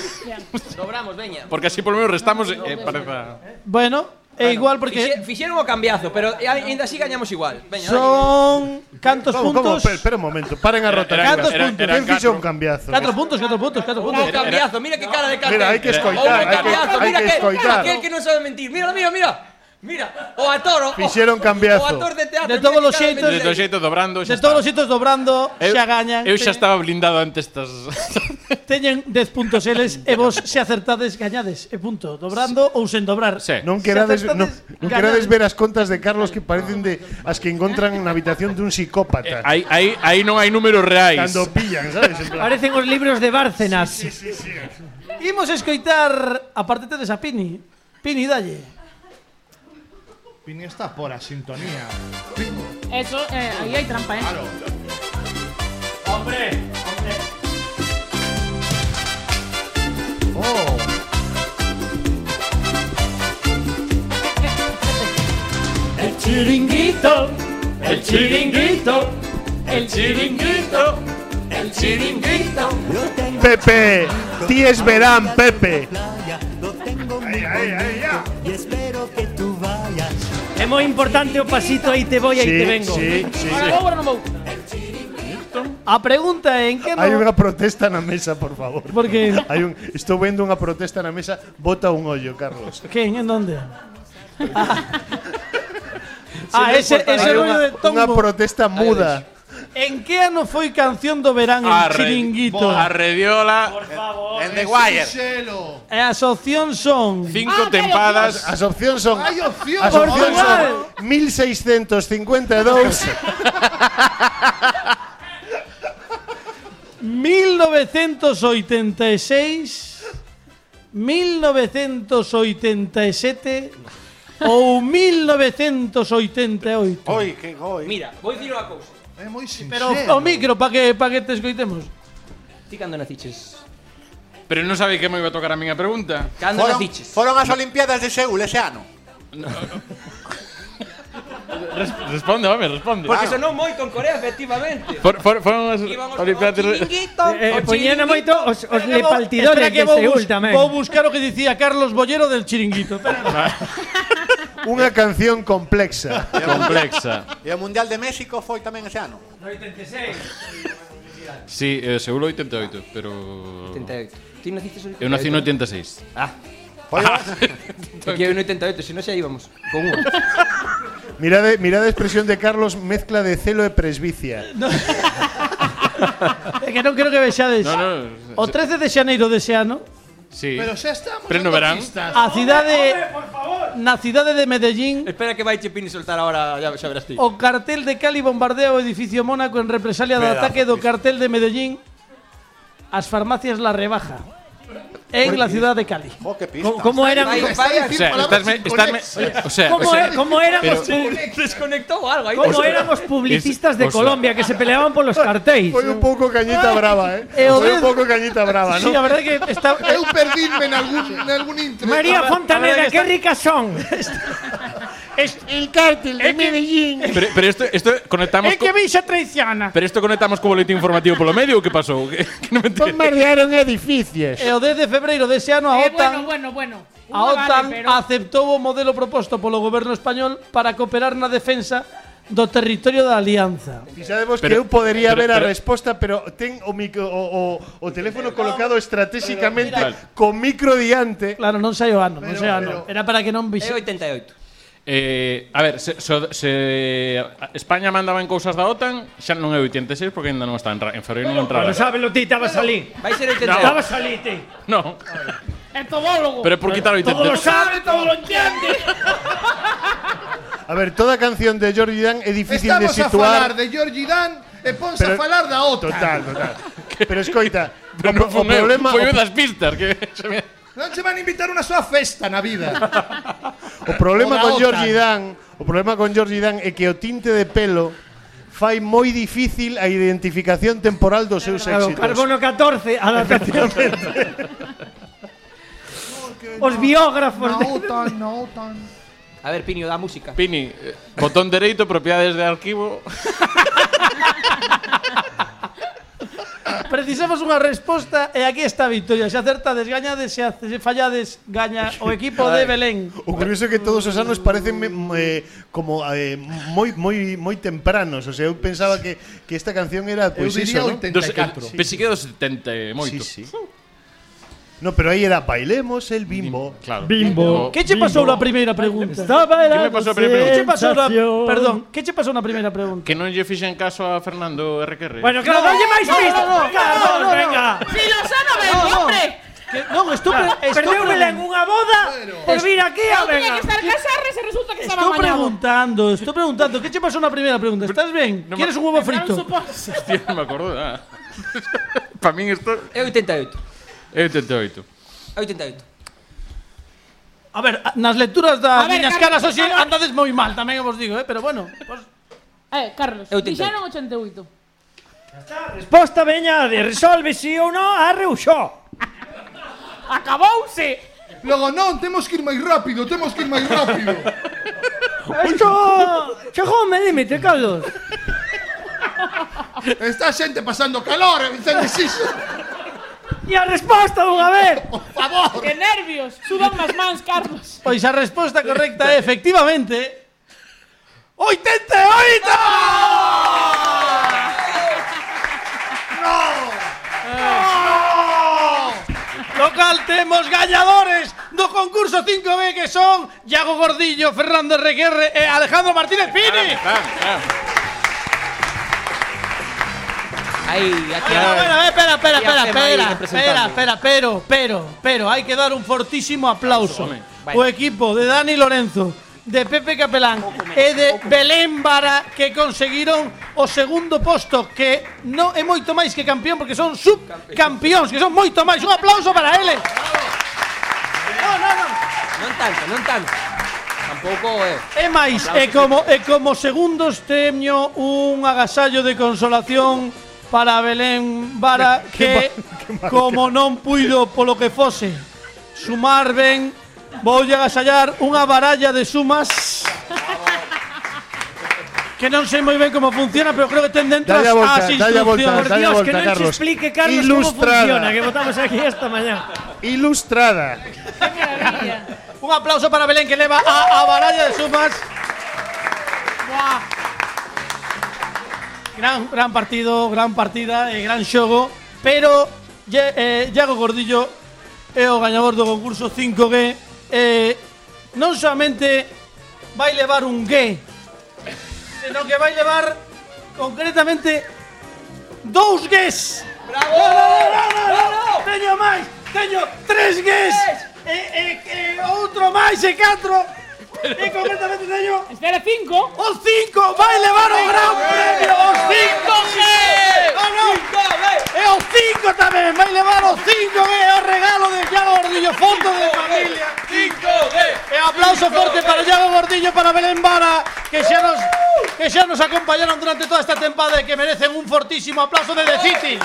S6: Dobramos, veña.
S12: porque así por lo menos restamos eh, parece. a-
S2: Bueno, é igual porque
S6: Fixe- Fixeron o cambiazo, pero e aínda así gañamos igual. Veña,
S2: son cantos
S5: ¿Cómo, cómo?
S2: puntos.
S5: Espera, espera un momento. Paren a
S12: Era-
S5: rotar.
S12: eran-
S5: ¿Cuántos
S12: eran-
S5: puntos?
S12: eran
S5: ¿Quién fichó
S12: cuatro.
S5: un cambiazo?
S2: 4 puntos, 4 puntos, 4 puntos.
S6: Un cambiazo, mira que cara de cartel.
S5: Mira, hai que
S6: Ou
S5: escoitar,
S6: un
S5: hai que-
S6: cambiazo,
S5: hai
S6: mira
S5: que
S6: aquel-
S5: escoitar.
S6: Aquel que non sabe mentir. Mira, mira, mira. Mira, o actor, o,
S5: Fixeron cambiazo.
S6: o actor de teatro.
S2: De
S6: mira
S2: todos
S6: que
S2: los
S6: cara de
S12: De
S2: xeitos-
S6: mentir.
S12: dos xeitos dobrando, xa
S2: De eh. todos
S12: Pues está.
S2: os sitios dobrando, xa gañan.
S12: Eu xa estaba blindado ante estas.
S2: Teñen 10 puntos eles e vos se acertades gañades. E punto, dobrando ou sen dobrar.
S12: Sí.
S5: Non querades,
S2: Se
S5: non,
S2: acertades,
S5: non
S2: gañades.
S5: querades ver as contas de Carlos que parecen de as que encontran na habitación dun psicópata.
S12: aí, aí, aí non hai números reais.
S5: Cando pillan, sabes? En plan,
S9: Parecen os libros de Bárcenas.
S2: Imos escoitar a parte de esa Pini. Pini, dalle.
S4: Pini está por a sintonía.
S15: Eso, eh, aí hai trampa, eh. Claro.
S4: Oh.
S16: El chiringuito, el chiringuito, el chiringuito, el chiringuito.
S5: Pepe, ti es verán, Pepe.
S9: É moi importante o pasito aí te voy, aí
S5: Sí,
S9: te vengo.
S5: sí, sí.
S15: Ahora vou, ahora non vou.
S2: A pregunta é en que
S5: Hai
S2: non...
S5: unha protesta na mesa, por favor.
S2: Porque
S5: Hai un, estou vendo unha protesta na mesa, bota un ollo, Carlos.
S2: quen en onde? Ah, ese ese
S5: Hai
S2: rollo de
S5: unha, unha
S2: tombo.
S5: protesta muda.
S2: En que ano foi canción do verán en
S12: Arre-
S2: Chiringuito?
S12: Arrediola,
S11: En The Wire.
S4: Xelo.
S2: E as opcións son
S12: cinco
S15: Ah, que hai
S12: tempadas.
S5: As opcións son
S4: Hai opción.
S5: As opcións son
S2: Portugal.
S5: 1652
S2: 1986, 1987 ou 1988.
S11: Oi, que goi.
S6: Mira, vou dicir unha cousa.
S4: É moi sincero.
S2: Pero o micro pa que pa que te escoitemos.
S6: Ti cando naciches?
S12: Pero non sabe que me iba a tocar a miña pregunta.
S6: Cando
S11: Foron,
S6: naciches?
S11: foron as Olimpiadas de Seúl ese ano.
S12: Res, responde, home, responde.
S6: Porque sonou moito en Corea, efectivamente.
S12: For, for, foron as
S6: Íbamos ao
S12: Olimpiadas de-
S6: chiringuito,
S9: Eh,
S6: ao
S9: poñían
S6: chiringuito.
S9: moito os, os
S2: Espera que vou-
S9: lepaltidores
S2: espera que
S9: de
S2: vou
S9: Seúl
S2: bus-
S9: tamén.
S2: Vou buscar o que dicía Carlos Bollero del chiringuito. Espera.
S5: Unha canción complexa.
S12: complexa.
S11: E o Mundial de México foi tamén ese ano.
S12: Sí, eh, seguro 88, pero...
S6: 88. Ti naciches en
S12: Eu
S6: 88?
S12: nací no 86.
S6: Ah,
S11: Foi
S6: Aquí hai un 88, se non xa íbamos. Con unha.
S5: Mirade, mirade a expresión de Carlos, mezcla de celo e presbicia.
S2: É que non quero que vexades.
S12: No, no,
S2: O 13 de xaneiro dese ano,
S12: sí.
S4: Pero xa estamos
S12: Pleno
S4: dando
S12: verán.
S4: pistas.
S2: a cidade na cidade de Medellín
S6: Espera que vai Chepini soltar ahora, ya, xa verás ti.
S2: O cartel de Cali bombardea o edificio Mónaco en represalia do
S11: Pedazo,
S2: ataque do
S11: tío.
S2: cartel de Medellín as farmacias La Rebaja en la ciudad de Cali.
S9: ¿Cómo- cómo eran- Vaya- vaya-
S12: O sea, estás me- estás me- o sea,
S9: ¿Cómo
S12: o sea,
S9: era- cómo éramos
S12: pero-
S6: Desconectó o algo ahí.
S9: Como éramos publicistas de
S12: o sea-
S9: Colombia que se peleaban por los cartéis.
S5: Foi un pouco cañita brava, eh.
S9: E o
S5: Foi un
S9: dedo-
S5: pouco cañita brava,
S9: Sí,
S5: ¿no?
S9: a verdade que está
S4: Eu perdínme en algún, en algún intro.
S9: María Fontaneda, qué ricas son.
S17: el cártel de Medellín.
S12: Pero, pero esto, esto conectamos
S17: Es que
S12: co-
S17: Villa traiciona.
S12: pero esto conectamos con boletín informativo polo medio, o que pasou? Que- que non me entero.
S17: Bombardearon edificios.
S2: E o 10 de febreiro dese ano a
S15: Eh,
S2: OTAN,
S15: bueno, bueno, bueno.
S2: a
S15: Unha
S2: OTAN
S15: vale, pero-
S2: aceptou o modelo proposto polo goberno español para cooperar na defensa do territorio da alianza.
S5: Fixadevos que
S2: Pero-
S5: eu podería
S2: pero-
S5: ver a
S2: pero-
S5: resposta, pero ten o micro o, o, o teléfono colocado estratégicamente
S2: Pero, mira.
S5: co micro diante.
S2: Claro, non sei o ano, non sei o ano. Era para que non vise.
S6: 88.
S12: Eh, a ver, se, so, se España mandaba en cousas da OTAN, xa non é 86 porque ainda non está en, ra- en febrero non entraba.
S9: Pero sábelo ti, estaba a salir.
S6: Vai ser
S12: No.
S9: Estaba a salir, ti.
S12: No,
S15: É todólogo.
S12: pero por quitar o
S15: Todo
S12: 82.
S15: lo sabe, todo lo entiende.
S5: A ver, toda canción de George Dan é difícil
S4: Estamos
S5: de
S4: a falar
S5: situar.
S4: de Georgie Dan e ponse
S5: Pero-
S4: a falar da outra.
S5: Total, total. Pero escoita,
S12: Pero
S5: o,
S12: non
S5: o
S12: foi meu,
S5: problema
S12: foi eu
S5: o,
S12: das pistas que se me-
S4: Non se van a invitar a unha súa festa na vida.
S5: o
S4: o
S5: problema
S4: da
S5: con
S4: OTAN.
S5: George Dan, o problema con George Dan é que o tinte de pelo fai moi difícil a identificación temporal dos seus
S9: Claro,
S5: éxitos.
S9: carbono 14, adaptación. Os biógrafos
S4: Na
S9: de-
S4: OTAN, na OTAN.
S6: A ver, Pini, da música.
S12: Pini, eh, botón dereito, propiedades de arquivo.
S2: Precisamos unha resposta e aquí está a victoria. Se acertades, gañades, se, ace- se fallades, gaña o equipo de Belén.
S5: O curioso é que todos os anos parecen eh, como eh, moi moi moi tempranos, o sea, eu pensaba que que esta canción era
S4: Eu
S5: pois
S4: diría
S5: iso, ¿no?
S4: 84.
S5: Dos- eh,
S12: Pensei que dos ah, 70 e moito.
S5: Sí, sí. No, pero aí era bailemos el bimbo.
S12: Claro.
S5: Bimbo.
S2: Que che pasou na primeira pregunta?
S12: Estaba era Que me pasou a primeira
S2: Que che pasou na,
S12: sensación.
S2: perdón, que che pasou na primeira pregunta?
S12: Que non lle fixen caso a Fernando RQR.
S2: Bueno, claro,
S12: No.
S2: dalle máis
S12: No,
S2: pistas.
S12: no, no. No,
S2: Carlos,
S12: no, no.
S2: venga.
S15: Filosa no ven, hombre.
S2: Que, non, estou pre,
S9: Claro,
S2: estou
S9: perdeúmela en unha boda por vir aquí a
S15: Eu tiña
S9: venga.
S15: que estar casada e se resulta que estaba
S2: Estou
S15: mañado.
S2: preguntando, estou preguntando, que che pasou na primeira pregunta? Estás ben?
S12: No me-
S2: Quieres un huevo frito?
S12: Hostia, non me acordo
S6: eh.
S12: nada. Para min isto
S6: É 88.
S12: é 88.
S6: É 88.
S2: A ver, a- nas
S6: A
S2: lecturas das
S6: ver,
S2: miñas
S6: Carlos,
S2: caras hoxe
S6: a ver.
S2: andades moi mal, tamén vos digo, eh, pero bueno. Pues,
S15: Eh, Carlos,
S2: Eu tentei.
S15: dixeron 88.
S9: Resposta veña de resolve si ou non a reuxó.
S15: Acabouse.
S4: Logo, non, temos que ir máis rápido, temos que ir máis rápido.
S9: Isto chegou me límite, Carlos.
S4: Está a xente pasando calor, entendes iso?
S9: E a resposta dunha vez.
S4: favor.
S15: Que nervios. Suban as mans, Carlos.
S2: Pois a resposta correcta é efectivamente
S9: 88!
S2: Lo cal temos gañadores do concurso 5B que son Iago Gordillo, Fernando Requerre e Alejandro Martínez Pini.
S6: Aí, aquí.
S2: Bueno, bueno, eh, espera, espera,
S6: Aquí a Fema ahí
S2: espera, espera, espera,
S6: representando.
S2: espera, pero, pero, pero, hay que dar un fortísimo aplauso
S6: Vale.
S2: o equipo de Dani Lorenzo, de Pepe Capelán e de Belén Vara que conseguiron o segundo posto que non é moito máis que campeón porque son subcampeóns, que son moito máis. Un aplauso para eles.
S6: Non tanto, non tanto. eh. Tampouco é.
S2: E máis, e como, e como segundos teño un agasallo de consolación para Belén Vara que, como non puido polo que fose sumar ben, voulle agasallar unha baralla de sumas que non sei moi ben como funciona, pero creo que ten dentro
S5: Dalle a volta,
S2: as, as
S5: dalle a volta,
S2: instruccións.
S5: dalle a volta, Carlos. Ilustrada.
S9: votamos aquí esta mañá.
S5: Ilustrada.
S2: Un aplauso para Belén que leva a, a baralla de sumas. Gran, gran partido, gran partida, eh, gran xogo, pero Ye- eh, Iago Gordillo é o gañador do concurso 5G. Eh, non soamente vai levar un G, sino que vai levar concretamente dous Gs.
S6: Bravo!
S2: Teño máis, teño tres Gs. E,
S15: Eh,
S2: e, e outro máis e catro. E concretamente teño
S15: Espera, cinco.
S2: Os cinco vai levar o gran premio. Os cinco G.
S18: non! E o Eh, cinco tamén, vai levar o cinco que é o regalo de Iago Gordillo, fondo de familia. Cinco de. E aplauso forte para Iago Gordillo, para Belén Vara, que xa nos que xa nos acompañaron durante toda esta tempada e que merecen un fortísimo aplauso de The City.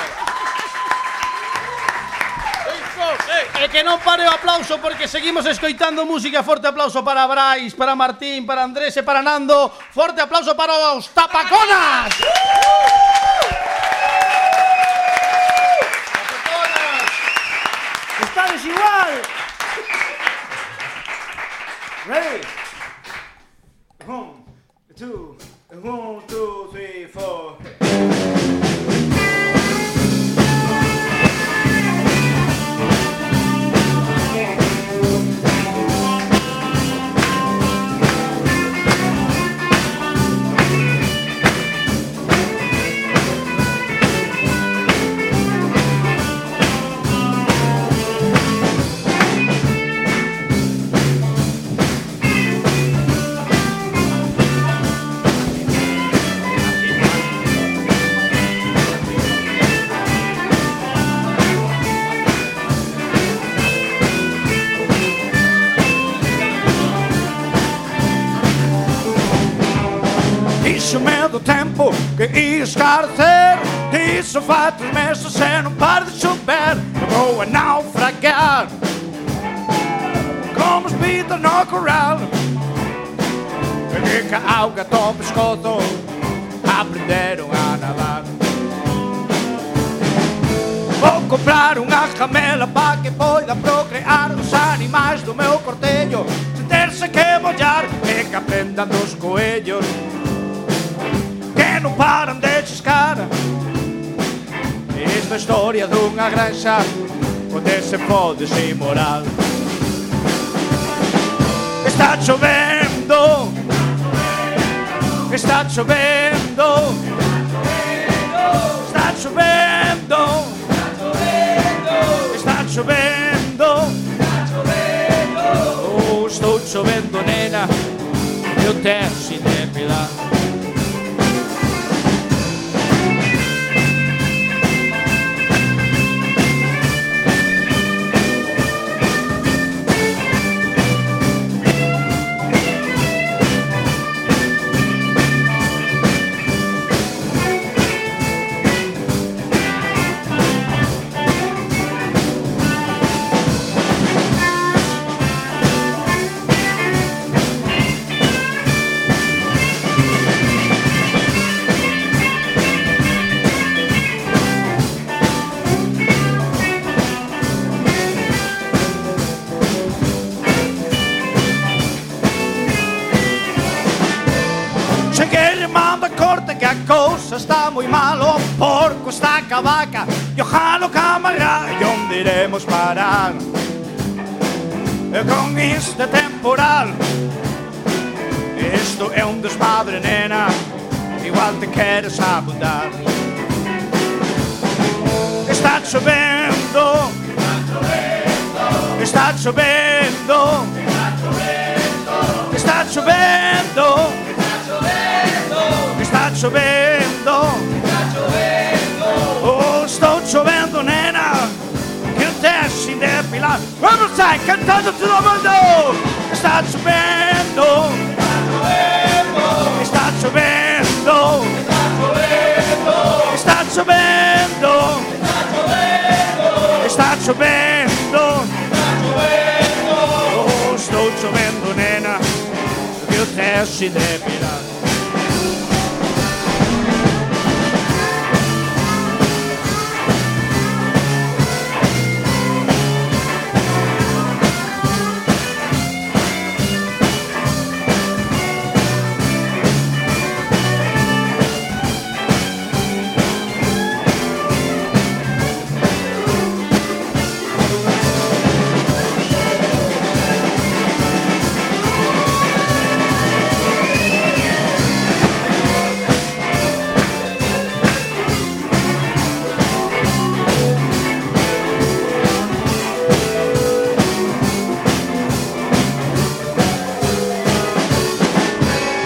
S18: E que non pare o aplauso porque seguimos escoitando música. Forte aplauso para Brais, para Martín, para Andrés e para Nando. Forte aplauso para os tapaconas.
S3: Estades igual. Ready? One, two, one, two, three, four.
S18: Isso mesmo tempo que ia escarcer Isso faz três meses e não para de chover Eu vou a naufragar Como espita no coral Fica a água do pescoço Aprenderam a nadar Vou comprar uma camela para que poida procriar os animais do meu cortejo Sem ter-se que molhar e que aprendam dos coelhos que non paran de é chiscar Esta historia dunha granxa onde se pode sin moral Está chovendo Está chovendo Está chovendo Está chovendo Oh, estou chovendo, nena Eu te sin depilar Cheguei-lhe manda corta que a cousa está moi mal O porco está ca vaca e o jalo camará E onde iremos parar E con este temporal Isto é un desmadre, nena Igual te queres abundar Está chovendo Está chovendo Está chovendo Está chovendo Oh, estou chovendo, nena Que eu deixe de pilar Vamos sair cantando todo mundo Está chovendo Está chovendo Está chovendo Está chovendo Oh, estou chovendo, nena Que eu deixe de pilar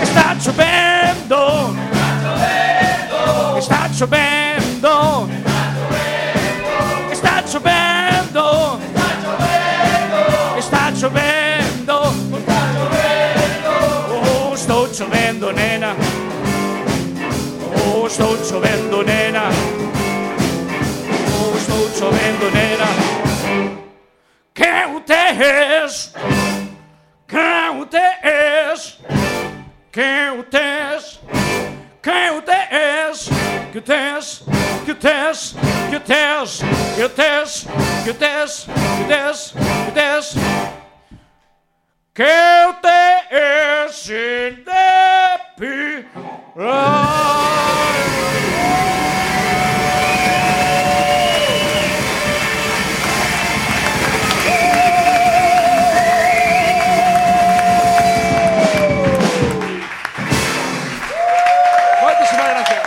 S18: Está chovendo. Está chovendo. chovendo, Oh, nena. Oh, estou chovendo, nena. Oh, estou chovendo, nena. Que eu tes? Que eu tes? Que eu tes? Que eu tes? é Que eu tes? Que eu tes? Que eu tes? Que eu tes? Que eu tes? Que eu tes? Que é eu tes? que eu te sin de Ah.
S6: Muchísimas gracias.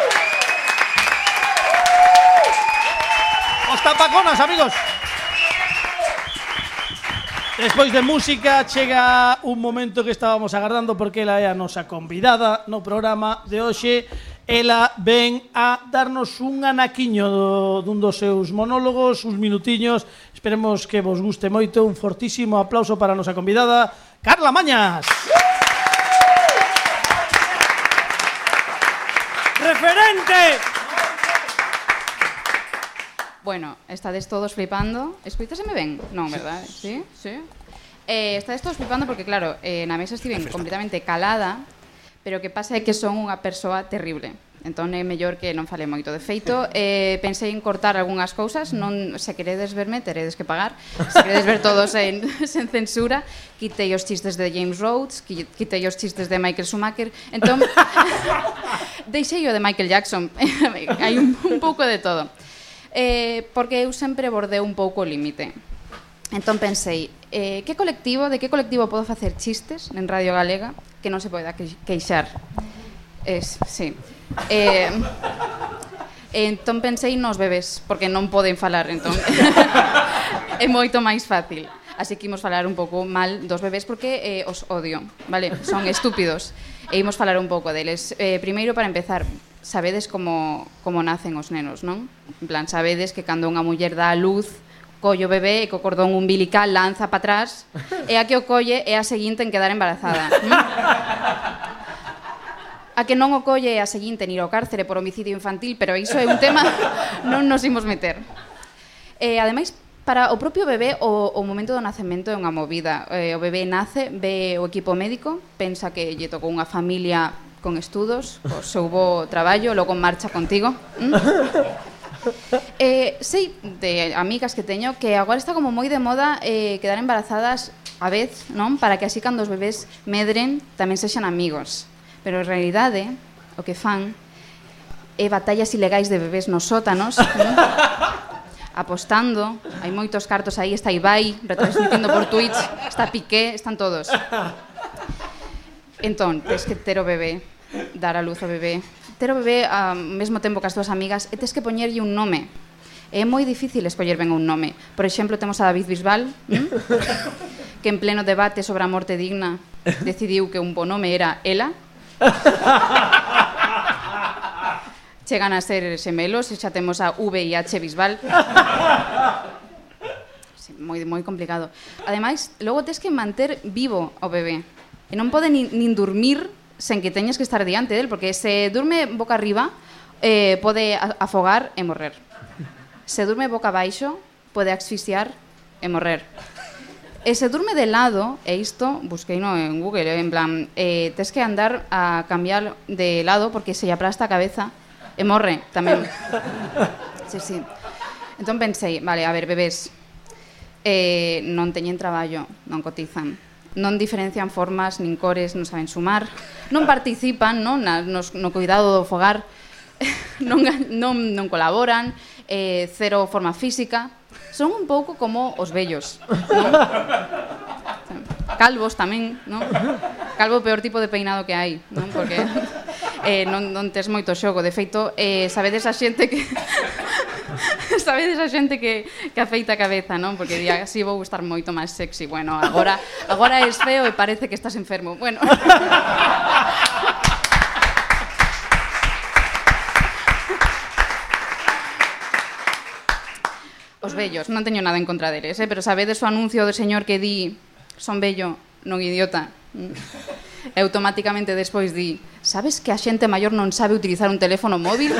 S18: Os tapaconas, amigos. Despois de música chega un momento que estábamos agardando porque ela é a nosa convidada no programa de hoxe. Ela ven a darnos un anaquiño do, dun dos seus monólogos, uns minutiños. Esperemos que vos guste moito. Un fortísimo aplauso para a nosa convidada, Carla Mañas. ¡Referente!
S10: Bueno, estades todos flipando. Escoitáseme ben? Non, verdad? Sí, sí. Eh, estades todos flipando porque, claro, eh, na mesa estiven completamente calada, pero o que pasa é que son unha persoa terrible. Entón é mellor que non fale moito de feito. Eh, pensei en cortar algunhas cousas, non se queredes verme, teredes que pagar. Se queredes ver todos en, sen censura, quitei os chistes de James Rhodes, qui- quitei os chistes de Michael Schumacher. Entón, deixei o de Michael Jackson. Hai un, un pouco de todo. Eh, porque eu sempre bordei un pouco o límite. Entón pensei, eh, que colectivo, de que colectivo podo facer chistes en Radio Galega que non se poida que- queixar? Es, sí. Eh, entón pensei nos bebés, porque non poden falar, entón é moito máis fácil. Así que imos falar un pouco mal dos bebés porque eh, os odio, vale? Son estúpidos. E imos falar un pouco deles. Eh, primeiro, para empezar, sabedes como, como nacen os nenos, non? En plan, sabedes que cando unha muller dá a luz, collo o bebé e co cordón umbilical lanza para atrás e a que o colle é a seguinte en quedar embarazada. A que non o colle é a seguinte en ir ao cárcere por homicidio infantil, pero iso é un tema non nos imos meter. E Eh, ademais para o propio bebé o, o momento do nacemento é unha movida. Eh, o bebé nace, ve o equipo médico, pensa que lle tocou unha familia con estudos, o seu bo traballo, logo marcha contigo. ¿Mm? Eh, sei de amigas que teño que agora está como moi de moda eh, quedar embarazadas a vez, non? Para que así cando os bebés medren tamén sexan amigos. Pero en realidade o que fan é batallas ilegais de bebés nos sótanos, non? apostando, hai moitos cartos aí, está Ibai, retransmitindo por Twitch, está Piqué, están todos. Entón, tes que ter o bebé, dar a luz ao bebé, ter o bebé ao mesmo tempo que as túas amigas, e tes que poñerlle un nome. É moi difícil escoller ben un nome. Por exemplo, temos a David Bisbal, ¿m? que en pleno debate sobre a morte digna decidiu que un bo nome era Ela. Chegan a ser xemelos e xa temos a VIH Bisbal. Sí, moi moi complicado. Ademais, logo tes que manter vivo o bebé. E non pode nin, nin dormir sen que teñas que estar diante del, porque se durme boca arriba, eh, pode a- afogar e morrer. Se durme boca abaixo, pode asfixiar e morrer. E se durme de lado, e isto busqueino en Google, eh, en plan, eh, tes que andar a cambiar de lado porque se lle aplasta a cabeza e morre tamén. Sí, sí. Entón pensei, vale, a ver, bebés, eh, non teñen traballo, non cotizan, non diferencian formas nin cores, non saben sumar, non participan non, na, nos, no cuidado do fogar, non, ga- non, non colaboran, eh, cero forma física, son un pouco como os vellos. Non? Calvos tamén, non? Calvo é o peor tipo de peinado que hai, non? Porque eh, non, non tes moito xogo. De feito, eh, sabedes a xente que... sabedes a xente que, que afeita a cabeza, non? Porque di, así vou estar moito máis sexy. Bueno, agora agora es feo e parece que estás enfermo. Bueno. Os bellos, non teño nada en contra deles, eh? pero sabedes o anuncio do señor que di son bello, non idiota. Mm. e automáticamente despois di sabes que a xente maior non sabe utilizar un teléfono móvil?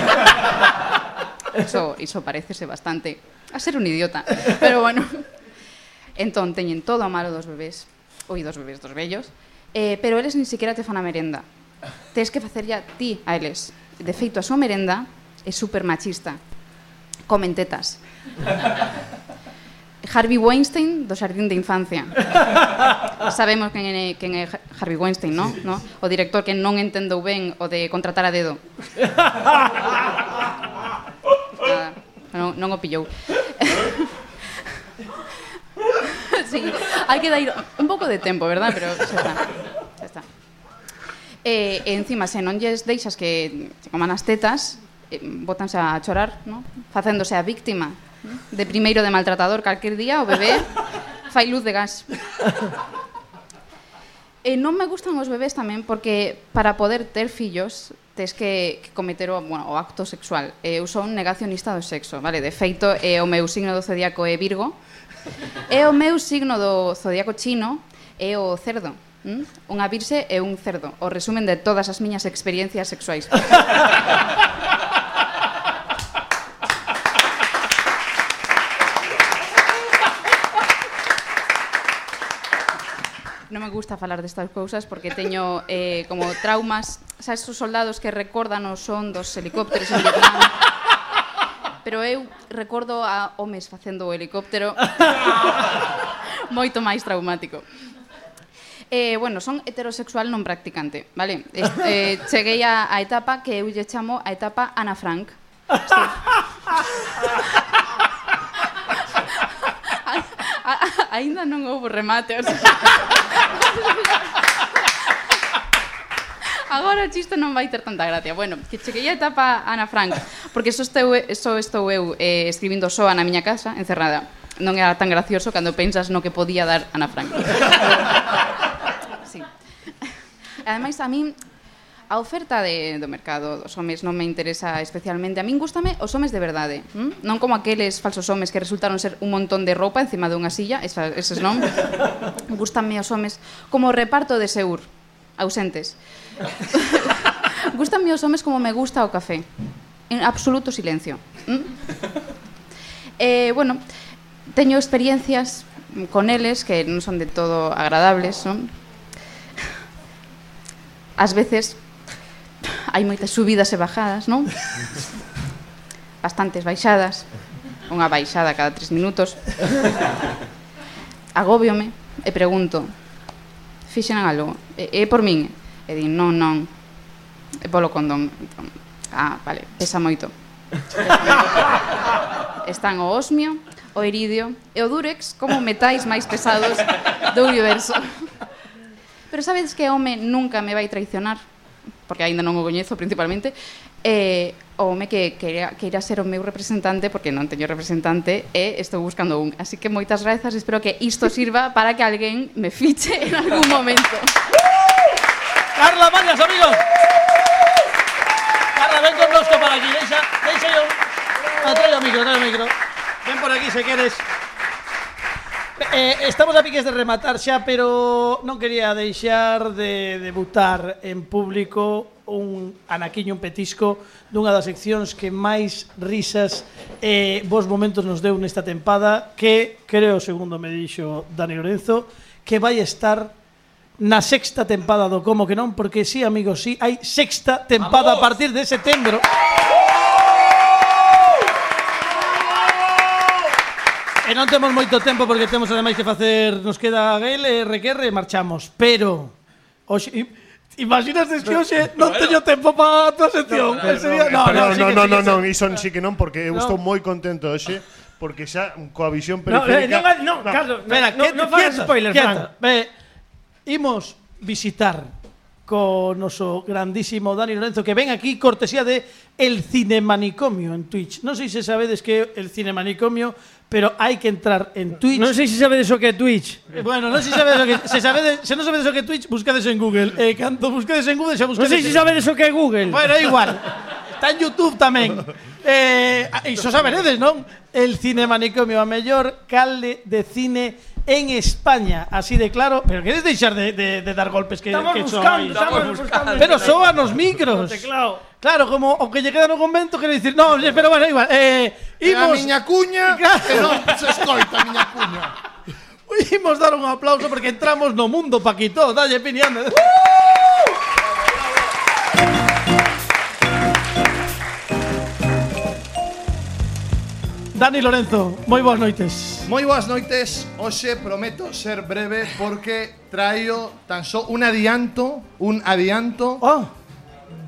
S10: Iso, iso parecese bastante a ser un idiota, pero bueno. Entón, teñen todo a malo dos bebés, oi, dos bebés, dos bellos, eh, pero eles ni siquiera te fan a merenda. Tes que facerlla ti a eles. De feito, a súa merenda é super machista. Comen tetas. Harvey Weinstein do Xardín de Infancia. Sabemos quen é, quen é Harvey Weinstein, non? No? O director que non entendeu ben o de contratar a dedo. Nada, non, non o pillou. sí, hai que dar un pouco de tempo, verdad? Pero xa está. Xa está. E, e encima, se non lles deixas que se coman as tetas, eh, botanse a chorar, no? facéndose a víctima de primeiro de maltratador calquer día, o bebé fai luz de gas. E non me gustan os bebés tamén porque para poder ter fillos tes que, que cometer o, bueno, o acto sexual. E Eu son negacionista do sexo, vale? De feito, é o meu signo do zodiaco é Virgo. E o meu signo do zodiaco chino é o cerdo. ¿m? Unha virxe é un cerdo. O resumen de todas as miñas experiencias sexuais. non me gusta falar destas cousas porque teño eh, como traumas, sabes, os soldados que recordan o son dos helicópteros en Vietnam. Pero eu recordo a homes facendo o helicóptero moito máis traumático. Eh, bueno, son heterosexual non practicante, vale? Este, eh, cheguei a, a etapa que eu lle chamo a etapa Ana Frank. A, a, ainda non houve remate, o sea. Agora o chiste non vai ter tanta gracia. Bueno, que chequei a etapa Ana Frank, porque só estou, só estou eu eh, escribindo soa na miña casa, encerrada. Non era tan gracioso cando pensas no que podía dar Ana Frank. sí. Ademais, a min a oferta de, do mercado dos homes non me interesa especialmente. A min gustame os homes de verdade, hm? non como aqueles falsos homes que resultaron ser un montón de roupa encima dunha silla, esa, eses non. Gústanme os homes como o reparto de Seur, ausentes. Gústanme os homes como me gusta o café, en absoluto silencio. hm? Eh, bueno, teño experiencias con eles que non son de todo agradables, non? Ás veces hai moitas subidas e bajadas, non? Bastantes baixadas, unha baixada cada tres minutos. Agóbiome e pregunto, fixen algo, é, é por min? E din, non, non, é polo condón. Entón, ah, vale, pesa moito. Están o osmio, o iridio e o durex como metais máis pesados do universo. Pero sabedes que o home nunca me vai traicionar, porque aínda non o coñezo principalmente, eh, o home que queira, queira ser o meu representante, porque non teño representante, e estou buscando un. Así que moitas grazas, espero que isto sirva para que alguén me fiche en algún momento.
S2: Carla, varias, amigos. Carla, ven connosco para aquí. Deixa, deixa yo. Ah, trae o micro, trae o micro. Ven por aquí se queres. Eh, estamos a piques de rematar xa, pero non quería deixar de debutar en público un anaquiño, un petisco dunha das seccións que máis risas e eh, bons momentos nos deu nesta tempada que, creo, segundo me dixo Dani Lorenzo, que vai estar na sexta tempada do Como que non, porque sí, amigos, sí, hai sexta tempada a partir de setembro. E non temos moito tempo porque temos ademais que facer Nos queda Gael e Requerre e marchamos Pero Oxe, i- Imaginas que hoxe non teño tempo para a tua sección
S5: No,
S2: Ese día-
S5: no, no,
S2: sí que sí
S5: no,
S2: que
S5: no,
S2: sí.
S5: non, iso sí que non, porque
S2: No.
S5: eu estou moi contento hoxe, porque xa coa visión
S2: No, eh,
S5: periférica...
S2: no, no, Carlos, espera,
S5: no,
S2: quieta,
S5: no fagas
S2: quieta,
S5: spoilers,
S2: quieta.
S5: Fran.
S2: Ve, imos visitar co noso grandísimo Dani Lorenzo que ven aquí cortesía de El Cinemanicomio en Twitch. Non sei se sabedes que é El Cinemanicomio, pero hai que entrar en Twitch.
S18: Non sei se sabedes o que é Twitch.
S2: Eh, Bueno, non sei se sabedes o que se sabedes, se non sabedes o que é Twitch, buscades en Google. E eh, cando buscades en Google xa
S18: Non sei
S2: buscades.
S18: se
S2: en-
S18: sabedes o que é Google.
S2: Bueno, é igual. Está en YouTube tamén. Eh, iso saberedes, non? El cine manicomio a mellor calde de cine en España, así de claro. Pero queres deixar de, de, de dar golpes que,
S3: Estamos
S2: que
S3: buscando,
S2: sois?
S3: estamos Estamos buscando. buscando.
S2: Pero soban los micros.
S3: O teclado.
S2: Claro, como aunque lle queda no convento, quero dicir, no, oye, pero bueno, igual. Eh,
S4: E a
S2: imos,
S4: miña cuña que non se escoita, miña cuña.
S2: imos dar un aplauso porque entramos no mundo, Paquito. Dalle, Pini, anda. Dani Lorenzo, moi boas noites.
S4: Moi boas noites, hoxe prometo ser breve porque traio tan só un adianto, un adianto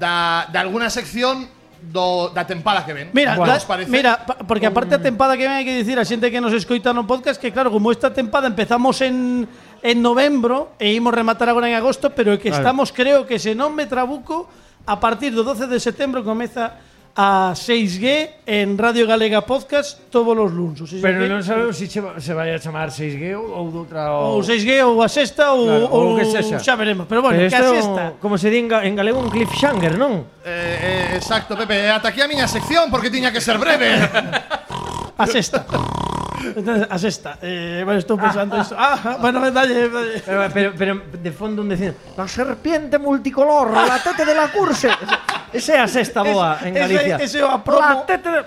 S4: da, de alguna sección do, da tempada que ven.
S2: Mira,
S4: ¿Qué
S2: da-
S4: os parece?
S2: mira, pa- porque aparte a tempada que ven hai que dicir a xente que nos escoita no podcast que claro, como esta tempada empezamos en en novembro e imos rematar agora en agosto, pero é que
S9: Claro.
S2: estamos creo que se non me trabuco a partir do 12 de setembro comeza a 6G en Radio Galega Podcast todos os luns. O 6G
S9: Pero non sabemos se si se vai a chamar 6G ou ou doutra
S2: ou 6G ou a sexta ou
S9: Claro, ou
S2: ou
S9: que sexa.
S2: xa veremos, pero bueno,
S9: Pero
S2: que a
S9: isto é
S2: sexta.
S9: un- Como se di en, ga- en galego un cliffhanger, non?
S4: Eh, eh, exacto, Pepe, e ata aquí a miña sección porque tiña que ser breve.
S2: A sexta. Entonces, a sexta. Eh, bueno, estou pensando iso. Ah, bueno, dalle, dalle.
S9: Pero, pero, pero de fondo un dicen La serpiente multicolor, la tete de la curse Ese é a sexta boa en
S2: Ese-
S9: Galicia
S2: ese é o apromo.
S9: La tete de...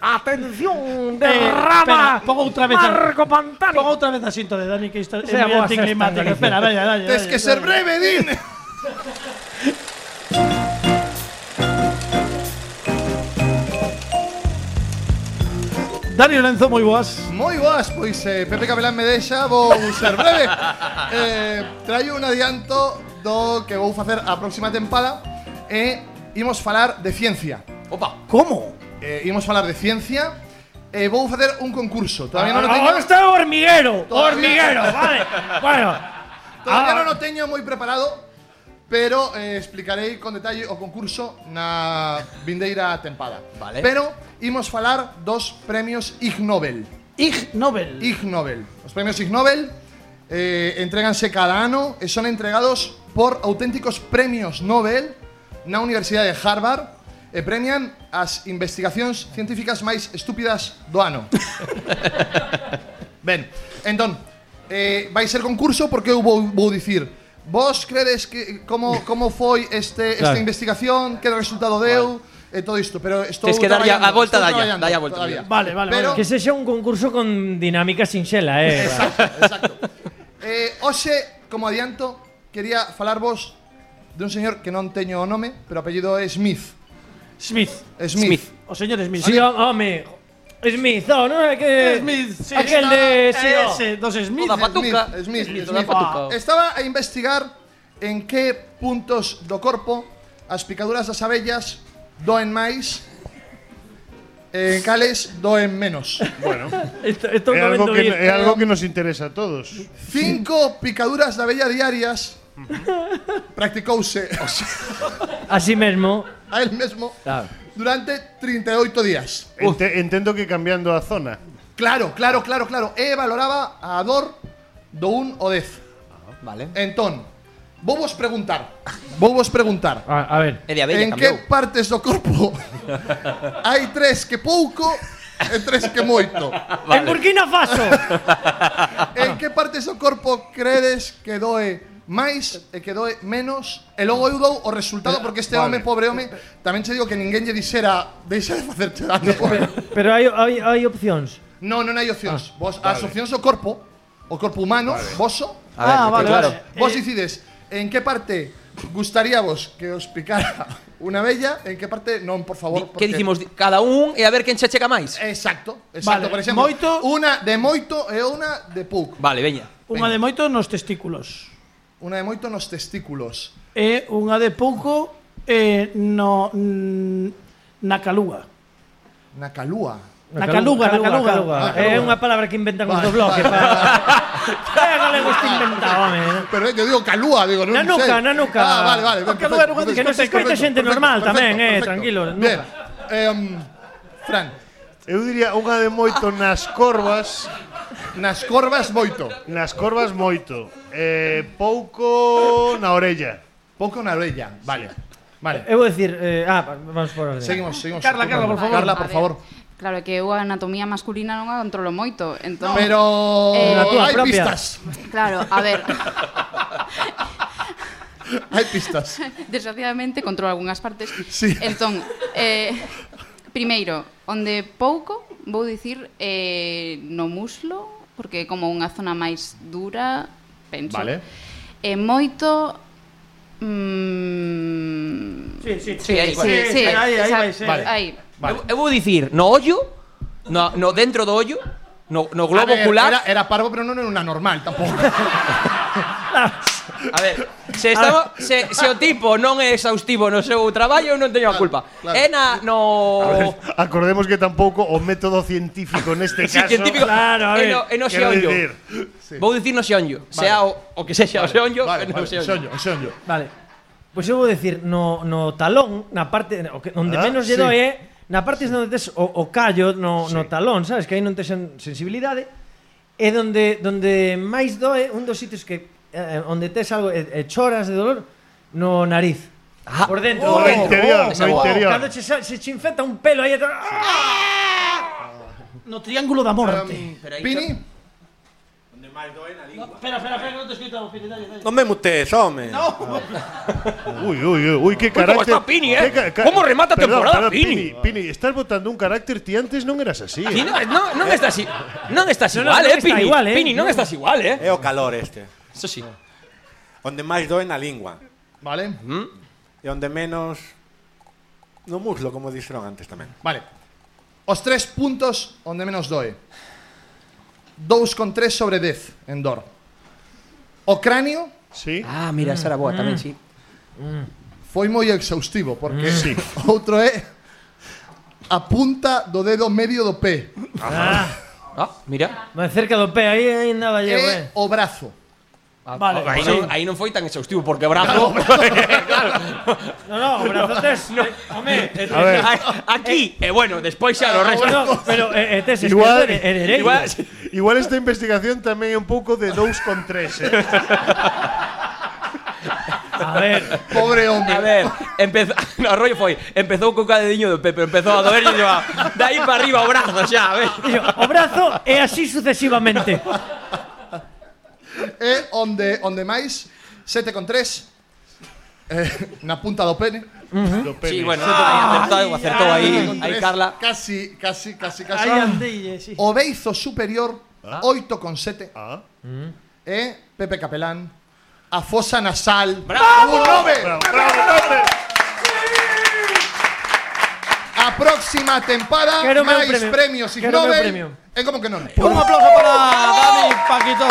S9: Atención,
S2: Eh, espera,
S9: derrama
S2: pongo outra vez a-
S9: Marco Pantani
S2: Pongo outra vez a cinta de Dani que está é
S9: Esa é a
S2: moi
S9: boa sexta en
S2: anticlimática.
S9: Galicia.
S2: Espera, dalle, dalle.
S4: Tes
S2: dalle,
S4: que ser
S2: dalle.
S4: breve, din.
S2: Dani Lorenzo, moi boas.
S4: Moi boas, pois eh, Pepe Capelán me deixa, vou ser breve. Eh, traio un adianto do que vou facer a próxima tempada e imos falar de ciencia.
S6: Opa.
S2: Como?
S4: Eh, imos falar de ciencia e vou facer un concurso. Todavía non o teño.
S3: Ahora Ah, está hormiguero.
S4: Todavía-
S3: Hormiguero, vale. Bueno.
S4: Todavía
S3: Ah.
S4: non o teño moi preparado, pero eh, explicarei con detalle o concurso na vindeira tempada.
S6: Vale.
S4: Pero imos falar dos premios Ig Nobel.
S2: Ig Nobel.
S4: Ig Nobel. Os premios Ig Nobel eh, entréganse cada ano e son entregados por auténticos premios Nobel na Universidade de Harvard e premian as investigacións científicas máis estúpidas do ano. Ben, entón, eh, vai ser concurso porque eu vou, vou dicir Vos credes que como como foi este
S6: Claro.
S4: esta investigación, que resultado deu e todo isto, pero estou
S6: Tes que darlle a- a
S4: traballando,
S6: volta,
S4: estou
S6: dalle,
S4: traballando
S6: dalle a volta,
S4: todavía.
S6: mira.
S4: Pero
S9: Que sexa un concurso con dinámica sinxela, eh
S4: Eh, hoxe, como adianto, quería falarvos dun señor que non teño o nome, pero o apellido é Smith.
S2: Smith.
S4: Smith.
S2: O señor Smith.
S9: Si, home Smith, oh, non é que...
S2: Eh, Smith, sí.
S9: Aquel de... sí, oh.
S2: Ese, dos Smith. Ah.
S6: Toda patuca.
S4: Smith, Smith,
S6: Smith, toda
S4: Smith.
S6: patuca.
S4: Estaba a investigar en que puntos do corpo as picaduras das abellas doen máis e en cales doen menos.
S5: Bueno.
S9: Esto, esto
S5: É
S9: no vendo
S5: algo, que,
S9: bien.
S5: é algo que nos interesa a todos.
S4: Cinco picaduras de abella diarias practicouse
S9: Así mesmo.
S4: a él mesmo
S9: Claro.
S4: durante 38 días.
S5: Ente- entendo que cambiando a zona.
S4: Claro, claro, claro, claro. E valoraba a dor do un o 10.
S6: Vale.
S4: Entón, vou vos preguntar. Vou vos preguntar.
S2: Ah,
S9: A, a ver.
S6: É de abella,
S4: en
S6: cambiou.
S4: que partes do corpo hai tres que pouco e tres que moito?
S9: En Burkina Faso.
S4: En que partes do corpo credes que doe máis e que doe menos? E logo eu dou o resultado porque este
S5: Vale.
S4: home, pobre home, tamén che digo que ninguén lle dixera deixa de facerte daño.
S9: ah, Pero hai, hai, hai opcións.
S4: No, non hai opcións. vos, as
S9: Ah, vale.
S4: opcións do corpo, o corpo humano, voso.
S9: A ver, Ah, vale, claro. vale.
S4: Vos
S9: Eh,
S4: decides en que parte gustaríavos que os picara unha bella, en que parte non, por favor.
S6: Que
S4: porque-
S6: dicimos Di- cada un e a ver quen se chega máis.
S4: Exacto, Exacto,
S2: Vale,
S4: por exemplo,
S2: moito-
S4: unha de moito e unha de pouco.
S6: Vale, veña.
S2: Unha de moito nos testículos.
S4: Unha de moito nos testículos.
S2: E unha de pouco eh, no mm, na calúa.
S4: Na calúa.
S2: Na caluga, na caluga.
S9: É unha palabra que inventan os
S4: Vale,
S9: do bloque
S4: vale.
S9: para É galego este inventado, home.
S4: Pero eh, yo digo calúa, digo, non
S9: Na nuca,
S4: sei.
S9: na nuca.
S4: Ah, vale, vale. ben,
S9: O calúa era unha
S4: perfecto,
S9: que nos
S4: perfecto,
S9: escoite xente
S4: perfecto,
S9: normal
S4: perfecto,
S9: tamén, eh,
S4: perfecto.
S9: tranquilo, nuca.
S4: Bien. Em, Fran.
S5: Eu diría unha de moito nas corvas.
S4: Nas corvas moito.
S5: Nas corvas moito. Eh, pouco na orella.
S4: Pouco na orella, vale. Vale.
S9: Eu vou dicir, eh, ah, vamos por orden.
S4: Seguimos, seguimos.
S9: Carla, Carla, por favor.
S4: Carla, por
S10: A ver,
S4: favor.
S10: Claro, é que eu a anatomía masculina non a controlo moito, entón...
S4: Pero
S10: Eh,
S4: hai pistas.
S10: Claro, a ver,
S4: Hai pistas.
S10: desgraciadamente controlo algunhas partes.
S4: Sí.
S10: Entón, eh, primeiro, onde pouco, vou dicir eh, no muslo, porque é como unha zona máis dura, penso.
S5: Vale.
S10: E moito... Mm,
S2: sí, sí,
S6: Sí, ahí,
S10: sí,
S6: vale.
S10: sí,
S6: Ahí, ahí,
S10: eh, esa-
S6: vai ser. Vale.
S10: aí.
S6: Eu, eu vou dicir, no ollo, no, no dentro do ollo, no, no globo
S4: A ver,
S6: ocular...
S4: Era, era parvo, pero non era unha normal tampouco.
S6: A ver, se, estamos, se, se o tipo non é exhaustivo no seu traballo, eu non teño a culpa.
S5: claro.
S6: É na, no...
S5: A ver, acordemos que tampouco o método científico neste
S6: Sí,
S5: caso.
S6: científico. E no, e no
S5: quiero
S6: xeonllo.
S5: decir,
S6: Vou dicir no xeonllo. Sea o, o que sexa o xeonllo,
S9: vale,
S6: no
S9: vale,
S6: xeonllo.
S9: Vale. Pois eu vou decir no, no talón, na parte o que, onde
S6: Ah,
S9: menos lle
S6: sí.
S9: doe, na parte onde tes o, o callo no, no talón, sabes que aí non tes sen- sensibilidade, é onde onde máis doe, un dos sitios que eh, onde tes algo e, e choras de dolor no nariz. Ah, por dentro,
S5: Oh,
S9: por dentro.
S5: no interior, no
S9: Esa-
S5: interior.
S9: Cando che, sa- se che infecta un pelo aí atrás.
S2: No triángulo da morte.
S4: Pini?
S18: Onde máis doe na lingua. espera, espera, espera, que non te escrito o Pini, dalle, dalle.
S11: No me mutes, home.
S18: No.
S5: Uy, uy, uy, uy, qué
S18: cómo
S5: carácter.
S18: está Pini, eh?
S5: Qué ca- ca-
S18: ¿Cómo remata
S5: Perdón,
S18: temporada
S5: perdón,
S18: Pini?
S5: Pini? Pini, estás votando un carácter ti antes non eras así. ¿eh?
S6: Aquí non, non, non
S9: Eh?
S6: estás, i- non estás
S5: No, no,
S6: igual,
S5: non
S6: eh,
S5: está
S6: Pini.
S5: igual, eh.
S6: Pini, non estás igual, eh.
S11: É o calor este.
S6: Eso sí.
S11: Onde máis doe na lingua.
S4: Vale.
S6: Mm.
S11: E onde menos no muslo, como dixeron antes tamén.
S4: Vale. Os tres puntos onde menos doe. 2,3 sobre 10 en dor. O cráneo Mm.
S5: Sí.
S6: Ah, mira, esa era boa tamén, sí.
S4: foi moi exhaustivo
S11: Mm.
S4: porque
S5: Sí.
S4: outro é a punta do dedo medio do pé.
S6: Ah, mira.
S9: Mas cerca do pé aí ainda vai llevo,
S4: É
S9: eh.
S4: o brazo.
S6: Ah,
S9: Vale,
S6: aí,
S9: sí.
S6: non, aí non foi tan exhaustivo porque brazo.
S9: No, no, o brazo tes, no. home, eh,
S6: A ver. Aquí, e eh, bueno, despois xa o resto.
S9: No, pero eh, eh, tes
S5: Igual,
S9: esquerdo e- e dereito.
S5: igual, igual esta investigación tamén é un pouco de 2 con 3. Eh.
S9: A ver.
S4: Pobre hombre.
S6: A ver, empezó. No, rollo foi. Empezou co cadeliño do Pepe, empezou a doer e va. De aí para arriba o brazo xa, a ver.
S9: Dixo, O brazo e así sucesivamente.
S4: É E onde onde máis 7,3 eh, na punta do pene.
S5: Do
S6: Sí, bueno, aí acertou, acertou aí, aí Carla.
S4: Casi, casi, casi, casi.
S2: Aí andille, sí.
S4: O beizo superior 8,7.
S5: Ah.
S4: E Pepe Capelán. A fosa nasal.
S18: ¡Bravo!
S4: ¡Un nove!
S18: ¡Bravo,
S4: A próxima tempada
S18: Quero meu
S4: máis
S18: premio.
S4: premios Ig
S18: Quero meu
S4: Nobel.
S18: premio.
S4: É como que non.
S18: Un aplauso para Dani Paquito.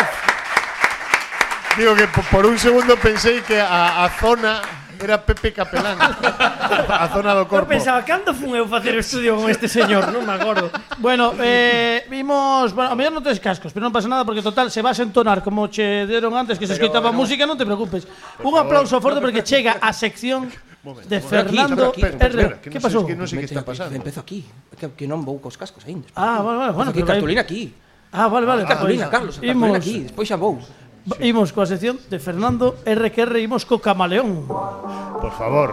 S5: Digo que po- por un segundo pensei que a, a zona era Pepe Capelán. a zona do
S9: Eu
S5: corpo.
S9: pensaba, cando fun eu facer o estudio con este señor? Non me acordo.
S2: Bueno, eh, vimos, bueno, a mellor non tes cascos, pero non pasa nada porque total se vas a entonar como che deron antes que se
S18: Pero,
S2: escoitaba
S18: no.
S2: música, non te preocupes. Un aplauso forte porque chega a sección de
S6: Por aquí, por
S2: Fernando
S6: aquí.
S2: R. Que pasou?
S6: Empezo aquí, que, que non vou cos cascos aínda.
S2: Ah, vale, vale, bueno,
S6: Aquí,
S2: pero vai-
S6: cartulina aquí.
S2: Ah, vale, vale.
S6: Ah, Cartulina,
S2: pois,
S6: Carlos, a cartulina
S2: imos-
S6: aquí, despois xa vou.
S2: Imos coa sección de Fernando R que R, imos co camaleón.
S5: Por favor.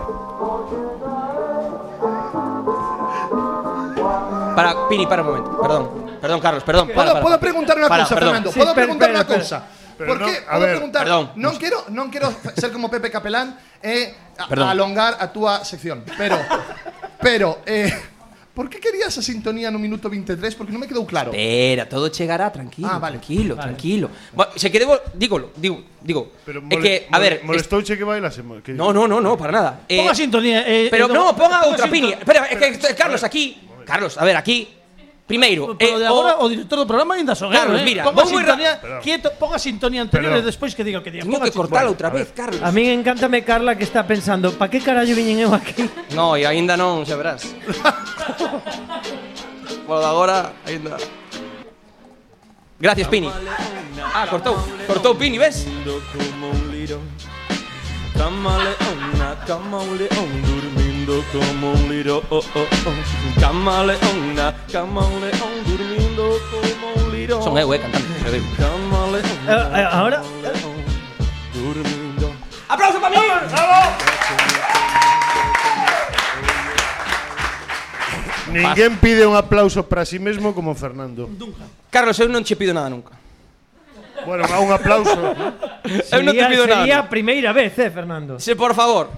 S6: Para, Pini, para un momento. Perdón. Perdón, Carlos, perdón. Para,
S4: ¿Puedo,
S6: para,
S4: puedo
S6: para.
S4: preguntar una
S6: Para,
S4: cosa,
S6: perdón.
S4: Fernando?
S6: Sí,
S4: ¿Puedo
S6: espera,
S4: preguntar
S6: espera,
S4: una
S6: espera.
S4: cosa? Porque
S6: a
S4: puedo
S6: ver,
S4: preguntar,
S6: perdón.
S4: no quiero, no quiero ser como Pepe Capelán eh, a-
S6: Perdón.
S4: alongar a tu sección, pero, pero, eh, ¿por qué querías esa sintonía en un minuto 23? Porque no me quedó claro.
S6: Espera, todo chegará, tranquilo,
S4: Ah, vale.
S6: tranquilo, tranquilo. Bueno, se quede, vol- dígolo, digo, digo. é que, a ver, es-
S5: Molestouche que bailásemos. Que...
S6: No, no, no, no, para nada. Eh,
S2: Ponga sintonía, eh,
S6: pero
S2: eh,
S6: no,
S2: do-
S6: ponga
S2: ponga
S6: outra
S2: sinto-
S6: Pini. Espera, é que eh, Carlos aquí, Carlos, a ver, aquí. Primeiro,
S2: Pero de
S6: eh,
S2: agora o director do programa ainda son
S6: Carlos,
S2: eu, eh.
S6: mira, vou
S2: ponga
S6: moi ra-
S2: sintonía,
S6: Perdón.
S2: quieto, ponga sintonía anterior
S9: Perdón.
S2: e despois que diga o que diga.
S6: Teño
S2: Ponga
S6: que
S2: sintonía.
S6: cortala outra vez, Carlos.
S9: A min encántame Carla que está pensando, pa que carallo viñen eu aquí?
S6: No, e aínda non, xa verás. Por agora, aínda. Gracias, Pini. Ah, cortou. Cortou Pini, ves?
S16: como un lirón. Camaleona, camaleón, durmiendo como un oh, lirón. Camaleona, camaleón, durmiendo como un lirón.
S6: Son eu, eh, cantando. xa digo.
S16: Camaleona,
S9: eh, ahora?
S16: camaleón, durmiendo.
S6: ¡Aplauso para mí!
S16: ¡Bravo!
S5: Ninguén pide un aplauso para sí mesmo como Fernando.
S6: Carlos, eu non che pido nada nunca.
S5: Bueno, a un aplauso.
S6: eu non te
S9: Sería-
S6: pido nada.
S9: sería a primeira vez, eh, Fernando.
S6: Se, por favor,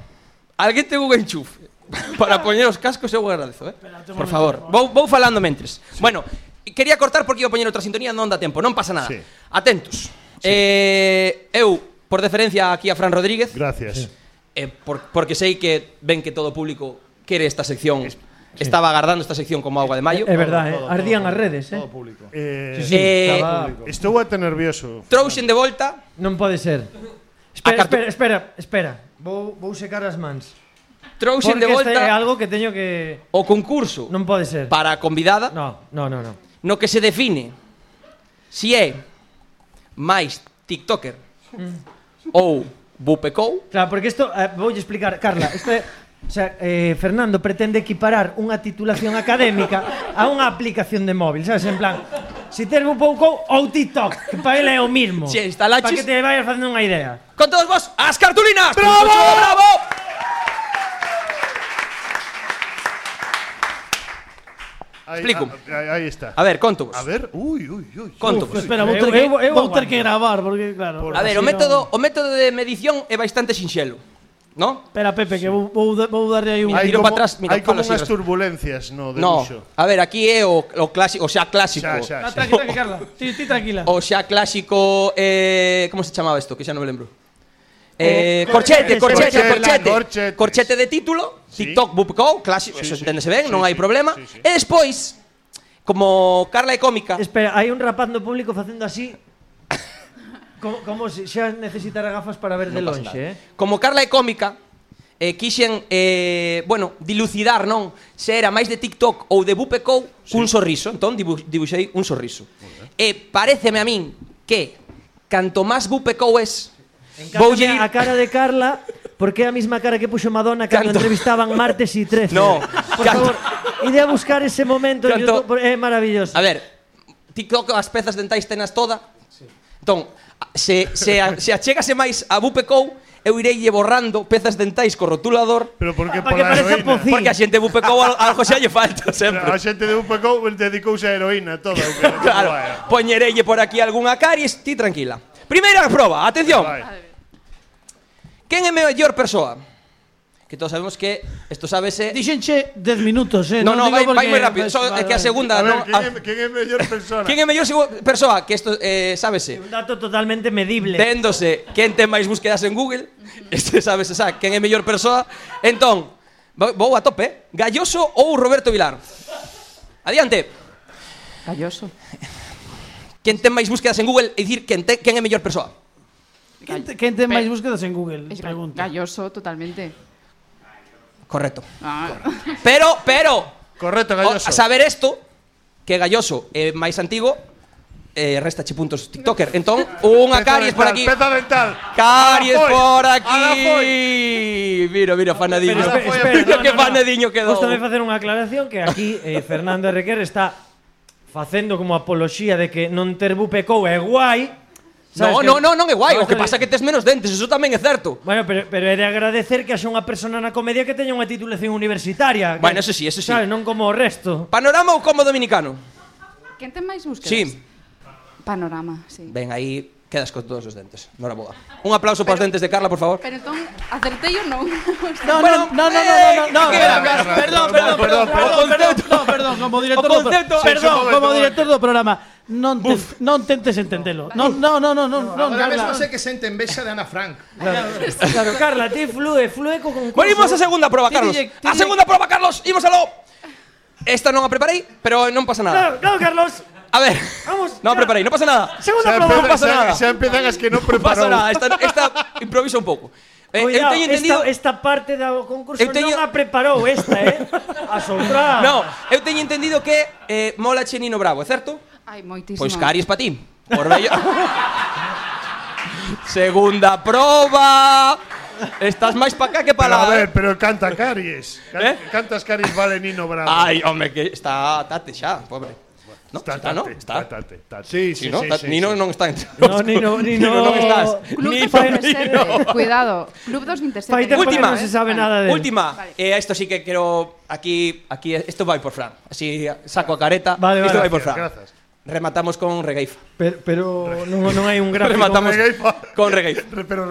S6: alguén ten un enchufe para poñer os cascos, eu agradezo, eh. Por favor, vou, vou falando mentres. Bueno, quería cortar porque iba a poñer outra sintonía, non dá tempo, non pasa nada.
S5: Sí.
S6: Atentos. Eh, eu, por deferencia aquí a Fran Rodríguez.
S5: Gracias.
S6: Eh, por, porque sei que ven que todo o público quere esta sección. Estaba agardando esta sección como agua de mayo.
S9: É verdad, eh? ardían as redes, eh?
S5: Eh,
S9: Sí, sí,
S6: Eh,
S9: estaba-
S5: Estou até nervioso.
S6: Trouxen de volta.
S9: Non pode ser. Espera, espera, espera, espera. Vou, vou secar as mans.
S6: Trouxen de
S9: Porque
S6: volta
S9: este é algo que teño que
S6: o concurso.
S9: Non pode ser.
S6: Para a convidada.
S9: No, no, no, no.
S6: No que se define si é máis tiktoker ou bupecou.
S9: Claro, porque isto eh, voulle explicar, Carla, isto é O sea, eh, Fernando pretende equiparar unha titulación académica a unha aplicación de móvil, sabes? En plan, si ter un pouco ou TikTok, que para ele é o mismo.
S6: Se instalaches-
S9: Para que te vayas facendo unha idea.
S6: Con todos vos, as cartulinas.
S9: Bravo!
S6: bravo!
S5: Ahí-
S6: Explico.
S5: a- a- Ahí está.
S6: A ver, conto vos.
S5: A ver, uy, uy, uy.
S6: Conto vos.
S2: Espera, vou ter que, vou ter que gravar, porque claro...
S6: A ver, o método, o método de medición é bastante sinxelo. No?
S2: Espera, Pepe, que vou, vou, da- vou darlle aí un...
S5: Hai
S6: Miro
S5: como,
S6: pa atrás, mira,
S5: hai como
S6: falo así,
S5: unhas
S6: ras-
S5: turbulencias, no, de
S6: No,
S5: luxo.
S6: a ver, aquí é o, o clásico, o xa clásico.
S5: Xa, xa,
S2: Ah, tranqui, tranqui, Carla. Ti, ti tranquila.
S6: O xa clásico eh, Como se chamaba isto? Que xa non me lembro Eh,
S2: Eh,
S6: corchete, corchete,
S5: corchete,
S6: corchete, corchete,
S5: corchetes.
S6: de título, TikTok, Bupco, clásico, eso enténdese ben,
S9: sí,
S6: non hai
S9: sí,
S6: problema.
S9: sí, sí.
S6: E despois, como Carla é cómica,
S9: Espera, hai un rapaz no público facendo así como, como se xa necesitara gafas para ver de
S6: Non pasa
S9: lonxe, eh?
S6: como Carla é cómica, eh, quixen, eh, bueno, dilucidar, non? Se era máis de TikTok ou de Bupecou, un sorriso. Entón, dibu dibuixei un sorriso. E pareceme a min que canto máis Bupecou es,
S9: Voulle a cara de Carla porque é a mesma cara que puxo Madonna cando
S6: Canto.
S9: entrevistaban martes e 13.
S6: No,
S9: por
S6: canto.
S9: favor, ide a buscar ese momento en
S6: Canto.
S9: YouTube, por- é maravilloso.
S6: A ver, TikTok as pezas dentais tenas toda. Entón, a- se, se, a- se achegase máis a Bupecou, eu ireille borrando pezas dentais co rotulador.
S5: Pero porque
S6: para que parece
S5: heroína.
S6: Porque a xente Bupecou al- algo xa lle falta sempre.
S5: A xente de Upacou dedicouse a heroína toda. o que-
S6: Claro, poñerelle por aquí algunha caries, ti tranquila. Primeira proba, atención. Quen é mellor persoa? Que todos sabemos que isto sábese...
S2: Dixenche 10 minutos, eh?
S6: No, no,
S2: digo
S6: vai,
S2: porque-
S6: vai moi rápido. Só é que a segunda...
S5: A ver,
S6: non-
S5: ¿quién, é, ¿quién é mellor persona?
S6: Quen é mellor segu- persoa? Que isto eh, sábese.
S9: Un dato totalmente medible.
S6: Téndose quen ten máis búsquedas en Google, este sabe se sabe quen é mellor persoa. Entón, vou vou a tope, eh? Galloso ou Roberto Vilar? Adiante.
S10: Galloso.
S6: Quen ten máis búsquedas en Google é dicir quen, ten, quen é mellor persoa.
S2: Quen te- Quen ten máis búsquedas en Google? Pregunta.
S10: Galloso, totalmente.
S6: Correcto.
S10: Ah.
S6: Pero, pero... Correcto,
S10: Galloso.
S6: A saber esto, que Galloso é máis antigo, eh, resta che puntos TikToker. Entón, unha
S5: Peza
S6: caries por
S5: dental,
S6: aquí.
S5: peza dental.
S6: Caries
S5: Alafoy,
S6: por
S5: Alafoy.
S6: aquí. Mira, mira, fanadiño.
S9: Pero espe- espera,
S6: Mira
S9: no,
S6: que
S9: no, no.
S6: fanadiño quedou.
S9: Gústame facer unha aclaración que aquí eh, Fernando Requer está facendo como apoloxía de que non ter bupecou é guai.
S6: No,
S9: que-
S6: no, no, non é guai. O que
S9: Vale.
S6: pasa é que tes menos dentes, eso tamén é certo.
S9: Bueno, pero, pero é de agradecer que haxa unha persona na comedia que teña unha titulación universitaria.
S6: Bueno,
S9: que-
S6: eso sí, eso sí.
S9: Sabes, non como o resto.
S6: Panorama ou como dominicano?
S10: Quen ten máis búsquedas?
S6: Sí.
S10: Panorama, sí.
S6: Ven, aí quedas con todos os dentes. Noraboa. Un aplauso para os dentes de Carla, por favor.
S10: Pero entón, acertei ou non?
S2: No, no, no, no, no, no, no, no,
S6: eh, que-
S2: perdón, perdón, perdón, perdón, perdón, perdón, perdón, como director do
S6: concepto-
S2: programa.
S6: Sí, sí, un
S2: Perdón,
S6: momento,
S2: como director do programa. Non te, non tentes entendelo. Non, non, non, non, non, non,
S4: Ahora
S2: Carla.
S4: mismo sé que se entembesa de Ana Frank.
S9: Claro, Carla, ti flúe, flúe con concurso.
S6: Bueno, imos a segunda proba,
S9: Ti
S6: Carlos.
S9: dille- ti
S6: A
S9: dille-
S6: segunda proba, Carlos, imos aló. Esta non a preparei, pero non pasa nada.
S9: Claro, claro, Carlos.
S6: A ver,
S9: Vamos.
S6: non a preparei, non pasa nada.
S9: Segunda
S6: Xa
S9: proba.
S6: empeza- Non pasa
S5: xa-
S6: nada.
S5: xa empezan as que non
S6: Non pasa
S5: preparou.
S6: nada, esta, esta improvisa un pouco. Eh, eu
S9: Cuidado,
S6: teño entendido...
S9: esta, este esta parte do concurso
S6: Eu teño-
S9: non a preparou esta, eh? As outras.
S6: No, eu teño entendido que eh, mola che Nino Bravo, é certo?
S10: Ai, moitísimo.
S6: Pois caries pa ti. Por bello... Segunda proba. Estás máis pa cá que pa ¿Eh?
S5: Pero, a
S6: lá.
S5: ver, pero canta
S6: oh.
S5: caries. Can- Cantas caries vale Nino Bravo.
S6: Ai, home, que está tate xa, pobre. No, está, está, no, está.
S5: Sí,
S6: sí, no, está- Nino non está en
S9: No, Nino, Nino.
S6: non estás.
S10: Oh, Club
S6: Nino,
S10: 227.
S6: Nino.
S10: Cuidado, Club 227.
S6: Última,
S10: eh.
S9: no se sabe
S6: Vale.
S9: nada de él.
S6: Última. Eh, esto sí que quiero aquí aquí esto va a ir por Fran. Así saco a careta.
S9: Vale, vale.
S6: esto va a ir por
S9: Gracias,
S6: Fran. Rematamos con Regaifa.
S9: Pero, pero non, non hai un gráfico.
S6: Rematamos con Regaifa.
S5: Pero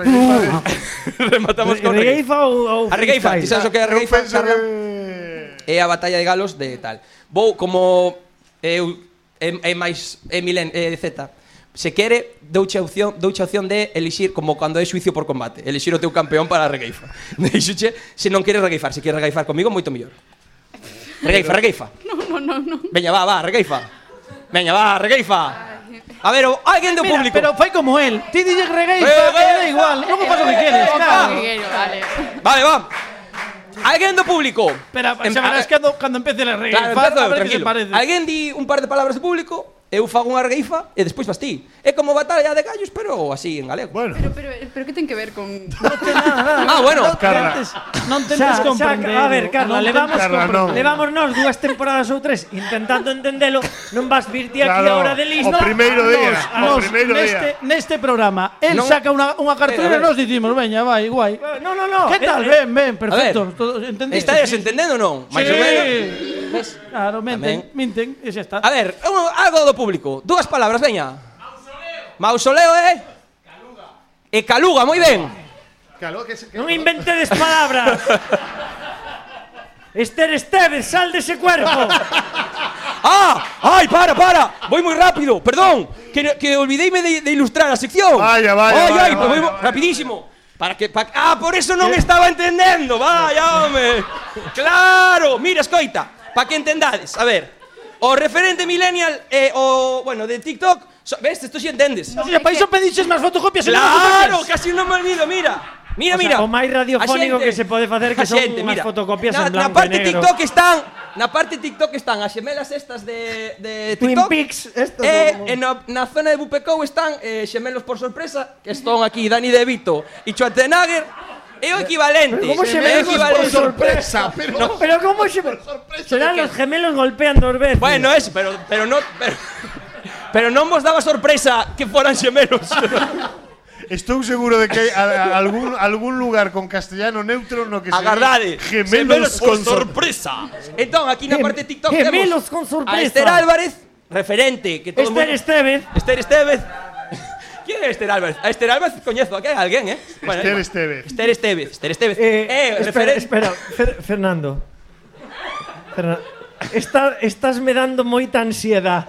S6: Rematamos con Regaifa.
S9: Regaifa ou, ou
S6: A Regaifa, ti sabes o que é a Regaifa? Carla? É a batalla de galos de tal. Vou como eu é, é máis é milen, é Z. Se quere, douche a opción, douche a opción de elixir como cando é suicio por combate, elixir o teu campeón para a Regaifa. Deixuche, se non queres regaifar, se queres regaifar comigo moito mellor. Regaifa, Regaifa.
S10: No, no, no, no.
S6: Veña, va, va, Regaifa. Veña, va, Regaifa. A ver, o- alguén do
S18: Mira,
S6: público.
S18: pero fai como él. Ti dille regueifa,
S6: Eh,
S18: eh,
S6: eh,
S18: da igual. Logo faz o que
S6: eh,
S18: queres.
S6: eh,
S18: claro.
S10: Vale.
S6: Vale, va. Alguén do público.
S18: Espera,
S6: Em-
S18: xa
S6: a-
S18: verás que ando- cando empece a regueifa,
S6: Claro, empezo,
S18: a ver que se
S6: tranquilo.
S18: parece.
S6: Alguén di un par de palabras de público, eu fago unha regueifa e despois vas ti. É como batalla de gallos, pero así en galego.
S5: Bueno.
S10: Pero, pero, pero ¿qué tiene que ver con...?
S6: ah, bueno.
S18: non tentes comprendelo.
S9: A ver, Carla,
S18: Non
S9: levamos,
S18: tentes
S9: Carla,
S18: comprendelo.
S9: levamos nós dúas temporadas ou tres intentando entendelo, non vas vir ti aquí
S18: Claro,
S9: agora de listo.
S18: o primeiro
S9: Nos-
S18: día, o
S9: nos-
S18: primeiro
S9: neste-
S18: día. Ah, Neste programa, él
S9: Non-
S18: saca unha, unha cartulina e
S9: Pero, a ver.
S18: nos dicimos, veña, vai, guai.
S9: No, no, no.
S18: Que tal?
S9: Eh,
S18: Ben, ben,
S6: A
S18: perfecto.
S6: ver,
S18: Todo- Entendiste?
S6: Estáis entendendo ou non? Mais ou menos.
S18: menos. Claro, menten, minten, e xa está.
S6: A ver, un- algo do público. Dúas palabras, veña. Mausoleo. Mausoleo, eh? Caluga. E Caluga, moi ben.
S4: Caló, que se- que-
S9: Non inventedes palabras. Esther Esteves, sal dese cuerpo.
S6: ¡Ah! ¡Ay, para, para! Voy muy rápido, perdón. Que, que olvidéme de, de ilustrar la sección. Vaya,
S5: vaya,
S6: ¡Ay,
S5: vaya,
S6: ay! pues
S5: vaya,
S6: voy rapidísimo. Para que, pa- ¡Ah, por eso no me estaba entendiendo! ¡Vaya, hombre! ¡Claro! Mira, escoita, para que entendades. A ver, o referente millennial, eh, o, bueno, de TikTok. so- ¿Ves? Esto sí entendes.
S18: No, para iso pediches máis fotocopias. e non
S6: ¡Claro!
S18: fotocopias.
S6: Casi no me olvido, mira. Mira,
S9: O sea,
S6: mira.
S9: o máis radiofónico que se pode facer,
S6: A
S9: que son
S6: xente, mira.
S9: unhas fotocopias en
S6: na
S9: blanco e
S6: parte
S9: negro.
S6: TikTok están, na parte TikTok están as xemelas estas de, de
S9: Twin
S6: TikTok.
S9: Peaks, estas
S6: eh,
S9: son-
S6: e na, na zona de Bupecou están eh, xemelos por sorpresa, que están aquí Dani De Vito e Schwarzenegger. É o equivalente.
S9: Pero
S6: é o
S9: como xemelos por
S6: equivalente.
S9: sorpresa, pero- Pero como se Serán los gemelos golpeando dos veces.
S6: Bueno, eso, pero pero no pero, pero non vos daba sorpresa que foran xemelos.
S5: Estou seguro de que hai a- a- algún, algún lugar con castellano neutro no que se
S6: Agardade.
S5: gemelos con sorpresa.
S6: sorpresa. Entón, aquí na
S5: Gem-
S6: parte de TikTok temos
S9: gemelos con
S6: A
S9: sorpresa.
S6: Esther Álvarez, referente, que todo
S9: Esther
S6: mundo...
S9: Estevez.
S6: Esther Estevez. ¿Quién es Esther Álvarez? A Esther Álvarez coñezo, aquí hay alguén, eh? Bueno,
S5: Esther
S6: igual.
S5: Estevez.
S6: Esther Estevez. Esther Estevez. Eh,
S9: espera,
S6: referente.
S9: espera, Fer- Fernando. Ferna- Está, estás me dando moita ansiedad.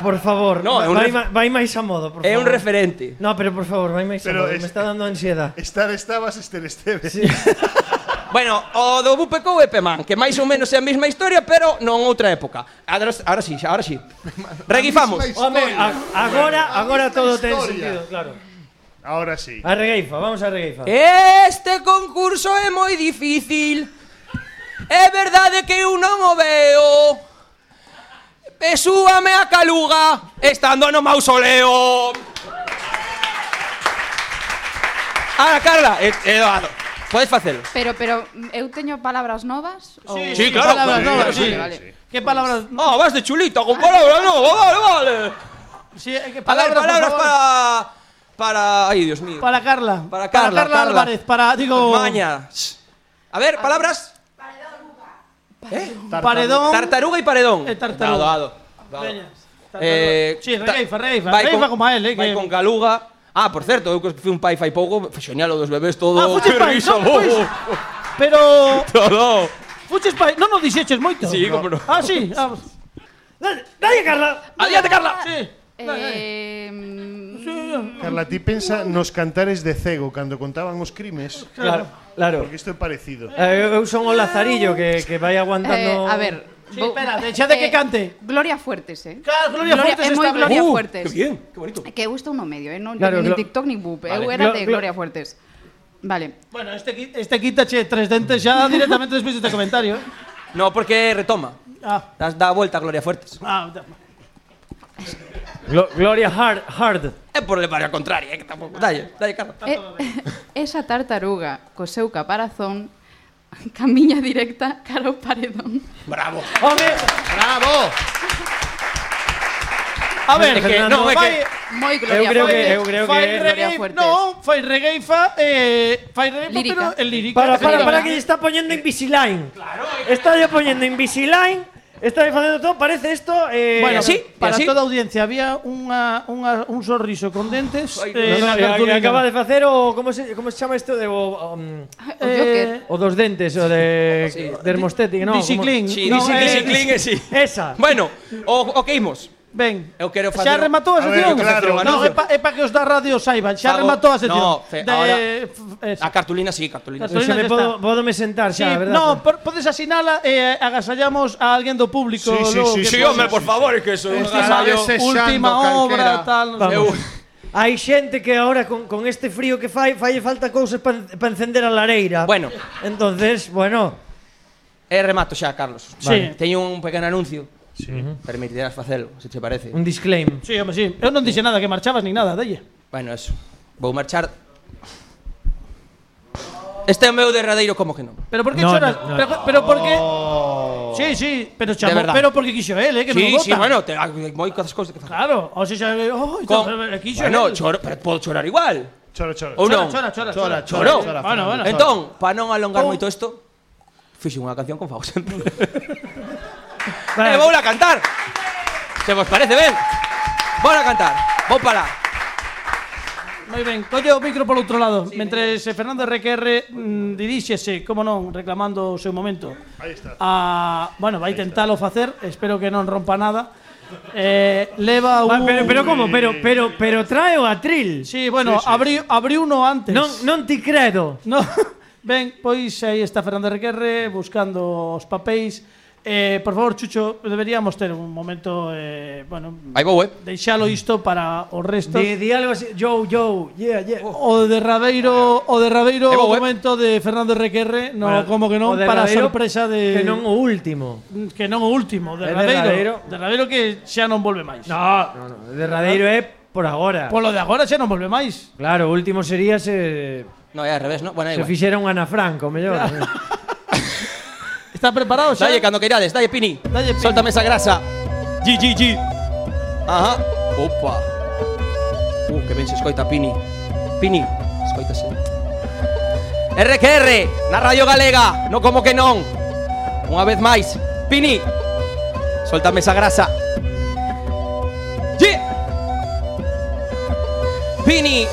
S9: Por favor,
S6: No, é un ref-
S9: vai, ma- vai máis a modo, por
S6: É
S9: favor.
S6: un referente.
S9: No, pero por favor, vai máis a
S5: Pero
S9: modo, me
S5: es-
S9: está dando ansiedad.
S5: Estar estabas Esther Estevez.
S6: Bueno, o do Bupecou e Pemán, que máis ou menos é a mesma historia, pero non outra época. Agora, agora sí, agora sí. Reguifamos.
S9: Home, a- agora, agora todo ten
S5: historia.
S9: sentido, claro.
S5: Ahora sí.
S9: A regueifa, vamos a regueifa.
S6: Este concurso é moi difícil É verdade que eu non o veo E súame a caluga Estando no mausoleo Ahora, Carla, e- Eduardo Podes facelo
S10: Pero, pero, eu teño palabras novas? ou-
S6: Sí, claro,
S18: palabras
S6: claro,
S18: novas,
S6: sí,
S18: sí.
S6: vale, vale.
S18: Que palabras...
S6: Ah, vas de chulita con palabras no, vale, vale
S18: Sí, eh, que
S6: A ver,
S18: palabras, por
S6: palabras
S18: favor.
S6: para... Para... Ay, Dios mío
S18: Para Carla.
S6: Para Carla,
S18: Carla
S6: Carla.
S18: Álvarez, para, Ah, digo...
S6: Maña A ver, ¿Eh? palabras
S18: Paredón.
S6: Tartaruga y paredón
S18: E tartaruga.
S6: Dado, dado, dado.
S18: Veña, tartaruga.
S6: Eh,
S18: sí,
S6: ta-
S18: regueifa, regueifa,
S6: vai
S18: regueifa
S6: con-
S18: como a él, eh,
S6: Vai
S18: que...
S6: con Galuga. Ah, por certo, eu que fui un pai fai pouco, foi genial o dos bebés todo.
S18: Ah, fuches
S6: que
S18: pai,
S6: risa,
S18: non, pois.
S6: bobo.
S18: Pero...
S6: Todo.
S18: Fuches pa... Non nos dixeches moito.
S6: Sí, como non.
S18: Ah, sí. Ah,
S9: Dale, Carla.
S6: Adiante, Carla.
S10: Eh, mm,
S5: Carla, ti pensa nos cantares de cego cando contaban os crimes.
S9: Claro, claro.
S5: Porque isto é parecido.
S9: Eh, eu- eu son o lazarillo que,
S6: Uh,
S9: que vai
S10: eh,
S9: aguantando...
S10: a ver...
S18: Sí,
S10: vou- Eh,
S18: espera, deixade que cante.
S10: Gloria Fuertes, eh.
S18: Claro, Gloria Fuertes
S10: É moi
S18: está ben.
S10: Gloria
S18: Uh,
S10: Fuertes.
S6: qué bien, qué bonito.
S10: Que eu estou no medio, eh. Non
S18: Claro,
S10: claro, ni
S18: Glo-
S10: TikTok ni Boop. eh. Eu
S18: Vale.
S10: era
S18: Glo-
S10: de
S18: Glo-
S10: Gloria Fuertes. Vale.
S18: Bueno, este, qui- este quítache tres dentes ya directamente después de este comentario. eh.
S6: No, porque retoma.
S18: Ah,
S6: Das da a volta a Gloria Fuertes.
S18: ah, da-
S9: Glo- Gloria Hard, Hard.
S6: É por levar a contraria, eh, que tampouco. Dalle, dalle, Carla.
S10: E, Eh, esa tartaruga co seu caparazón camiña directa cara ao paredón.
S6: Bravo.
S9: Home,
S4: ¡Bravo!
S2: A ver, que
S9: Fernando,
S2: non, é que
S10: Moi
S9: Gloria Eu creo que- Fuertes. eu creo que
S2: fai
S9: é
S2: reggae,
S9: Gloria Fuertes.
S2: non, fai regueifa, eh, fai regueifa, pero en lírica.
S9: Para, para,
S2: efectivamente.
S9: para que lle está poñendo Invisalign. Claro.
S6: eh.
S9: Está lle poñendo Invisalign. Está lle facendo todo, parece isto eh
S2: Bueno,
S9: así,
S2: para
S9: así.
S2: toda a audiencia había unha, unha, un sorriso con dentes eh,
S9: no, no,
S2: na
S9: que
S2: cartulina.
S9: acaba de facer o como se como se chama isto de o um,
S2: O Joker.
S9: o dos dentes o de de hermostética, no.
S2: Disiclin.
S9: como-
S6: Sí, no, dice eh, Clean, eh, sí.
S9: Esa.
S6: Bueno, o, o que imos?
S2: Ben.
S6: Eu quero facer...
S2: Xa rematou a
S6: ver, eu
S2: sección?
S6: quero facer un
S2: non, é
S6: anuncio.
S2: pa, é pa que os da radio saiban. Xa
S6: Fago-
S2: rematou a sección.
S6: No, fe-
S2: De-
S6: ahora-
S2: f-
S6: A cartulina sí, cartulina.
S9: Eu xa me podo, podo me sentar
S2: Sí,
S9: xa, verdad?
S2: no, por, podes asinala e eh, agasallamos a alguén do público. logo que
S6: sí,
S2: pode-
S6: home, por favor, é que eso...
S2: Este sabe última obra, tal, non sei.
S9: Vamos. Hai xente que ahora con, con este frío que fai, falle falta cousas para pa encender a lareira.
S6: Bueno.
S9: Entonces, bueno,
S6: E Eh, remato xa, Carlos.
S9: Sí. Vale.
S6: Teño un pequeno anuncio. Sí. Permitirás facelo, se te parece.
S9: un disclaim.
S2: Sí, home, sí. Eu non dixen nada que marchabas ni nada, dalle.
S6: Bueno, eso. Vou marchar... Este é o meu derradeiro como que non.
S2: Pero por que
S6: No,
S2: choras?
S6: no, no. Oh.
S2: Pero, pero por que? Sí, sí, pero
S6: De
S2: chamo,
S6: verdad.
S2: pero porque quixo el, eh, que
S6: sí,
S2: non vota.
S6: sí, bueno, te, ah, hai moitas cousas que facer.
S2: Claro, o sea, xa, oh,
S6: Con-
S2: quixo
S6: Bueno,
S2: el.
S6: choro, pero podo chorar igual.
S5: Chora, chora.
S6: Ou non?
S2: Chora, chora, chora, chora,
S6: Ou
S2: chora,
S6: non?
S2: chora, Bueno, bueno.
S6: Entón, para non alongar
S2: Ou-
S6: moito isto, fixe unha canción con Fago sempre. e vou a cantar. Se vos parece ben. Vou a cantar. Vou para.
S2: Moi ben, colle o micro polo outro lado sí, Mentres eh, Fernando RQR mm, diríxese, como non, reclamando o seu momento
S5: Aí está.
S2: a, Bueno, vai tentalo facer, espero que non rompa nada eh, Leva
S9: Ah,
S2: un...
S9: pero- pero como? Pero- pero- pero trae o atril
S2: Sí, bueno, sí, sí. abriu, abriu no antes
S9: Non, non ti credo.
S2: No, ben, pois aí está Fernando Requerre buscando os papéis. Eh, por favor, Chucho, deberíamos ter un momento eh, bueno,
S6: Aí vou, eh.
S2: deixalo isto para o resto.
S9: Di, di algo así, yo, yo, yeah, yeah.
S2: O de Rabeiro, o de Rabeiro
S9: É
S2: o
S9: bo, eh?
S2: momento de Fernando Requerre, no
S9: Bueno,
S2: como que
S9: o
S2: non
S9: de
S2: para a
S9: Rabeiro,
S2: sorpresa de
S9: Que non o último.
S2: que non o último,
S9: É de
S2: de
S9: Rabeiro.
S2: Rabeiro, de Rabeiro que xa non volve máis.
S9: No, no, o derradeiro é por agora.
S2: Polo de agora xa non volve máis.
S9: Claro, o último sería se
S6: No, é al revés, no? Bueno, é
S9: se
S6: igual.
S9: fixera un Ana Franco, mellor. eh.
S2: Está preparado xa?
S6: Dalle, cando queirades, dalle, Pini.
S2: Dalle, Pini.
S6: Sóltame esa grasa. Gi, gi, gi. Ajá. Opa. Uh, que ben se escoita, Pini. Pini, escoitase. RQR, na Radio Galega, no como que non. Unha vez máis, Pini. Sóltame esa grasa. Gi. Pini.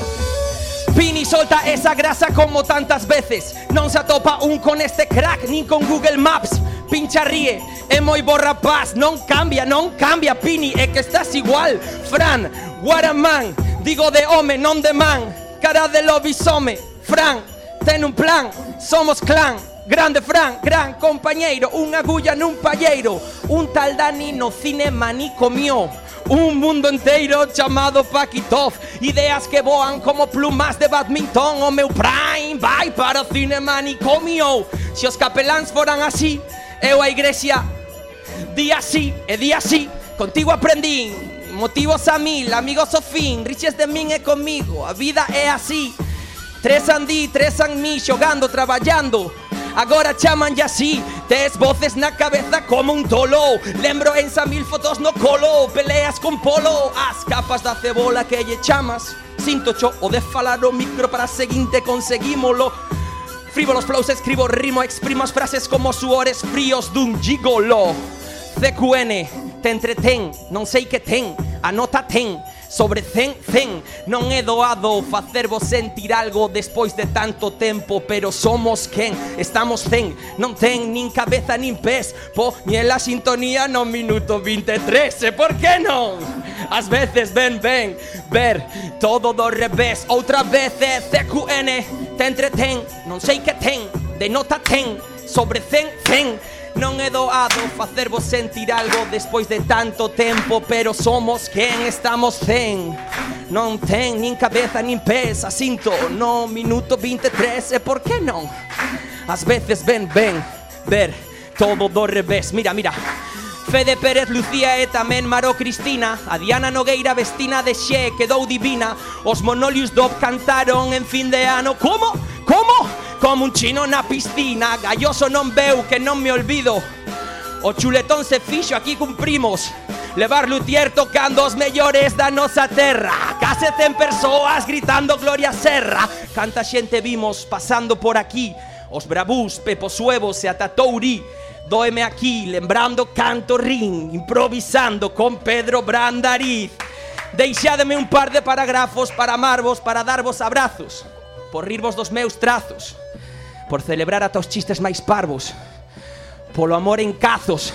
S6: Pini solta esa grasa como tantas veces Non se atopa un con este crack nin con Google Maps Pincha ríe, é moi borrapaz Non cambia, non cambia Pini É que estás igual Fran, what a man Digo de home, non de man Cara de lobisome Fran, ten un plan Somos clan Grande Fran, gran compañeiro, unha agulla nun palleiro Un tal Dani no cine maní comió Un mundo enteiro chamado Pakitov Ideas que voan como plumas de badminton O meu prime vai para o cine maní comió Se os capeláns foran así, eu a igrexa Día sí e día sí, contigo aprendín Motivos a mil, amigos o fin Riches de min e comigo, a vida é así Tres andí, tres an mí, xogando, traballando Agora chaman ya así, tes voces na cabeza como un tolo Lembro en sa mil fotos no colo, peleas con polo As capas da cebola que lle chamas Sinto cho o de falar o micro para seguinte conseguímolo Frívolos flows, escribo rimo, exprimo as frases como suores fríos dun gigolo. CQN, te entretén, non sei que ten, anota ten, sobre zen, zen. Non é doado facervos sentir algo despois de tanto tempo, pero somos quen, estamos zen, non ten nin cabeza nin pés, po ni en la sintonía no minuto 23, e por que non? As veces ven, ven, ver todo do revés, outra vez é CQN, Te entretén, non sei que ten, de nota ten, sobre zen, zen. Non é doado facervos sentir algo despois de tanto tempo, pero somos quen estamos zen. Non ten nin cabeza nin pés, asinto no minuto 23, e por que non? As veces ven, ven, ver todo do revés. Mira, mira, Fede Pérez Lucía e tamén Maro Cristina A Diana Nogueira vestina de xe quedou divina Os Monolius Dop cantaron en fin de ano Como? Como? Como un chino na piscina Galloso non veu que non me olvido O chuletón se fixo aquí cumprimos Levar Luthier tocando os mellores da nosa terra Case ten persoas gritando Gloria Serra Canta xente vimos pasando por aquí Os bravús, Pepo Suevo e ata Touri Doeme aquí, lembrando canto rin Improvisando con Pedro Brandariz Deixádeme un par de parágrafos para amarvos Para darvos abrazos Por rirvos dos meus trazos Por celebrar ata os chistes máis parvos Polo amor en cazos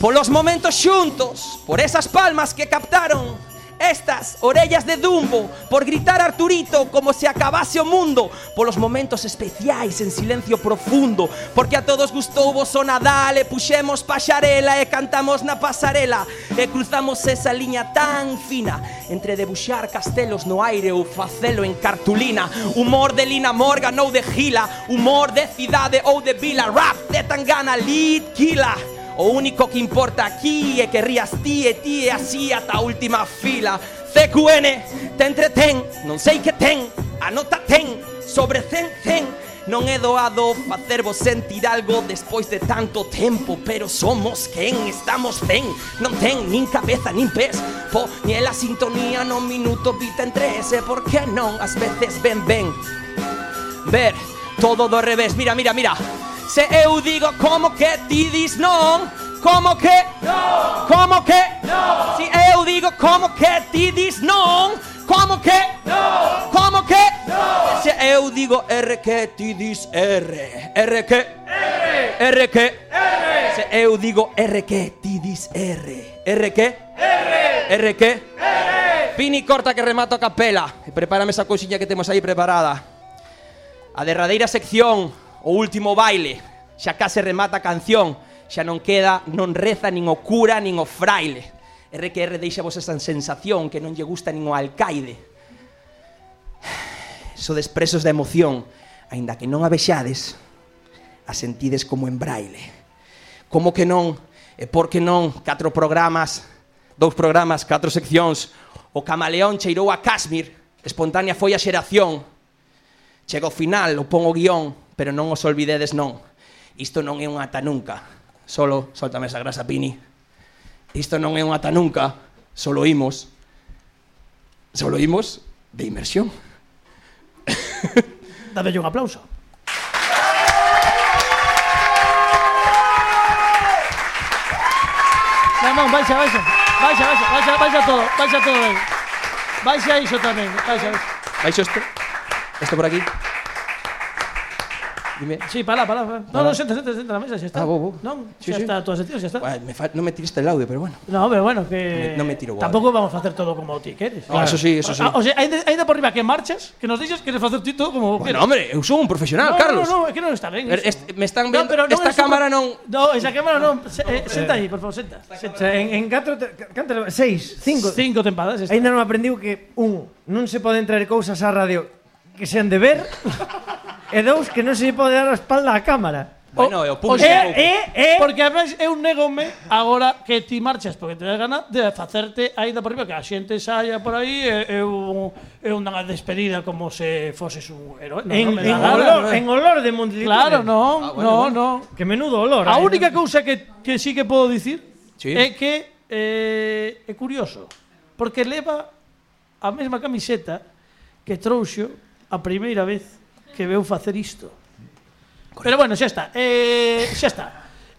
S6: Polos momentos xuntos, por esas palmas que captaron Estas orellas de Dumbo, por gritar Arturito como se acabase o mundo Polos momentos especiais en silencio profundo Porque a todos gustou vos o Nadal e puxemos paxarela E cantamos na pasarela e cruzamos esa liña tan fina Entre debuxar castelos no aire ou facelo en cartulina Humor de Lina Morgan ou de Gila Humor de cidade ou de vila Rap de Tangana, Lead Kila O único que importa aquí é que rías ti e ti e así ata a última fila. CQN, te entretén, non sei que ten, anota ten, sobre cen cen. Non é doado facervos sentir algo despois de tanto tempo Pero somos quen, estamos zen Non ten nin cabeza nin pés Poñe a sintonía no minuto vita en tres E por que non as veces ben ben Ver todo do revés, mira, mira, mira Se eu digo como que ti dis non Como que non Como que non Se eu digo como que ti dis non Como que non Como que non Se eu digo R que ti dis R R que R R que R Se eu digo R que ti dis R R que R R que R Pini corta que remato a capela E prepárame esa cousiña que temos aí preparada A derradeira sección, o último baile. Xa case remata a canción, xa non queda, non reza nin o cura nin o fraile. RQR deixa vos esa sensación que non lle gusta nin o alcaide. Sodes presos da emoción, aínda que non a vexades, a sentides como en braile. Como que non, e por que non, catro programas, dous programas, catro seccións, o camaleón cheirou a Casmir, espontánea foi a xeración, Chega ao final, o pon o guión, pero non os olvidedes non. Isto non é un ata nunca. Solo, soltame esa grasa, Pini. Isto non é un ata nunca. Solo imos. Solo imos de inmersión.
S2: Dadelle un aplauso.
S18: Non, non, baixa, baixa. Baixa, baixa, baixa, baixa todo, baixa todo ben. Baixa iso tamén, baixa. baixa.
S6: Baixo isto. Isto por aquí. Dime.
S2: Sí, para lá, para lá.
S6: Para
S2: Non,
S6: lá.
S2: non, senta, senta, senta na mesa, xa está.
S6: Ah, vou, vou.
S2: Non,
S6: Sí, sí.
S2: xa está, toda sentido, xa está.
S6: Bueno, me fa- non me tiraste el audio, pero bueno.
S2: No, pero bueno, que...
S6: Me- non me tiro guarda.
S2: Tampouco vamos facer todo como ti queres.
S6: No, eso sí, eso sí.
S2: Ah, O sea, ainda, ainda por riba que marchas, que nos deixas, queres facer ti todo como
S6: Bueno, hombre, eu son un profesional, Carlos.
S2: No, no, é que non está ben
S6: Pero
S2: iso.
S6: este- me están vendo- esta
S2: é super-
S6: cámara non-
S2: No, esa cámara non. Se, eh, senta aí, por favor, senta.
S9: O sea, en, en catro, te- cantas, seis, cinco.
S2: Cinco tempadas. Esta.
S9: Ainda non aprendiu que, un, non se poden traer cousas á radio que sean de ver, e dous, que non se lle pode dar a espalda á cámara.
S6: Bueno, e o público.
S2: eh, Porque además eu negome agora que ti marchas porque te das gana de facerte aínda por riba que a xente saia por aí e eu eu unha despedida como se foses un héroe. Non,
S9: en,
S2: non me
S9: en,
S2: dá gana,
S9: olor,
S2: non é?
S9: en olor de Montilivi.
S2: Claro,
S6: Ah,
S2: non, non, non.
S9: Que menudo olor.
S2: A
S9: eh.
S2: única cousa que, que sí que podo dicir
S9: Sí.
S2: é que eh, é curioso, porque leva a mesma camiseta que trouxo a primeira vez que veu facer isto. Pero bueno, xa está. Eh, xa está.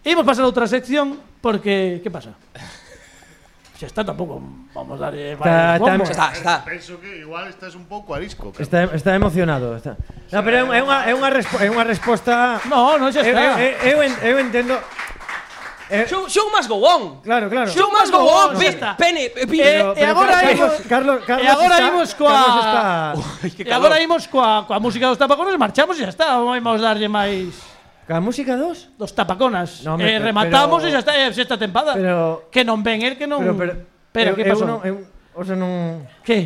S2: Imos pasar a outra sección porque que pasa? Xa está, tampouco vamos a dar eh,
S9: Está-
S2: varios bombos.
S9: está-
S5: Penso que igual estás un pouco arisco. Carlos.
S9: Está, está emocionado. Está. No, pero é unha, é unha, é unha, respo, é unha resposta...
S2: No, non, xa está.
S9: Eu, eu, eu, en- eu entendo... Eh,
S6: Show, show must go on.
S9: Claro, claro.
S6: Show must go on.
S9: Xa
S6: pe-
S9: está.
S6: Pene, eh, Pini.
S2: Eh, e agora
S9: Carlos,
S2: imos-
S9: Carlos, Carlos
S2: e agora
S9: está,
S2: imos coa
S9: Carlos está...
S2: E agora imos coa, coa música dos tapaconas, marchamos e xa está, vamos darlle máis
S9: Coa música dos?
S2: Dos tapaconas.
S9: No,
S2: No,
S9: hombre,
S2: eh,
S9: pero-
S2: rematamos
S9: pero-
S2: e xa está, é a sexta tempada.
S9: pero-
S2: que non ven el que non
S9: Pero, pero,
S2: Espera,
S9: eu-
S2: que
S9: eu
S2: pasou?
S9: non- eu- o sea, non...
S2: Que?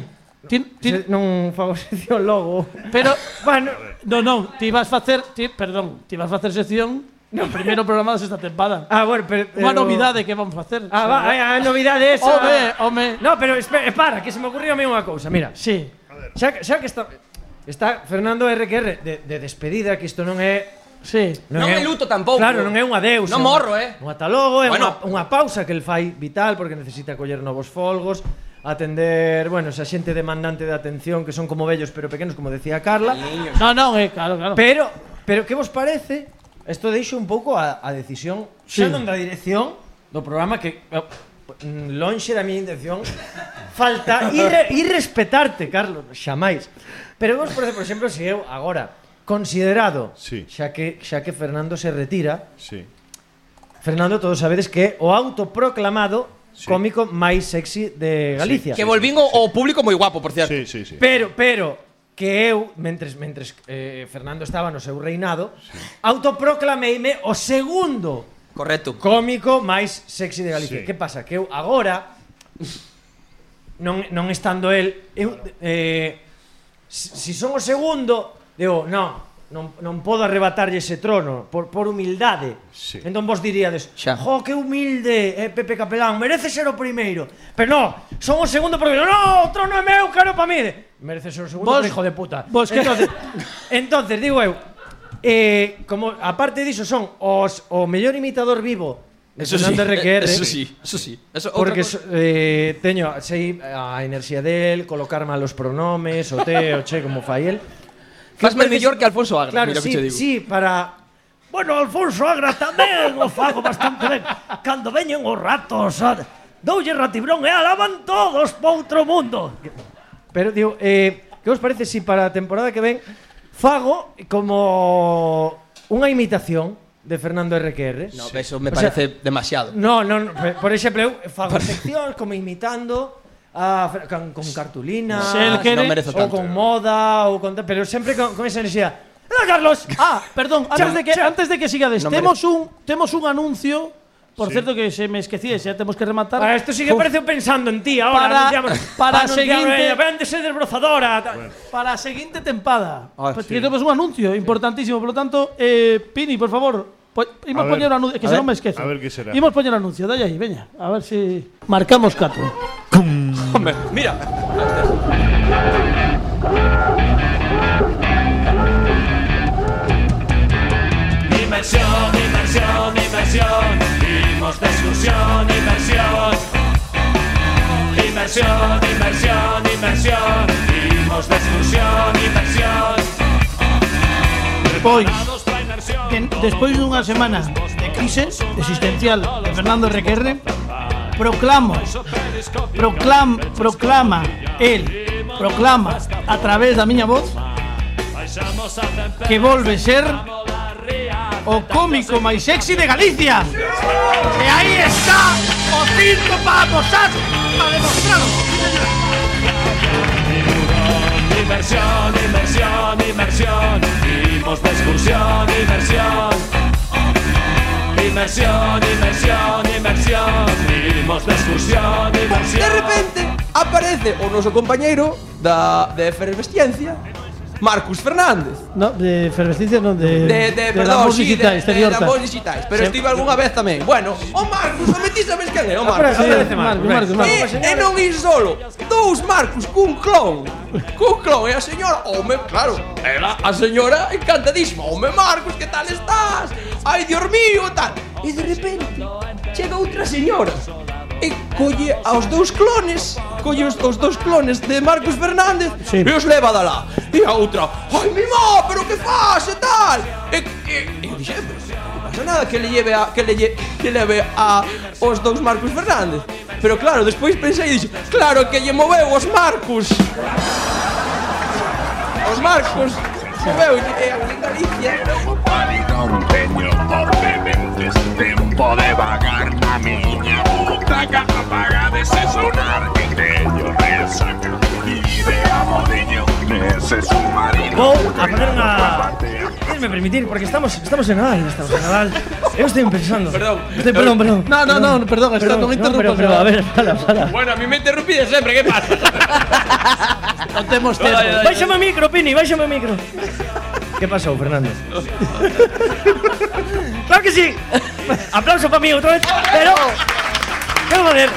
S2: Ti, ti,
S9: se- Non fago sección logo.
S2: Pero bueno, no, non, ti vas facer, ti, perdón, ti vas facer sección no primeiro programa da sexta tempada.
S9: Ah, bueno, pero...
S2: Unha
S9: pero-
S2: novidade que vamos facer.
S9: Ah, va, a, a novidade esa.
S2: Home, home.
S9: No, pero espera, para, que se me ocurriu a mí unha cousa, mira.
S2: Sí.
S9: Xa, que- xa que está está Fernando RQR de, de despedida, que isto non é
S2: Sí.
S6: Non é luto tampouco.
S9: Claro, non é un adeus.
S6: Non
S9: é un-
S6: morro, eh.
S9: Un ata logo, é
S6: Bueno.
S9: bueno. unha, unha pausa que el fai vital porque necesita coller novos folgos, atender, bueno, esa xente demandante de atención que son como vellos pero pequenos, como decía Carla.
S2: No, no, eh, claro, claro.
S9: Pero, pero que vos parece? Esto deixo un pouco a, a decisión xa
S2: Sí.
S9: non da dirección do programa que eh, mm, lonxe da miña intención falta ir, ir respetarte, Carlos, xamais. Pero vos parece, por exemplo, se eu agora considerado, sí. xa que xa que Fernando se retira,
S5: Sí.
S9: Fernando todos sabedes que é o autoproclamado cómico máis sexy de Galicia.
S6: Que volvín o, o público moi guapo, por cierto. Sí,
S5: sí, sí.
S9: Pero, pero, que eu, mentres, mentres eh, Fernando estaba no seu reinado, autoproclameime o segundo
S6: Correcto.
S9: cómico máis sexy de Galicia.
S6: Sí.
S9: Sí. Que pasa? Que eu agora, non, non estando el, eu, eh, si si son o segundo, digo, non, non, non podo arrebatarlle ese trono por, por humildade. Sí. Entón vos diríades,
S6: Xa.
S9: jo, que humilde, eh, Pepe Capelán, merece ser o primeiro. Pero no, son o segundo porque, no, o trono é meu, caro pa mí. Merece ser o segundo,
S2: Vos-
S9: pero hijo de puta.
S2: vos que-
S9: entonces, entonces, digo eu, eh, como aparte diso son os, o mellor imitador vivo
S6: Eso sí.
S9: Fernando RQR,
S6: eh, Eso sí, eso sí. Eso, outra
S9: Porque
S6: cosa-
S9: so, eh, teño sei a inerxia del, colocar malos pronomes, o te, o che, como fai el.
S6: Fasme mellor que Alfonso Agra,
S9: Claro,
S6: mira que
S9: sí,
S6: che digo.
S9: sí, para...
S18: Bueno, Alfonso Agra tamén o fago bastante ben. Cando veñen os ratos, a... doulle ratibrón e alaban todos pa outro mundo.
S9: Pero, digo, eh, que vos parece si para a temporada que ven fago como unha imitación de Fernando RQR?
S6: No, eso me
S9: O sea,
S6: parece demasiado.
S9: No, no, no, pe- por exemplo, eu fago seccións como imitando a, Fer- con, con cartulina,
S2: Se el quere- Non
S9: ou
S2: merezo tanto.
S9: con moda, ou con, ta- pero sempre con, con esa enerxía. ¡Ah, Carlos!
S2: Ah, perdón, antes de que antes de que
S9: No
S2: sigades, temos un temos un anuncio Por
S9: Sí.
S2: certo que se me esquecía, xa temos que rematar.
S9: Para esto sí que
S2: Uf.
S9: parece un pensando en ti ahora.
S2: Para-
S9: anunciamos-
S2: para
S9: anunciamos,
S2: seguinte-
S9: eh, Vende ser desbrozadora. tal.
S2: Para a seguinte tempada.
S9: Ah,
S2: Pues
S9: sí.
S2: Tenemos un anuncio importantísimo, por lo tanto, eh, Pini, por favor, pues, po- imos
S5: A
S2: poñer
S5: ver,
S2: o anuncio, que
S5: a
S2: se
S5: ver,
S2: non me esquezo.
S5: a ver que será.
S2: Imos poñer o anuncio, dalle aí, veña, a ver si marcamos catro.
S6: Hombre, mira.
S16: Inversión, inversión, inversión. Vimos discusión, inversión. Inversión, inversión, inversión. Vimos discusión, inversión.
S2: Pois, que despois dunha semana de crise existencial de Fernando Requerre, proclamo, proclam, proclama, el, proclama a través da miña voz que volve ser o cómico máis sexy de Galicia.
S18: E aí está o cinto para mostrar, para demostrar.
S16: Inversión, inversión, inversión. Vimos discusión, inversión. Inversión, inversión, inversión. Vimos discusión, inversión.
S6: De repente aparece o noso compañeiro da de efervesciencia, Marcus Fernández.
S2: No, de efervescencia non, de,
S6: De, de,
S2: da
S6: perdón,
S2: voz
S6: sí, de,
S2: digital,
S6: de,
S2: exterior.
S6: da
S2: tal.
S6: voz digitais, pero
S2: Se-
S6: estive algunha vez tamén. Bueno, o Marcus, o metí sabes quen é, o Marcus.
S2: Aparece, aparece Marcus, Marcus, Marcus.
S6: E, e non ir solo, dous Marcus cun clon. Cun clon e a señora, home, claro, era a señora encantadísima. Home, Marcus, que tal estás? Ai, Dios mío, tal. E de repente, chega outra señora e colle aos dous clones, colle os, os dous clones de Marcos Fernández sí. e os leva da lá. E a outra, ai mi má, pero que faz e tal? E, e, e eu dixen, pero non pasa nada que le lleve a, que le, lle, que leve a os dous Marcos Fernández. Pero claro, despois pensei e dixen, claro que lle moveu os Marcos. Os Marcos. Moveu, e aquí en Galicia.
S19: Norteño, porque vendes tempo de vagar na miña butaca apaga de se sonar que creño reza que vive a modiño nese submarino
S9: Vou a poner unha... Déjenme permitir, porque estamos, estamos en Nadal, estamos en Nadal. Eu estou pensando. Perdón. Estoy, perdón, perdón.
S2: No, no, no, perdón, está, non interrumpas,
S9: pero, pero,
S2: no.
S9: a ver, para, para.
S6: Bueno, a mí me interrumpides sempre, que pasa?
S2: non temos tempo.
S6: Dai, dai, dai.
S9: Báixame o micro, Pini, báixame o micro. Que pasou, Fernando?
S18: Claro que sí. Aplauso para mí otra vez. Pero ¿Qué vamos a ver?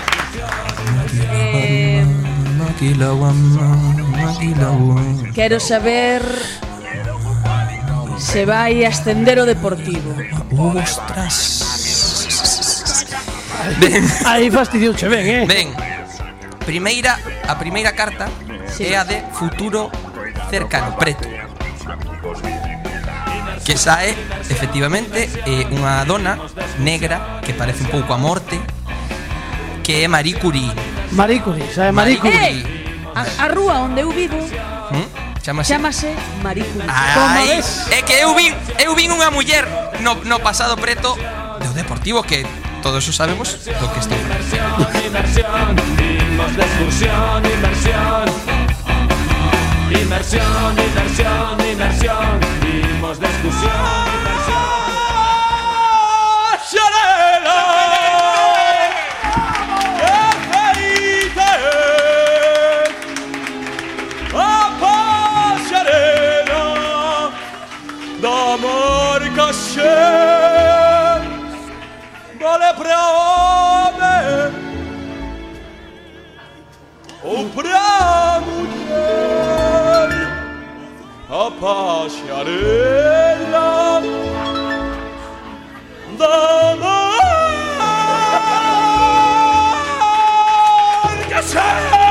S20: Eh, Quero saber se vai a Estendero Deportivo.
S2: Ostras. Aí fastidiouche ben, eh?
S21: Ben. Primeira, a primeira carta é a de futuro cercano, preto. Que sae, efectivamente, é unha dona negra que parece un pouco a morte, que é Marie Curie.
S2: Marie Curie, sabe Marie Curie?
S20: A, a rúa onde eu vivo
S21: Hm? Chamase
S20: chamase Marie Curie. Como
S21: Ai,
S20: ves?
S21: é que eu vin, eu vin unha muller no, no pasado preto do Deportivo que todos os sabemos do que estou falando.
S19: Inversión, dimos de excursión, inversión. Inversión, inversión, inversión. Dimos de excursión,
S16: D'amor caché Vale pra homem Ou pra mulher A passarela D'amor caché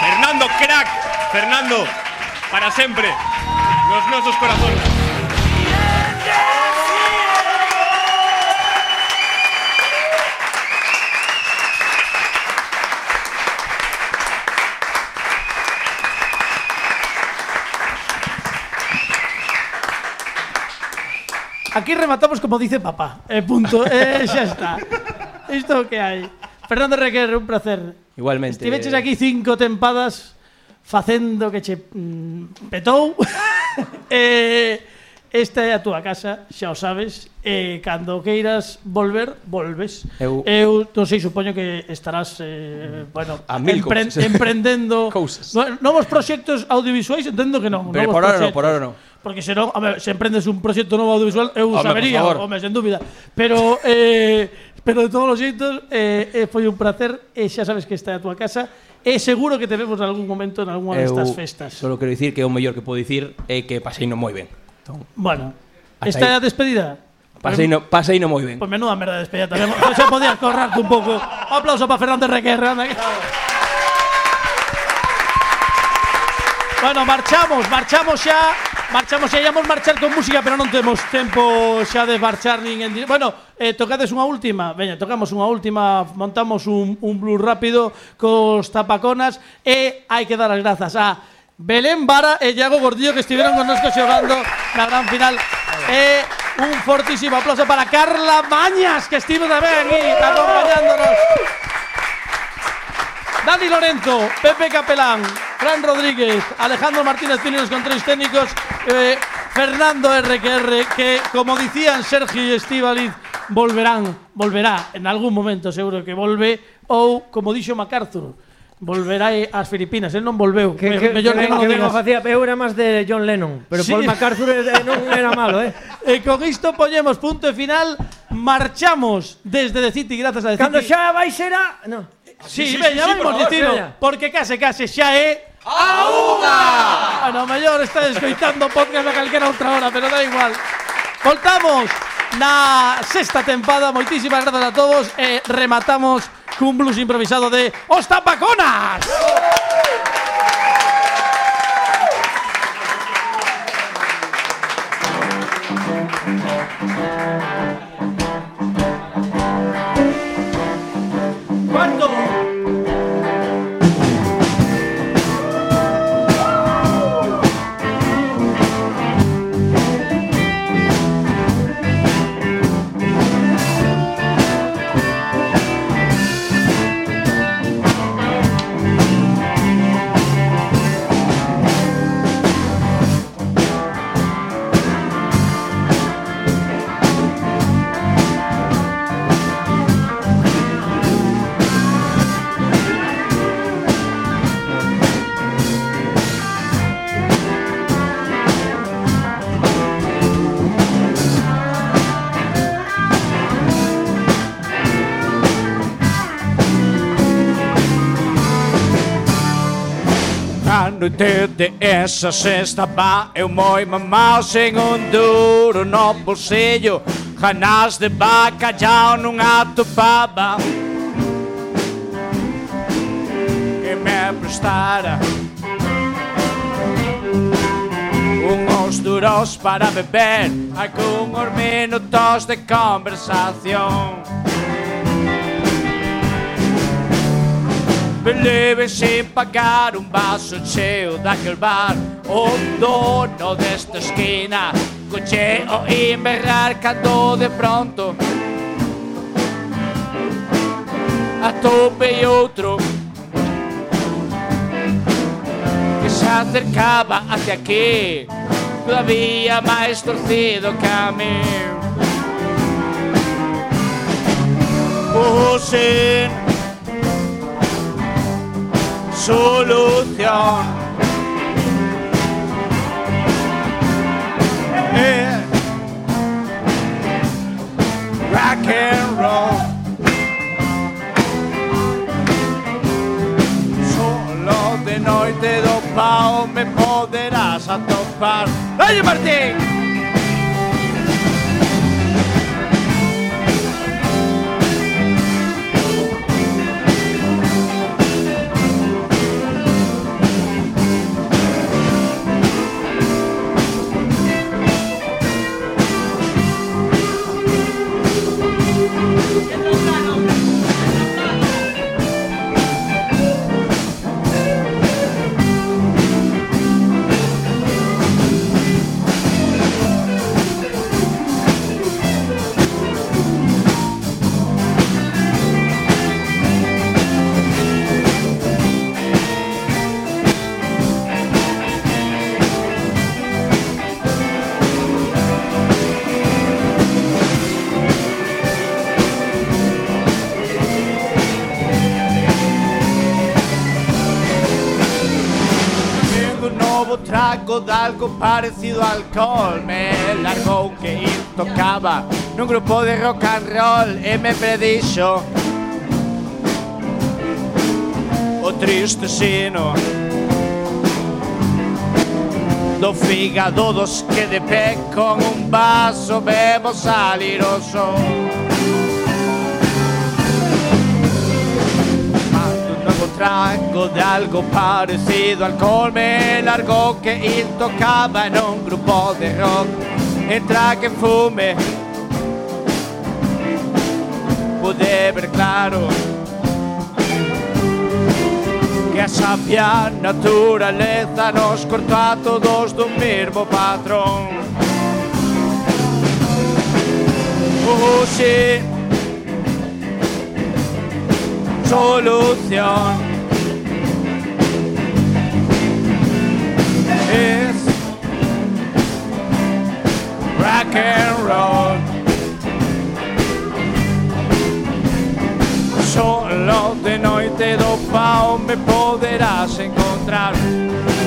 S22: Fernando, crack. Fernando, para siempre. Los nuestros corazones.
S2: Aquí rematamos como dice papá. E punto. E xa está. Isto é o que hai. Fernando Requer, un placer.
S6: Igualmente.
S2: Estiveches aquí cinco tempadas facendo que che mm, petou. eh, esta é a túa casa, xa o sabes. Eh, cando queiras volver, volves.
S6: Eu-
S2: Eu non sei, supoño que estarás eh, bueno,
S6: A mil
S2: empre-
S6: cousas.
S2: emprendendo no- novos proxectos audiovisuais, entendo que non.
S6: Pero
S2: novos
S6: por ahora no,
S2: proxectos.
S6: por ahora no.
S2: Porque se non, a ver, se emprendes un proxecto novo audiovisual, eu
S6: Home, por
S2: sabería,
S6: favor.
S2: home, sen dúbida. Pero eh, pero de todos os xeitos, eh, eh, foi un placer, e xa sabes que está a túa casa, e seguro que te vemos en algún momento en algunha
S6: Eu
S2: destas festas.
S6: Solo quero dicir que é o mellor que podo dicir é que paseino moi ben. Entón,
S2: Bueno,
S6: Hasta
S2: esta é
S6: aí.
S2: a despedida.
S6: paseino, paseino moi ben.
S2: Pois menuda merda de despedida tamén. Pois xa podías corrarte un pouco. Un aplauso para Fernández Requerre, anda. que- Bueno, marchamos, marchamos xa Marchamos xa, íamos marchar con música Pero non temos tempo xa de marchar nin en dire- Bueno, eh, tocades unha última Veña, tocamos unha última Montamos un, un blues rápido Cos tapaconas E hai que dar as grazas a Belén Vara e Iago Gordillo Que estiveron connosco xogando na gran final E un fortísimo aplauso para Carla Mañas Que estivo tamén aquí acompañándonos Dani Lorenzo, Pepe Capelán, Fran Rodríguez, Alejandro Martínez Pini, los controles técnicos, eh, Fernando RQR, que como decían Sergio y Estivaliz, volverán, volverá en algún momento, seguro que volve, ou como dixo MacArthur, volverá ás Filipinas, él non volveu.
S9: Que, que, que, que,
S2: non o
S9: que ben o
S2: digas.
S9: facía, eu era máis de John Lennon, pero
S2: Sí.
S9: Paul MacArthur eh, non era malo, eh.
S2: E con isto poñemos punto e final, marchamos desde The City, gracias a The
S9: Cando
S2: City.
S9: xa vai
S2: Ah,
S9: será, no.
S2: Sí, sí, veña, sí, vamos dicindo, porque case, case, xa é
S21: A
S2: unha! A ¿eh? Ah, no mellor está escoitando o podcast a calquera outra hora, pero da igual. Voltamos na sexta tempada, moitísimas grazas a todos e rematamos cun blues improvisado de Os Tapaconas!
S18: ¿Cuándo?
S19: Cuando
S1: noite de esa estaba eu moi mamao sen un duro no bolsillo Janás de bacalhau non atopaba Que me prestara Unhos duros para beber Algúns minutos de conversación Believe sin pagar un vaso cheo daquel bar Un dono desta esquina Coche o inverrar cando de pronto Atopei outro Que se acercaba hacia aquí Todavía máis torcido que a mí Pusen solución. Eh. Rock and roll. Solo de noite dopao me poderás atopar. ¡Oye, Martín! Tengo un nuevo trago de algo parecido a alcohol. Me largó que tocaba en un grupo de rock and roll y me predicho. O "Oh, triste sino do fígado dos que de pé con un vaso bebo saliroso. nuevo trago de algo parecido al colme largo que él tocaba en un grupo de rock. Entra que fume, pude ver claro que a sabia naturaleza nos cortó a todos de un mismo patrón. Oh, sí. solución es rock and roll. Solo de noche dopao me podrás encontrar.